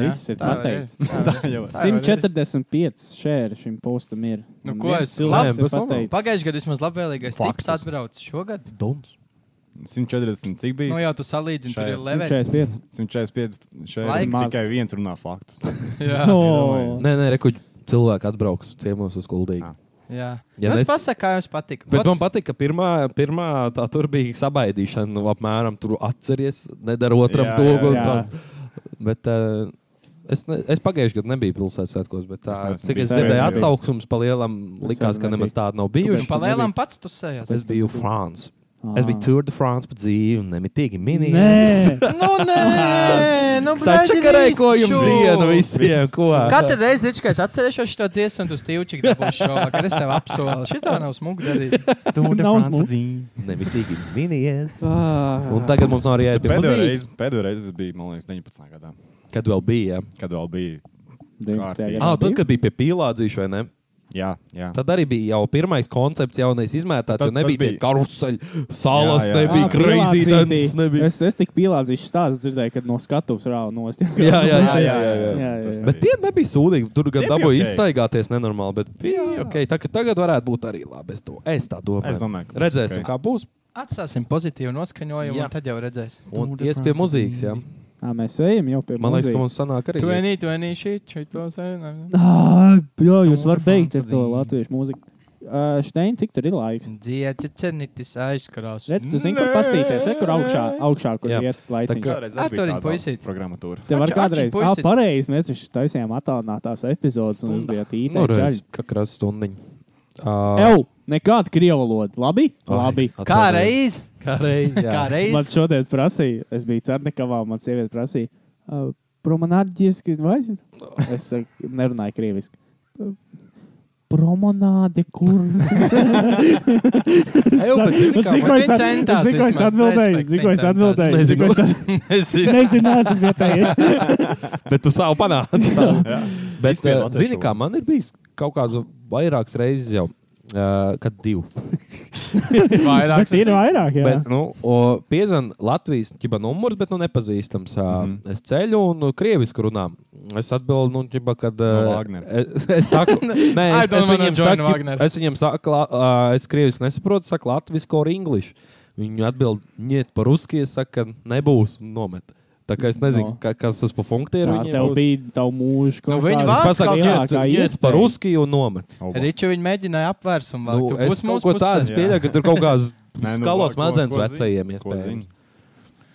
Speaker 3: Viss ir
Speaker 4: tā jau ir.
Speaker 3: pateikts.
Speaker 4: Tā jau ir.
Speaker 1: jau ir.
Speaker 4: Tā jau ir.
Speaker 3: 145 šēri šim postam ir.
Speaker 4: Nu,
Speaker 3: Un
Speaker 4: ko
Speaker 3: viens
Speaker 4: es-
Speaker 3: cilvēks
Speaker 2: Labi,
Speaker 3: ir
Speaker 2: bet labi.
Speaker 3: pateicis.
Speaker 4: Pagājušajā gadā vismaz labvēlīgais tips
Speaker 1: Faktus.
Speaker 4: atbrauc. Šogad,
Speaker 1: 140 cik bija?
Speaker 4: nu jau tu salīdzini, tur ir
Speaker 1: Šajās.
Speaker 4: level.
Speaker 3: 145.
Speaker 1: 145 šeit
Speaker 4: Laika.
Speaker 1: tikai viens runā faktus.
Speaker 4: Jā.
Speaker 3: No. Oh,
Speaker 2: Nē, nē, rekuģi cilvēki atbrauks ciemos uz kuldīgu.
Speaker 1: Ah.
Speaker 4: Jā,
Speaker 2: Ja
Speaker 4: jā es
Speaker 2: nes-
Speaker 4: pasaku, kā jums patīk.
Speaker 2: Bet man patīk, ka pirmā, pirmā tā tur bija sabaidīšana, nu, apmēram tur atceries, nedara otram
Speaker 1: Jā,
Speaker 2: to.
Speaker 1: jā,
Speaker 2: un
Speaker 3: jā.
Speaker 2: tā. Bet, eh, Es, ne, es pagājušajā gadā nebiju pilsētas svētkos, bet tā,
Speaker 1: Es neesmu
Speaker 2: cik
Speaker 1: bijis.
Speaker 2: es dzirdēju,
Speaker 1: Neesmu bijis.
Speaker 2: atsauksmes pa lielam
Speaker 3: Es
Speaker 2: likās,
Speaker 3: arī
Speaker 2: ka nemaz
Speaker 3: nebiju.
Speaker 2: tāda nav
Speaker 4: Jūs
Speaker 2: bijusi.
Speaker 4: palēlām pats tu sēžat.
Speaker 2: Es biju Francijā. Es biju Tour de France pa dzīvi un nemitīgi minēju.
Speaker 3: Ah. Nē,
Speaker 4: Nu, nē, nu,
Speaker 2: Sačakarēkojums dienu visiem. Ko?
Speaker 4: Katru reizi, Rička, es atcerēšos šo dziesmu, tu stīvučik dabūšu šovakar. Es tev apsolu. Šitā nav smūgi darīt.
Speaker 3: Nav
Speaker 2: Nemitīgi minējies.
Speaker 3: Ah.
Speaker 2: Un
Speaker 3: un
Speaker 2: tagad mums nav arī jāiet pie
Speaker 1: Pēdējo
Speaker 2: muzīkas.
Speaker 1: reizi, pēdējo reizi tas bija, man liekas, 19. gadā,
Speaker 2: Kad vēl bija?
Speaker 1: kad vēl bija.
Speaker 2: Jā, ah, tad, kad bija pie pīlādzīša, vai ne?
Speaker 1: Jā, jā.
Speaker 2: Tad arī bija jau pirmais koncepts, jaunais izmētāts.
Speaker 1: Tad-
Speaker 2: Jo nebija
Speaker 1: tad bija-
Speaker 2: tie karuseļi, salas,
Speaker 1: Jā, jā.
Speaker 2: jā, jā. nebija
Speaker 1: Ah,
Speaker 2: crazy dance. Nebija.
Speaker 3: Es, es tik pīlādzīšu stāstu dzirdēju, kad no skatuves rāva nost.
Speaker 2: Jā, jā, jā, jā, jā.
Speaker 3: jā, jā.
Speaker 1: Tas
Speaker 2: Bet tie nebija sūdīgi. Tur gan
Speaker 1: Tie bija
Speaker 2: dabūja okay.
Speaker 1: ok.
Speaker 2: iztaigāties nenormāli, bet bija ok. Tā, ka tagad varētu būt arī labi. Es, to, es tā domāju.
Speaker 1: Es domāju, ka būs
Speaker 2: Redzēsim,
Speaker 1: ok.
Speaker 2: kā būs.
Speaker 4: Atstāsim pozitīvu noskaņojumu,
Speaker 2: Jā.
Speaker 4: un tad jau redzēs.
Speaker 2: Un ies pie muzīkas. Jā.
Speaker 3: Ā, Mēs ejam jau pie
Speaker 2: Man liekas, ka
Speaker 3: muzīkas.
Speaker 2: mums sanāk arī.
Speaker 4: Tu vienī, tu vienī šī, šī to sēžat.
Speaker 3: Ā, Jā, jūs
Speaker 4: Tour
Speaker 3: varat
Speaker 4: de
Speaker 3: beigt ar
Speaker 4: France
Speaker 3: to
Speaker 4: pazīmi.
Speaker 3: latviešu mūziku. Ā, Štein, cik tur ir laiks?
Speaker 4: Dzieci cernitis aizkrās.
Speaker 3: Redz, tu zini, kur pastīties, re, kur augšā, augšā, kur
Speaker 2: Jā.
Speaker 3: iet laiciņš.
Speaker 1: Kādreiz arī
Speaker 4: Ar
Speaker 1: bija
Speaker 4: to
Speaker 1: tāda
Speaker 4: puisīt.
Speaker 1: programmatūra.
Speaker 3: Te var
Speaker 4: Ači, ači,
Speaker 3: kādreiz, ah,
Speaker 4: puisi.
Speaker 3: pareizi, mēs taču taisījām attālinātās epizodes un uzbijāt
Speaker 2: Nu,
Speaker 3: īstenībā čaļi.
Speaker 2: redz, kā krāsa stundiņa. Uh,
Speaker 3: Ew, nekāda krievu valoda. Labi? Labi.
Speaker 4: Kā reiz?
Speaker 2: Kā reizi?
Speaker 4: Kā
Speaker 2: jā.
Speaker 3: Man
Speaker 4: reiz?
Speaker 3: šodien prasīja, es biju Cernikavā, un man sieviete prasīja, "Ā, promenādiski, vai zini? Es saku, nerunāju krieviski. Promenāde, kur?
Speaker 2: Eju, bet zini
Speaker 3: Zinu,
Speaker 2: kā,
Speaker 3: ko
Speaker 4: man-
Speaker 3: es at-
Speaker 4: Centās
Speaker 3: zinu, ko es
Speaker 4: vismaz,
Speaker 3: atbildēju.
Speaker 4: respekt,
Speaker 3: Zinu, ko es
Speaker 4: centās.
Speaker 3: atbildēju. Zinu, ko es at-
Speaker 4: Nezinu.
Speaker 3: Nezināsim, bet tā ir.
Speaker 2: Bet tu savu panāci. Bet,
Speaker 1: Izpildi
Speaker 2: uh,
Speaker 1: latviešu
Speaker 2: zini, kā man ir bijis kaut kāds vairākas reizes jau, uh, kad divi.
Speaker 3: Bet
Speaker 4: Vairāk.
Speaker 3: ir vairāk, jā.
Speaker 2: Bet, nu, o, piezvan Latvijas ķiba numurs, bet nu nepazīstams. Mm. Es ceļu un nu, krievisku runā. Es atbildu, nu, ķiba, kad...
Speaker 1: No
Speaker 2: ā,
Speaker 1: Wagnera.
Speaker 2: es, es saku, nē,
Speaker 4: I
Speaker 2: es,
Speaker 4: don't
Speaker 2: es,
Speaker 4: wanna
Speaker 2: viņiem
Speaker 4: join
Speaker 2: saku, ķiba-
Speaker 4: Wagner.
Speaker 2: es viņiem saku, la- ā, es krievisku nesaprotu, saku latvisku or English. Viņi atbild, niet par ruski, es saku, ka nebūs un nomet. Tā kā es nezinu,
Speaker 3: No.
Speaker 2: no. ka, kas tas pa funkciju ir.
Speaker 3: Tā
Speaker 2: viņiem
Speaker 3: tev
Speaker 2: būs.
Speaker 3: bija tā mūža.
Speaker 4: Nu, viņi
Speaker 2: Es
Speaker 4: Vārds
Speaker 2: pasaku,
Speaker 4: kaut
Speaker 2: niet, niet par ruski un nomet.
Speaker 4: Riču viņi mēģināja apvērsumu vēl.
Speaker 2: Nu,
Speaker 4: Tu
Speaker 2: es
Speaker 4: būsi
Speaker 2: kaut
Speaker 4: mūsu
Speaker 2: ko tādu
Speaker 4: pusē.
Speaker 1: jā.
Speaker 2: pieļauju, ka tur kaut kādas
Speaker 1: Nē, nu, ko-
Speaker 2: skalos
Speaker 1: ko-
Speaker 2: smadzenes
Speaker 1: ko
Speaker 2: vecajiem
Speaker 1: zini? Ko
Speaker 2: iespējams.
Speaker 1: zini?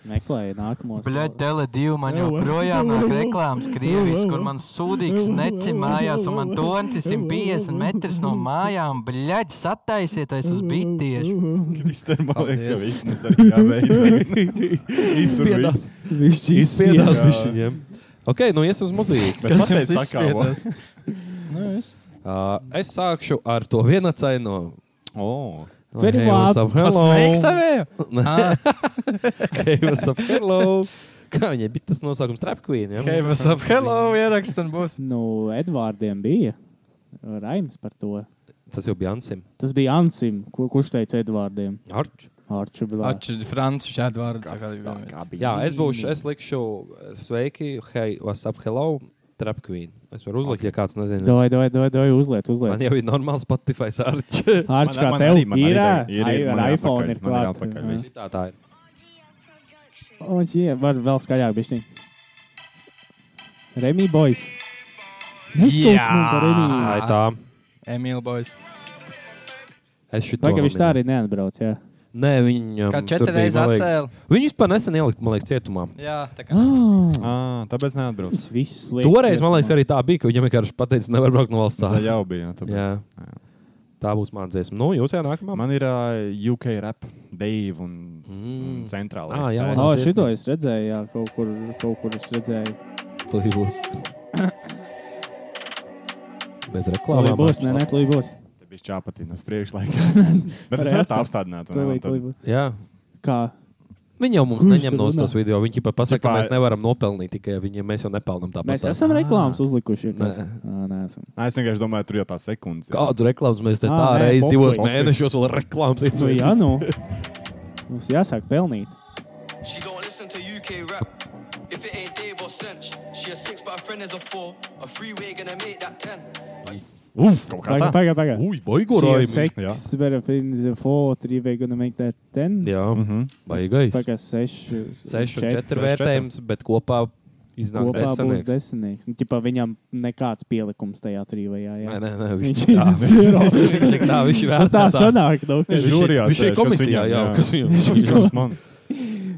Speaker 3: Meklēja nākamos.
Speaker 4: Tele 2 man joprojām nāk reklāmas Krievijas, kur man sūdīgs neci mājās, un man tonci 150 metrus no mājām. Bļaģ, sataisiet, es uz bitiešu.
Speaker 1: Kristian, man liekas, jau
Speaker 4: Paldies.
Speaker 1: viss mums tagad jābeidz.
Speaker 2: Izspiedās.
Speaker 1: Izspiedās.
Speaker 3: Višķi
Speaker 2: Izspiedās
Speaker 1: Jā.
Speaker 2: bišķiņiem. Ok, nu iesim uz muzīku.
Speaker 1: Bet
Speaker 4: Kas
Speaker 1: pateic
Speaker 4: jums
Speaker 1: sakāvo.
Speaker 4: izspiedās? Nu, es.
Speaker 2: Uh, es sākšu ar to vienacaino.
Speaker 1: O,
Speaker 3: Very
Speaker 2: Hey, what's
Speaker 3: well.
Speaker 2: up, hello?
Speaker 4: Pasniegts savēju? Ah,
Speaker 2: Hey, what's up, hello? Kā viņai bija tas nosaukums? Trap Queen. Ja?
Speaker 4: Hei, what's up? Hello, ierakst un būs.
Speaker 3: Nu, Edvārdiem bija raims par to.
Speaker 2: Tas jau bija Ansim.
Speaker 3: Tas bija Ansim, ko, kurš teica Edvārdiem.
Speaker 2: Arč.
Speaker 3: Arču blāzi.
Speaker 4: Ači, Franci šādu vārdu.
Speaker 2: Jā, es būšu, es likšu eh, sveiki, hey, what's up, hello, Trap Queen. Es varu uzlikt, ja kāds nezina.
Speaker 3: Doj, doj, doj, doj, uzliet,
Speaker 2: Man
Speaker 3: uzliet.
Speaker 2: jau ir normāls Spotify arč.
Speaker 1: Man-
Speaker 3: Arču kā
Speaker 1: man
Speaker 3: tev
Speaker 1: arī- man arī
Speaker 3: ir,
Speaker 1: doj. Ir, ir,
Speaker 3: ai,
Speaker 1: man
Speaker 3: ar
Speaker 1: ir atpakaļ,
Speaker 3: iPhone ir
Speaker 1: man ir
Speaker 3: klāt.
Speaker 1: atpakaļ
Speaker 3: Jā.
Speaker 1: viss.
Speaker 2: Tā tā ir.
Speaker 3: O, jē, var vēl skaļāk bišķiņ. Remy Boys. Nesūdz
Speaker 4: Jā.
Speaker 3: man par Remy.
Speaker 2: Tā ir tā.
Speaker 4: Emīl Boys.
Speaker 2: Es šito
Speaker 3: Pagaidām viņš tā
Speaker 2: nominu.
Speaker 3: arī neatbrauc, jā.
Speaker 2: Nē, viņa
Speaker 4: Kā četri reizes atcēla.
Speaker 2: Viņu vispār nesen ielikt, man liekas, cietumā.
Speaker 4: Jā, tā kā.
Speaker 3: Ah,
Speaker 1: Ā, tāpēc neatbrauc.
Speaker 3: tas viss liekas.
Speaker 2: Toreiz, man liekas, arī tā bija, ka viņam vienkārši pateica, nevar braukt no valsts.
Speaker 1: Tā
Speaker 2: Tā,
Speaker 1: jau bija. jā, tāpēc.
Speaker 2: jā. tā būs mana dziesma. Nu, jūs jau nākamā.
Speaker 1: Man ir uh, UK rap, Dave un,
Speaker 2: Mm.
Speaker 1: un centrālais.
Speaker 2: Ah, jā,
Speaker 1: scēna.
Speaker 2: jā.
Speaker 3: O, šito es redzēju, jā, kaut kur, kaut kur es redzēju.
Speaker 2: Tur būs. Bez reklāmas.
Speaker 3: Plūj būs, ne, ne, plūj būs.
Speaker 1: Te bija čāpatīnas priekšlaikā. Bet es
Speaker 3: Varēja
Speaker 1: varu tā
Speaker 3: atstāt.
Speaker 1: apstādināt. vai ne? Un
Speaker 3: Plūj,
Speaker 1: tad-
Speaker 3: plūj būs.
Speaker 2: Jā.
Speaker 3: Kā?
Speaker 2: Viņi jau mums
Speaker 3: Kurš
Speaker 2: neņem
Speaker 3: tur
Speaker 2: no
Speaker 3: runā?
Speaker 2: tos video. Viņi pat pasaka, ka
Speaker 1: Tipā-
Speaker 2: mēs nevaram nopelnīt tikai viņiem. Mēs jau nepelnām tāpat.
Speaker 3: Mēs esam reklāmas uzlikuši.
Speaker 2: Nē.
Speaker 3: kas? Ā, Nē, esam.
Speaker 1: Nā, Es vienkārši domāju, tur jau tā sekundes. ir.
Speaker 2: Kādu reklāmas mēs te
Speaker 3: Ah,
Speaker 2: tā
Speaker 3: nē,
Speaker 2: reizes
Speaker 3: pofui.
Speaker 2: divos
Speaker 1: Pofui.
Speaker 2: mēnešos vēl reklāmas
Speaker 3: Nu, jā,
Speaker 2: ietvaros?
Speaker 3: nu. Mums jāsāk pelnīt.
Speaker 10: She don't listen to UK rap. If it ain't Dave or Cinch, she a six, but her friend is a four. A freeway gonna make that ten.
Speaker 2: Uf, kaut kā.
Speaker 3: Pagaid, pagaid, pagaid.
Speaker 2: Ui, boigurojumi.
Speaker 1: Jā.
Speaker 3: Seks, verifins, four, three, we're gonna make that ten.
Speaker 2: Jā,
Speaker 1: Mhm.
Speaker 2: baigais.
Speaker 3: Pagaid, seši.
Speaker 2: 6 un
Speaker 3: četri.
Speaker 2: 4
Speaker 1: seši,
Speaker 2: vērtējums, bet kopā iznāk
Speaker 3: Kopā būs
Speaker 2: desmitnieks.
Speaker 3: desmitnieks. Nu, ķipa, viņam nekāds pielikums tajā trījā.
Speaker 2: Nē,
Speaker 3: Jā,
Speaker 2: nē, nē,
Speaker 3: Viņš
Speaker 2: viņš ir
Speaker 3: ir zero.
Speaker 2: Viņš ir tā, viņš ir
Speaker 3: Nu,
Speaker 2: vērtētājs.
Speaker 3: tā sanāk. Nu, ka
Speaker 2: Viņš ir-
Speaker 1: Žūrijā
Speaker 2: viņš ir
Speaker 1: sēž, kas
Speaker 2: komisijā,
Speaker 1: viņam-
Speaker 2: jā,
Speaker 1: jā.
Speaker 2: kas viņam-
Speaker 1: Viņš ir kas man.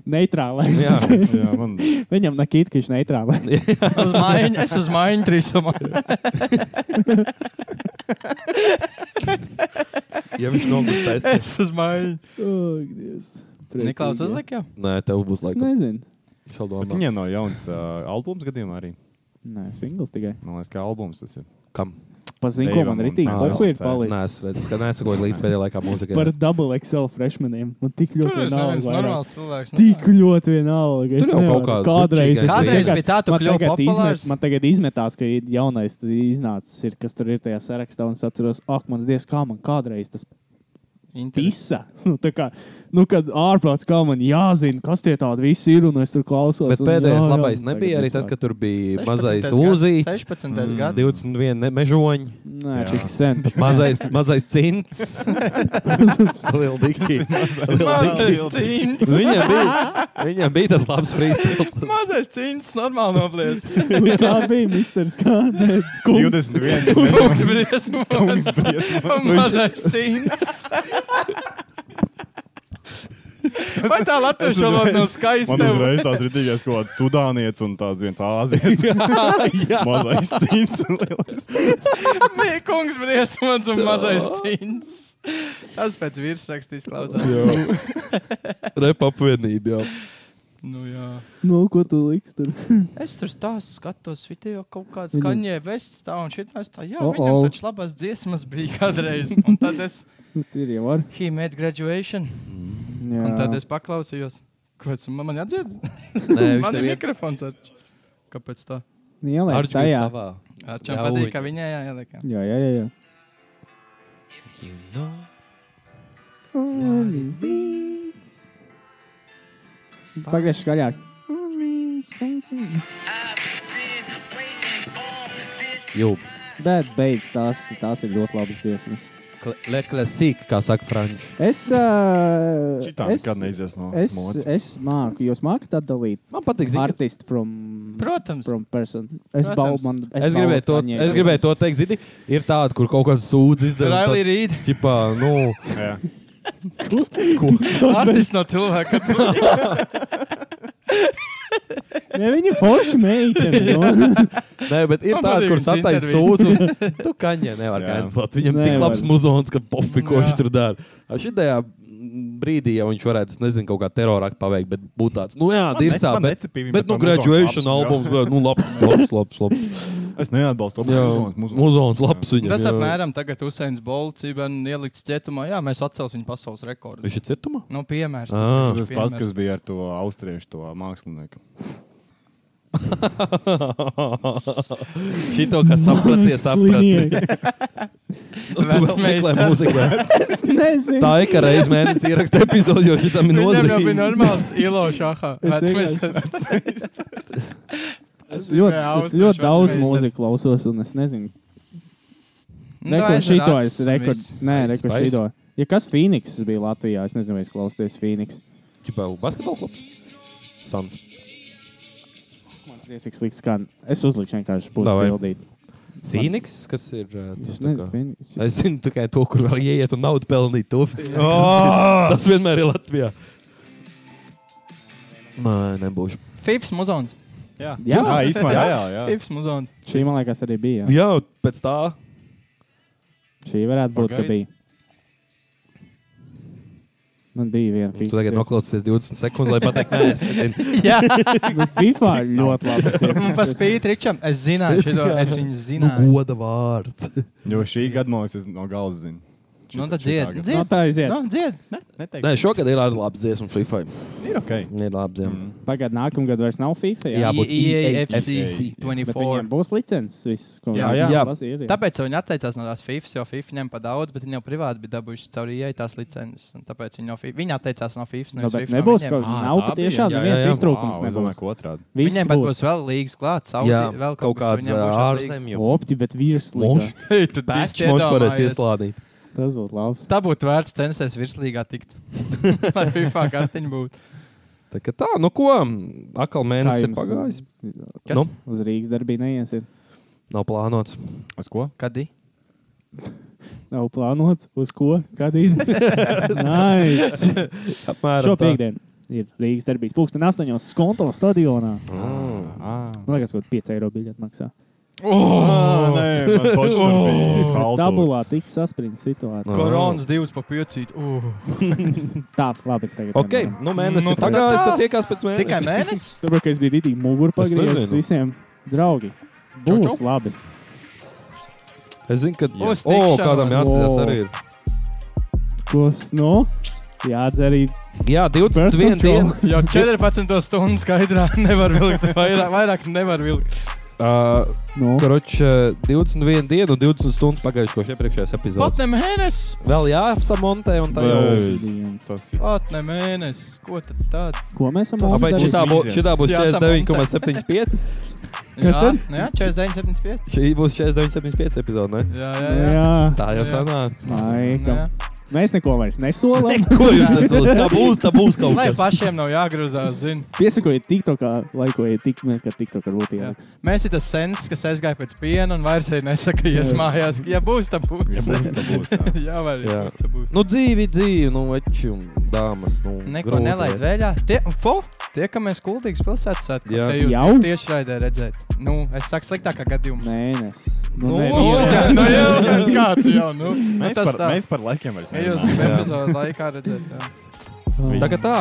Speaker 3: Neitrālais.
Speaker 2: Jā.
Speaker 1: Jā, man.
Speaker 3: Viņam nakīt, ka viņš neitrālais.
Speaker 4: Uz maiņu, es uz maiņu trīsumā.
Speaker 2: Ja viņš nogurs taisnība.
Speaker 4: Es uz maiņu.
Speaker 3: Oh, Dievs.
Speaker 4: Niklaus
Speaker 3: Priecīgi.
Speaker 4: uzlika jau?
Speaker 2: Nē, tev būs
Speaker 3: Es
Speaker 2: laikam.
Speaker 3: nezinu.
Speaker 2: Šādi
Speaker 1: Bet
Speaker 2: domā.
Speaker 1: Viņai nav jauns uh, albums gadījumā arī.
Speaker 3: Nē, singls tikai.
Speaker 1: Man liekas, kā albums tas ir.
Speaker 2: Kam?
Speaker 3: Pazinu, ko
Speaker 1: Deivam
Speaker 3: man
Speaker 1: un
Speaker 3: ritīgi
Speaker 1: Cēlis.
Speaker 3: boku ir
Speaker 1: Cēlis.
Speaker 2: Nē,
Speaker 3: palicis.
Speaker 2: es redzu, ka nesakoju līdz pēdējā laikā mūzikai.
Speaker 3: Par double XL freshmaniem. Man tik
Speaker 4: Tur
Speaker 3: ļoti
Speaker 4: ir viens
Speaker 3: vienalga.
Speaker 4: normāls cilvēks. nu.
Speaker 3: Tik ļoti vienalga. Es
Speaker 2: Tur jau
Speaker 3: nevaru.
Speaker 2: kaut kāda
Speaker 3: Kādreiz,
Speaker 2: bučīga
Speaker 3: es
Speaker 4: Kādreiz
Speaker 3: vienkārši-
Speaker 4: bija tā, tu
Speaker 3: man
Speaker 4: kļuvi
Speaker 3: tagad
Speaker 4: populārs.
Speaker 3: izmet- Man tagad izmetās, ka ir jaunais tad iznācis, ir, kas tur ir tajā sarakstā. Un es atceros, ak, mans dievs, kā man kādreiz tas
Speaker 4: Interes-
Speaker 3: tisa. Nu, tā kā, nu kad ārprāts kā man jāzina, kas tie tādi visi ir, un es tur klausos.
Speaker 2: Bet
Speaker 3: un
Speaker 2: pēdējais
Speaker 3: jā, jā,
Speaker 2: labais
Speaker 3: un tagad
Speaker 2: nebija arī
Speaker 3: vispār.
Speaker 2: tad, kad tur bija
Speaker 4: 16.
Speaker 2: mazais
Speaker 4: gads,
Speaker 2: Uzīts,
Speaker 4: 16. gads.
Speaker 2: 21 ne- mežoņi,
Speaker 3: Nē,
Speaker 1: Jā.
Speaker 3: tik sen.
Speaker 2: mazais, mazais cints. Liela dikti.
Speaker 4: Mazais cīns.
Speaker 2: Viņam bija, viņam bija tas labs freestyle.
Speaker 4: Mazais cīns, normāli noplies.
Speaker 3: Kā bija Mr. Skāne?
Speaker 1: 21.
Speaker 4: Kungs
Speaker 1: Kungs.
Speaker 4: briesmu.
Speaker 1: Kungs briesmu.
Speaker 4: Mazais cīns. Vai tā
Speaker 1: Es
Speaker 4: latviešu
Speaker 1: uzreiz-
Speaker 4: valoda
Speaker 1: Man
Speaker 4: nav skaista?
Speaker 1: uzreiz tāds rītīgais kaut kāds sudānietis un tāds viens āzijas
Speaker 2: Jā,
Speaker 1: mazais cīns. un lielais.
Speaker 4: Nē, kungs briesmons un mazais cīns. Tas pēc virsrakstīs klausās.
Speaker 2: repapvienība.
Speaker 4: Nu jā.
Speaker 3: Nu, ko tu liks tur?
Speaker 4: Es tur stāstu, skatos video kaut kādas
Speaker 3: Viņam-
Speaker 4: skaņas, vests tā un šitās. Tā, jā,
Speaker 3: Uh-oh.
Speaker 4: viņam taču labās dziesmas bija kādreiz. Un tad es,
Speaker 3: Nu, Tur jau var.
Speaker 4: he made graduation.
Speaker 3: Jā.
Speaker 4: Un tad es paklausījos, ko es man atdzied.
Speaker 2: Nē, viņš
Speaker 4: Man ir
Speaker 2: tev iet-
Speaker 4: mikrofons ar č- Kāpēc tā?
Speaker 3: ielēju
Speaker 2: Arčs bija
Speaker 3: Nu, tajā.
Speaker 2: savā.
Speaker 4: Ar čem
Speaker 2: Jā,
Speaker 4: patīk,
Speaker 2: uj.
Speaker 4: ka viņai jāieliek.
Speaker 3: Jā, jā, jā. jā. Oh, Pagriez skaļāk.
Speaker 2: Jū,
Speaker 3: Bet beidz, tās, tās ir ļoti labas dziesmas.
Speaker 2: leklasīk, kā saka Franči.
Speaker 3: Es. Uh,
Speaker 1: Šitā
Speaker 3: es,
Speaker 1: nekad neizies no
Speaker 3: es,
Speaker 1: modes.
Speaker 3: es māku, jūs mākat atdalīt
Speaker 2: Man patīk, zini, kas-
Speaker 3: artistu from,
Speaker 4: Protams.
Speaker 3: from person. Es
Speaker 4: Protams.
Speaker 3: baudu, man.
Speaker 2: es gribēju to,
Speaker 3: Kanye
Speaker 2: es
Speaker 3: West.
Speaker 2: gribēju to teikt, zini, ir tāda, kur kaut kāds sūdz
Speaker 4: Raili
Speaker 2: izdevums.
Speaker 4: rīd.
Speaker 2: Tipā, nu,
Speaker 1: Jā.
Speaker 4: Artis no cilvēka.
Speaker 3: Ja viņa forši meitene. no.
Speaker 2: nē, bet ir
Speaker 4: Man
Speaker 2: tāda,
Speaker 4: patīk
Speaker 2: kur
Speaker 4: viņas
Speaker 2: satais
Speaker 4: intervijas.
Speaker 2: sūdz, un tu kaņē nevar
Speaker 1: Jā.
Speaker 2: kancelēt. Viņam tik
Speaker 3: Nevar.
Speaker 2: labs muzons, ka pofi, ko
Speaker 4: Jā.
Speaker 2: viņš tur dara. A Šitajā brīdī, ja viņš varētu, es nezinu, kaut kā teroraktu paveikt, bet būtu tāds, nu jā, dirsā,
Speaker 1: Man
Speaker 2: bet,
Speaker 1: necipīja,
Speaker 2: bet, nu,
Speaker 1: man
Speaker 2: graduation
Speaker 1: muzons labs,
Speaker 2: albums, bet, nu, labs, labs, labs, labs.
Speaker 1: jā. Es neatbalstu
Speaker 2: Jā,
Speaker 1: albums.
Speaker 2: muzons labs viņam.
Speaker 4: Tas
Speaker 2: jā.
Speaker 4: apmēram tagad Usains Bolts ir ielikts cietumā. Jā, mēs atcelsim pasaules rekordu.
Speaker 2: Viņš ir cietumā?
Speaker 4: Nu, piemērs.
Speaker 3: Ah.
Speaker 2: Ā.
Speaker 4: būs
Speaker 1: Tas pats,
Speaker 4: piemērs.
Speaker 1: kas bija ar to austriešu to mākslinieku.
Speaker 2: Šito, kas sapraties, sapraties.
Speaker 3: Slieki.
Speaker 4: Vecmeistars.
Speaker 3: Es nezinu.
Speaker 2: Tā ir, ka reizes mēnesī ieraksta epizodi, jo šitam ir
Speaker 4: Viņam jau bija
Speaker 2: nozīme.
Speaker 4: normāls ilo šahā.
Speaker 3: Es
Speaker 4: Vecmeistars.
Speaker 3: Es ļoti, es
Speaker 4: tikai
Speaker 3: ļoti
Speaker 4: austriešu
Speaker 3: daudz
Speaker 4: vecmeistars.
Speaker 3: mūzikas klausos, un es nezinu,
Speaker 4: Nu, tā
Speaker 3: kāda ir šī
Speaker 4: aizver
Speaker 3: tā
Speaker 4: acis un
Speaker 3: līnija.
Speaker 4: viss.
Speaker 3: Nē,
Speaker 2: Aiz
Speaker 3: rekur
Speaker 2: spaisu.
Speaker 3: šī tā. Ja kas Phoenix bija Latvijā, es nezinu, vai es klausījos Phoenix.
Speaker 2: Čipā, basketbols klubs. Sans.
Speaker 3: Man liekas, cik slikti skan. Es uzliku vienkārši pusi
Speaker 2: Davai.
Speaker 3: bildīt.
Speaker 2: Phoenix, kas ir? ā,
Speaker 3: Es
Speaker 2: tas tā
Speaker 3: nezinu,
Speaker 2: kā-
Speaker 3: Phoenix.
Speaker 2: Es zinu tikai to, kur var ieiet un naudu pelnīt. To.
Speaker 4: Oh!
Speaker 2: Tas vienmēr ir Latvijā. Nē, nebūšu.
Speaker 4: Fifs muzons.
Speaker 1: Jā,
Speaker 3: Jā.
Speaker 1: jā īstenībā jā, jā. jā.
Speaker 4: Fifs muzons.
Speaker 3: Šī, man liekas, arī bija. jā.
Speaker 2: Jā, pēc tā.
Speaker 3: Šī varētu būt, ka
Speaker 1: Pagaidi.
Speaker 3: bija. Man bija viena
Speaker 2: Tu
Speaker 3: Phoenix.
Speaker 2: tagad noklausies 20 sekundes, lai pateiktu, nē, es nezinu.
Speaker 4: Jā,
Speaker 3: Bet Nu, FIFA ļoti labi.
Speaker 2: Nu,
Speaker 4: un pa spīti Ričam, es zināju šo, es
Speaker 3: Nu,
Speaker 4: viņu zināju.
Speaker 2: Goda vārds.
Speaker 1: Jo šī gada man liekas, es no gala zinu.
Speaker 4: Nu,
Speaker 1: Šitā-
Speaker 4: tad
Speaker 1: šitā
Speaker 4: dzied.
Speaker 1: gada.
Speaker 3: No
Speaker 4: Dzied.
Speaker 3: tā aiziet.
Speaker 4: Nu, dzied.
Speaker 2: Nē, šogad ir arī labs dziesmu Free Fire.
Speaker 1: Ir ok.
Speaker 2: Ir labs, jā.
Speaker 1: Mm.
Speaker 3: Pagaidā, nākamgad vairs nav FIFA. Jā, E
Speaker 2: Jā, būs
Speaker 4: E
Speaker 2: E
Speaker 4: EAFC
Speaker 3: bet viņiem
Speaker 4: 24.
Speaker 3: būs licences. Viss, ko
Speaker 4: Jā,
Speaker 2: jā.
Speaker 3: jā.
Speaker 4: Tāpēc viņi atteicās no tās FIFA, jo FIFA ņem pa daudz, bet viņi jau privāti bija dabūjuši caur IE tās licences. un Tāpēc viņi, no FIFA, viņi atteicās no FIFA.
Speaker 3: Nu,
Speaker 4: No
Speaker 3: bet nebūs, ka
Speaker 1: Ā,
Speaker 3: nav
Speaker 1: tā
Speaker 3: patiešām
Speaker 2: Ah, bija. Jā,
Speaker 3: neviens
Speaker 2: jā, jā.
Speaker 3: iztrūkums.
Speaker 1: Vau, es domāju,
Speaker 3: nebūs.
Speaker 1: ko otrādi.
Speaker 3: Viss
Speaker 4: Viņiem pat būs vēl līgas klāts, Saudi,
Speaker 2: Jā,
Speaker 4: vēl
Speaker 2: kaut kāds ārzemju.
Speaker 3: Opti, bet virslīga.
Speaker 2: Monš,
Speaker 4: Viņš
Speaker 2: viņš mums varēs ieslādīt.
Speaker 3: Tas būtu labs.
Speaker 4: Tā būtu vērts censties virslīgā tikt. Lai FIFA kartiņa būtu.
Speaker 2: Tā, kā tā nu ko, atkal mēnesis ir
Speaker 3: jums?
Speaker 2: pagājis.
Speaker 4: Kas?
Speaker 2: Nu,
Speaker 3: Uz Rīgas darbību neiesiet.
Speaker 2: nav plānots.
Speaker 1: Uz ko?
Speaker 4: Kad?
Speaker 3: Nav plānots, uz ko? Kad ir? nice.
Speaker 2: Apmēram
Speaker 3: Šo
Speaker 2: tā.
Speaker 3: piekdienu ir Rīgas darbības pulksten 8. skonto stadionā.
Speaker 2: Oh. Mm.
Speaker 1: Ah,
Speaker 3: Man liekas, ka 5 eiro biļeti maksā.
Speaker 2: Oh.
Speaker 1: ah, nē, man taču tur bija haltūra.
Speaker 3: Tabulā tik saspringta situācija.
Speaker 2: Nu.
Speaker 4: Koronas divas papīrcīt. Uh.
Speaker 3: Tā, labi. Tagad
Speaker 2: Ok,
Speaker 3: nevaram.
Speaker 2: nu mēnesis
Speaker 1: Nu,
Speaker 2: ir pagājis,
Speaker 4: tā.
Speaker 2: tad tiekās pēc mēneša.
Speaker 4: Tikai mēnesis?
Speaker 3: Tāpēc, ka es biju rītīgi muguru
Speaker 2: Es
Speaker 3: pagriezis
Speaker 2: nezinu.
Speaker 3: visiem draugi.
Speaker 4: Čau,
Speaker 3: Būs
Speaker 4: čau.
Speaker 3: labi.
Speaker 2: Es zinu, ka
Speaker 4: Būs
Speaker 2: O,
Speaker 4: tikšanās.
Speaker 2: kādam jāatcerās
Speaker 3: Wow.
Speaker 2: arī ir.
Speaker 3: Kas no? Jā, nu? arī
Speaker 2: Jā, 21 diena.
Speaker 4: Jau 14 stundu skaidrā nevar vilkt. Vairāk, vairāk nevar vilkt.
Speaker 2: Uh,
Speaker 3: No.
Speaker 2: Kroč, uh, 21 dienu un 20 stundas pagājuši kopš iepriekšējās
Speaker 4: Pat
Speaker 2: epizodes.
Speaker 4: ne mēnesis!
Speaker 2: Vēl jāapsamontē un tā jau.
Speaker 1: Vai.
Speaker 3: Dienas.
Speaker 1: Tas ir.
Speaker 4: Pat ne mēnesis! Ko tad tād?
Speaker 3: Ko mēs esam
Speaker 2: Tāpēc
Speaker 3: darījuši?
Speaker 2: šitā, bū, šitā būs
Speaker 4: Jāsamontē.
Speaker 2: 49,75.
Speaker 3: Kas
Speaker 4: Jā,
Speaker 3: tad?
Speaker 4: nu jā, 49, 75.
Speaker 2: Šī būs 49,75 epizode, ne?
Speaker 4: Jā, jā, jā.
Speaker 3: Nu Jā,
Speaker 2: Tā jau
Speaker 4: Jā.
Speaker 2: sanāk.
Speaker 4: Nu jā.
Speaker 3: laikam. Mēs neko vairs nesolām.
Speaker 2: Ko jūs esat? Tā būs, tā būs kaut
Speaker 4: Lai
Speaker 2: kas.
Speaker 4: pašiem nav jāgrūzās, zinu.
Speaker 3: Piesakojiet, TikTokā, laikojiet, tik mēs kā TikTokā varbūt ieliks.
Speaker 4: Mēs esam tas sens, kas aizgāja pēc piena un vairs arī nesaka, ka ies
Speaker 3: Jā.
Speaker 4: mājās. Ja būs, tad
Speaker 1: Ja
Speaker 4: būs.
Speaker 1: būs, tad būs, jā.
Speaker 4: Jā, vai
Speaker 2: Jā.
Speaker 4: ja būs, tad būs.
Speaker 2: Nu, dzīvi, dzīvi, nu, veči un dāmas. Nu,
Speaker 4: Neko
Speaker 2: grūti.
Speaker 4: nelaid vēļā. Tie, fo, tiekamies Kultūras pilsētas svētkos.
Speaker 2: Jā.
Speaker 4: Ja jūs
Speaker 3: Jau?
Speaker 4: jau tieši raidē redzēt, nu, es saku sliktākā gadījumā.
Speaker 3: Mēnesis.
Speaker 2: Nu,
Speaker 3: Nu, nē, nu,
Speaker 2: nu,
Speaker 4: Jā,
Speaker 3: jā.
Speaker 4: nu jau gan kāds jau, nu.
Speaker 1: Mēs
Speaker 4: tas
Speaker 1: par,
Speaker 4: tā.
Speaker 1: mēs par laikiem vairs
Speaker 4: Ja jūs
Speaker 1: nerunājam.
Speaker 4: epizodu laikā redzēt, jā.
Speaker 2: Tagad tā.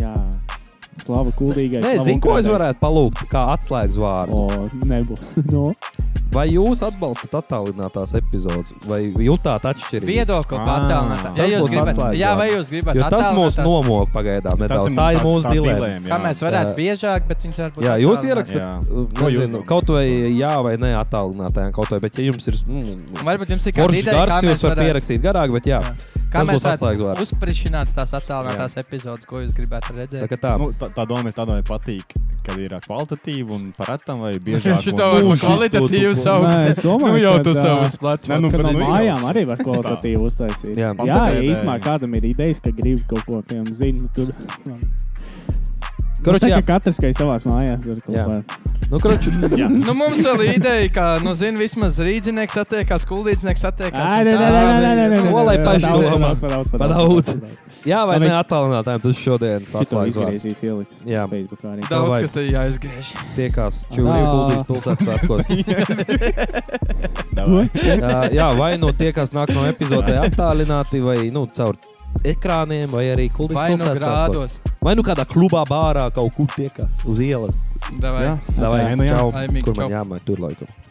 Speaker 3: jā. Slava kuldīgai.
Speaker 2: Nē,
Speaker 3: slava
Speaker 2: zinu, ko es
Speaker 3: Ukrainai.
Speaker 2: varētu palūgt, kā atslēgas vārdu.
Speaker 3: O, nebūs. Nu, No.
Speaker 2: Vai jūs atbalstat attālinātās epizodes, vai jutāt atšķirību?
Speaker 4: Viedokli
Speaker 1: Ah.
Speaker 4: patālināt. Ja
Speaker 2: Tas
Speaker 4: jūs
Speaker 2: būs
Speaker 4: gribat,
Speaker 2: atslēgas
Speaker 4: jā, vai
Speaker 2: vārds.
Speaker 4: jūs gribat
Speaker 2: Jo tas mūs
Speaker 4: attālināt,
Speaker 2: nomok pagaidām nedaudz. Tā ir mūsu dilēma.
Speaker 4: kā mēs varētu
Speaker 2: Tā-
Speaker 4: biežāk, bet viņš varbūt.
Speaker 2: Jā, jūs
Speaker 4: attālināt.
Speaker 2: ierakstāt, uh,
Speaker 1: Jā. Ko jūs
Speaker 2: nezinu,
Speaker 1: domājat?
Speaker 2: kaut vai jā, vai nē, attālinātajā kaut vai, bet ja jums ir
Speaker 4: Un
Speaker 2: mm,
Speaker 4: Varbūt jums ir kāda
Speaker 2: foršs
Speaker 4: ideja,
Speaker 2: gars,
Speaker 4: kā
Speaker 2: jūs
Speaker 4: mēs
Speaker 2: varat
Speaker 4: varētu
Speaker 2: pierakstīt garāk, bet jā.
Speaker 4: Jā.
Speaker 2: Tas
Speaker 4: Kā
Speaker 2: būs
Speaker 4: mēs
Speaker 2: atslēgas
Speaker 4: varētu
Speaker 2: vārds.
Speaker 4: uzsprišināt tās attēlotās epizodes, ko jūs gribētu
Speaker 2: Tā
Speaker 4: redzēt?
Speaker 2: kā tā.
Speaker 1: Nu, tā, tā doma ir tāda, ka patīk, kad ir kvalitatīva un parātam vai biežāk.
Speaker 4: Šitā
Speaker 1: un-
Speaker 4: var
Speaker 1: Un
Speaker 4: par
Speaker 1: šitā-
Speaker 4: kvalitatīvu savu.
Speaker 3: Nē, es domāju,
Speaker 4: nu jau
Speaker 3: ka
Speaker 4: tu
Speaker 3: tā-
Speaker 4: savus platus.
Speaker 1: Nē, nu,
Speaker 3: Ka
Speaker 1: bet
Speaker 3: no
Speaker 1: nu,
Speaker 3: mājām arī var kvalitatīvi uztaisīt.
Speaker 2: Jā.
Speaker 3: jā, ja
Speaker 1: Pasakājiet,
Speaker 3: īsumā
Speaker 1: jā.
Speaker 3: kādam ir idejas, ka grib kaut ko piemēram zinu, tur. Nu,
Speaker 2: Karoči,
Speaker 3: tā,
Speaker 2: jā.
Speaker 3: ka katrs, ka ir savās mājās, var kaut
Speaker 2: Jā.
Speaker 3: ko.
Speaker 2: Nu, kroči,
Speaker 4: Nu, mums vēl ir ideja, ka, nu, zini, vismaz rīdzinieks attiekās, kuldīdzinieks attiekās.
Speaker 3: Ai, nē, nē,
Speaker 4: un tā.
Speaker 3: nē, nē, nē, nē, nē,
Speaker 2: Ko lai
Speaker 3: nē,
Speaker 2: tā
Speaker 3: nē, padaudz,
Speaker 2: izdomā?
Speaker 3: padaudz,
Speaker 2: Padaudz.
Speaker 3: padaudz, padaudz.
Speaker 2: jā, vai
Speaker 3: Labi.
Speaker 2: ne attālinātājiem, tas šodienas
Speaker 3: Šito
Speaker 2: atslēgas vārds.
Speaker 3: izgriezīs ieliks.
Speaker 2: Jā.
Speaker 3: Jā. Facebookā arī.
Speaker 4: Daudz,
Speaker 2: vajag.
Speaker 4: kas te jāizgriež.
Speaker 2: Tiekās
Speaker 3: Tā.
Speaker 2: Čūlijas pilsētas svētkos.
Speaker 1: Davai.
Speaker 2: Uh, jā, vai nu tie, kas nāk no epizodē attālināti, vai nu caur ekrāniem, vai arī
Speaker 4: Vai
Speaker 2: kuldīgas
Speaker 4: nu
Speaker 2: pilsētas svētkos.
Speaker 4: grādos.
Speaker 2: Vai nu kādā klubā, bārā kaut kur tiekās uz ielas.
Speaker 4: Davai.
Speaker 1: Jā.
Speaker 2: Davai,
Speaker 1: Nē, nu jā.
Speaker 2: čau.
Speaker 4: Laimīgi,
Speaker 2: Kur man
Speaker 4: čau.
Speaker 2: jāmēr tur laikam?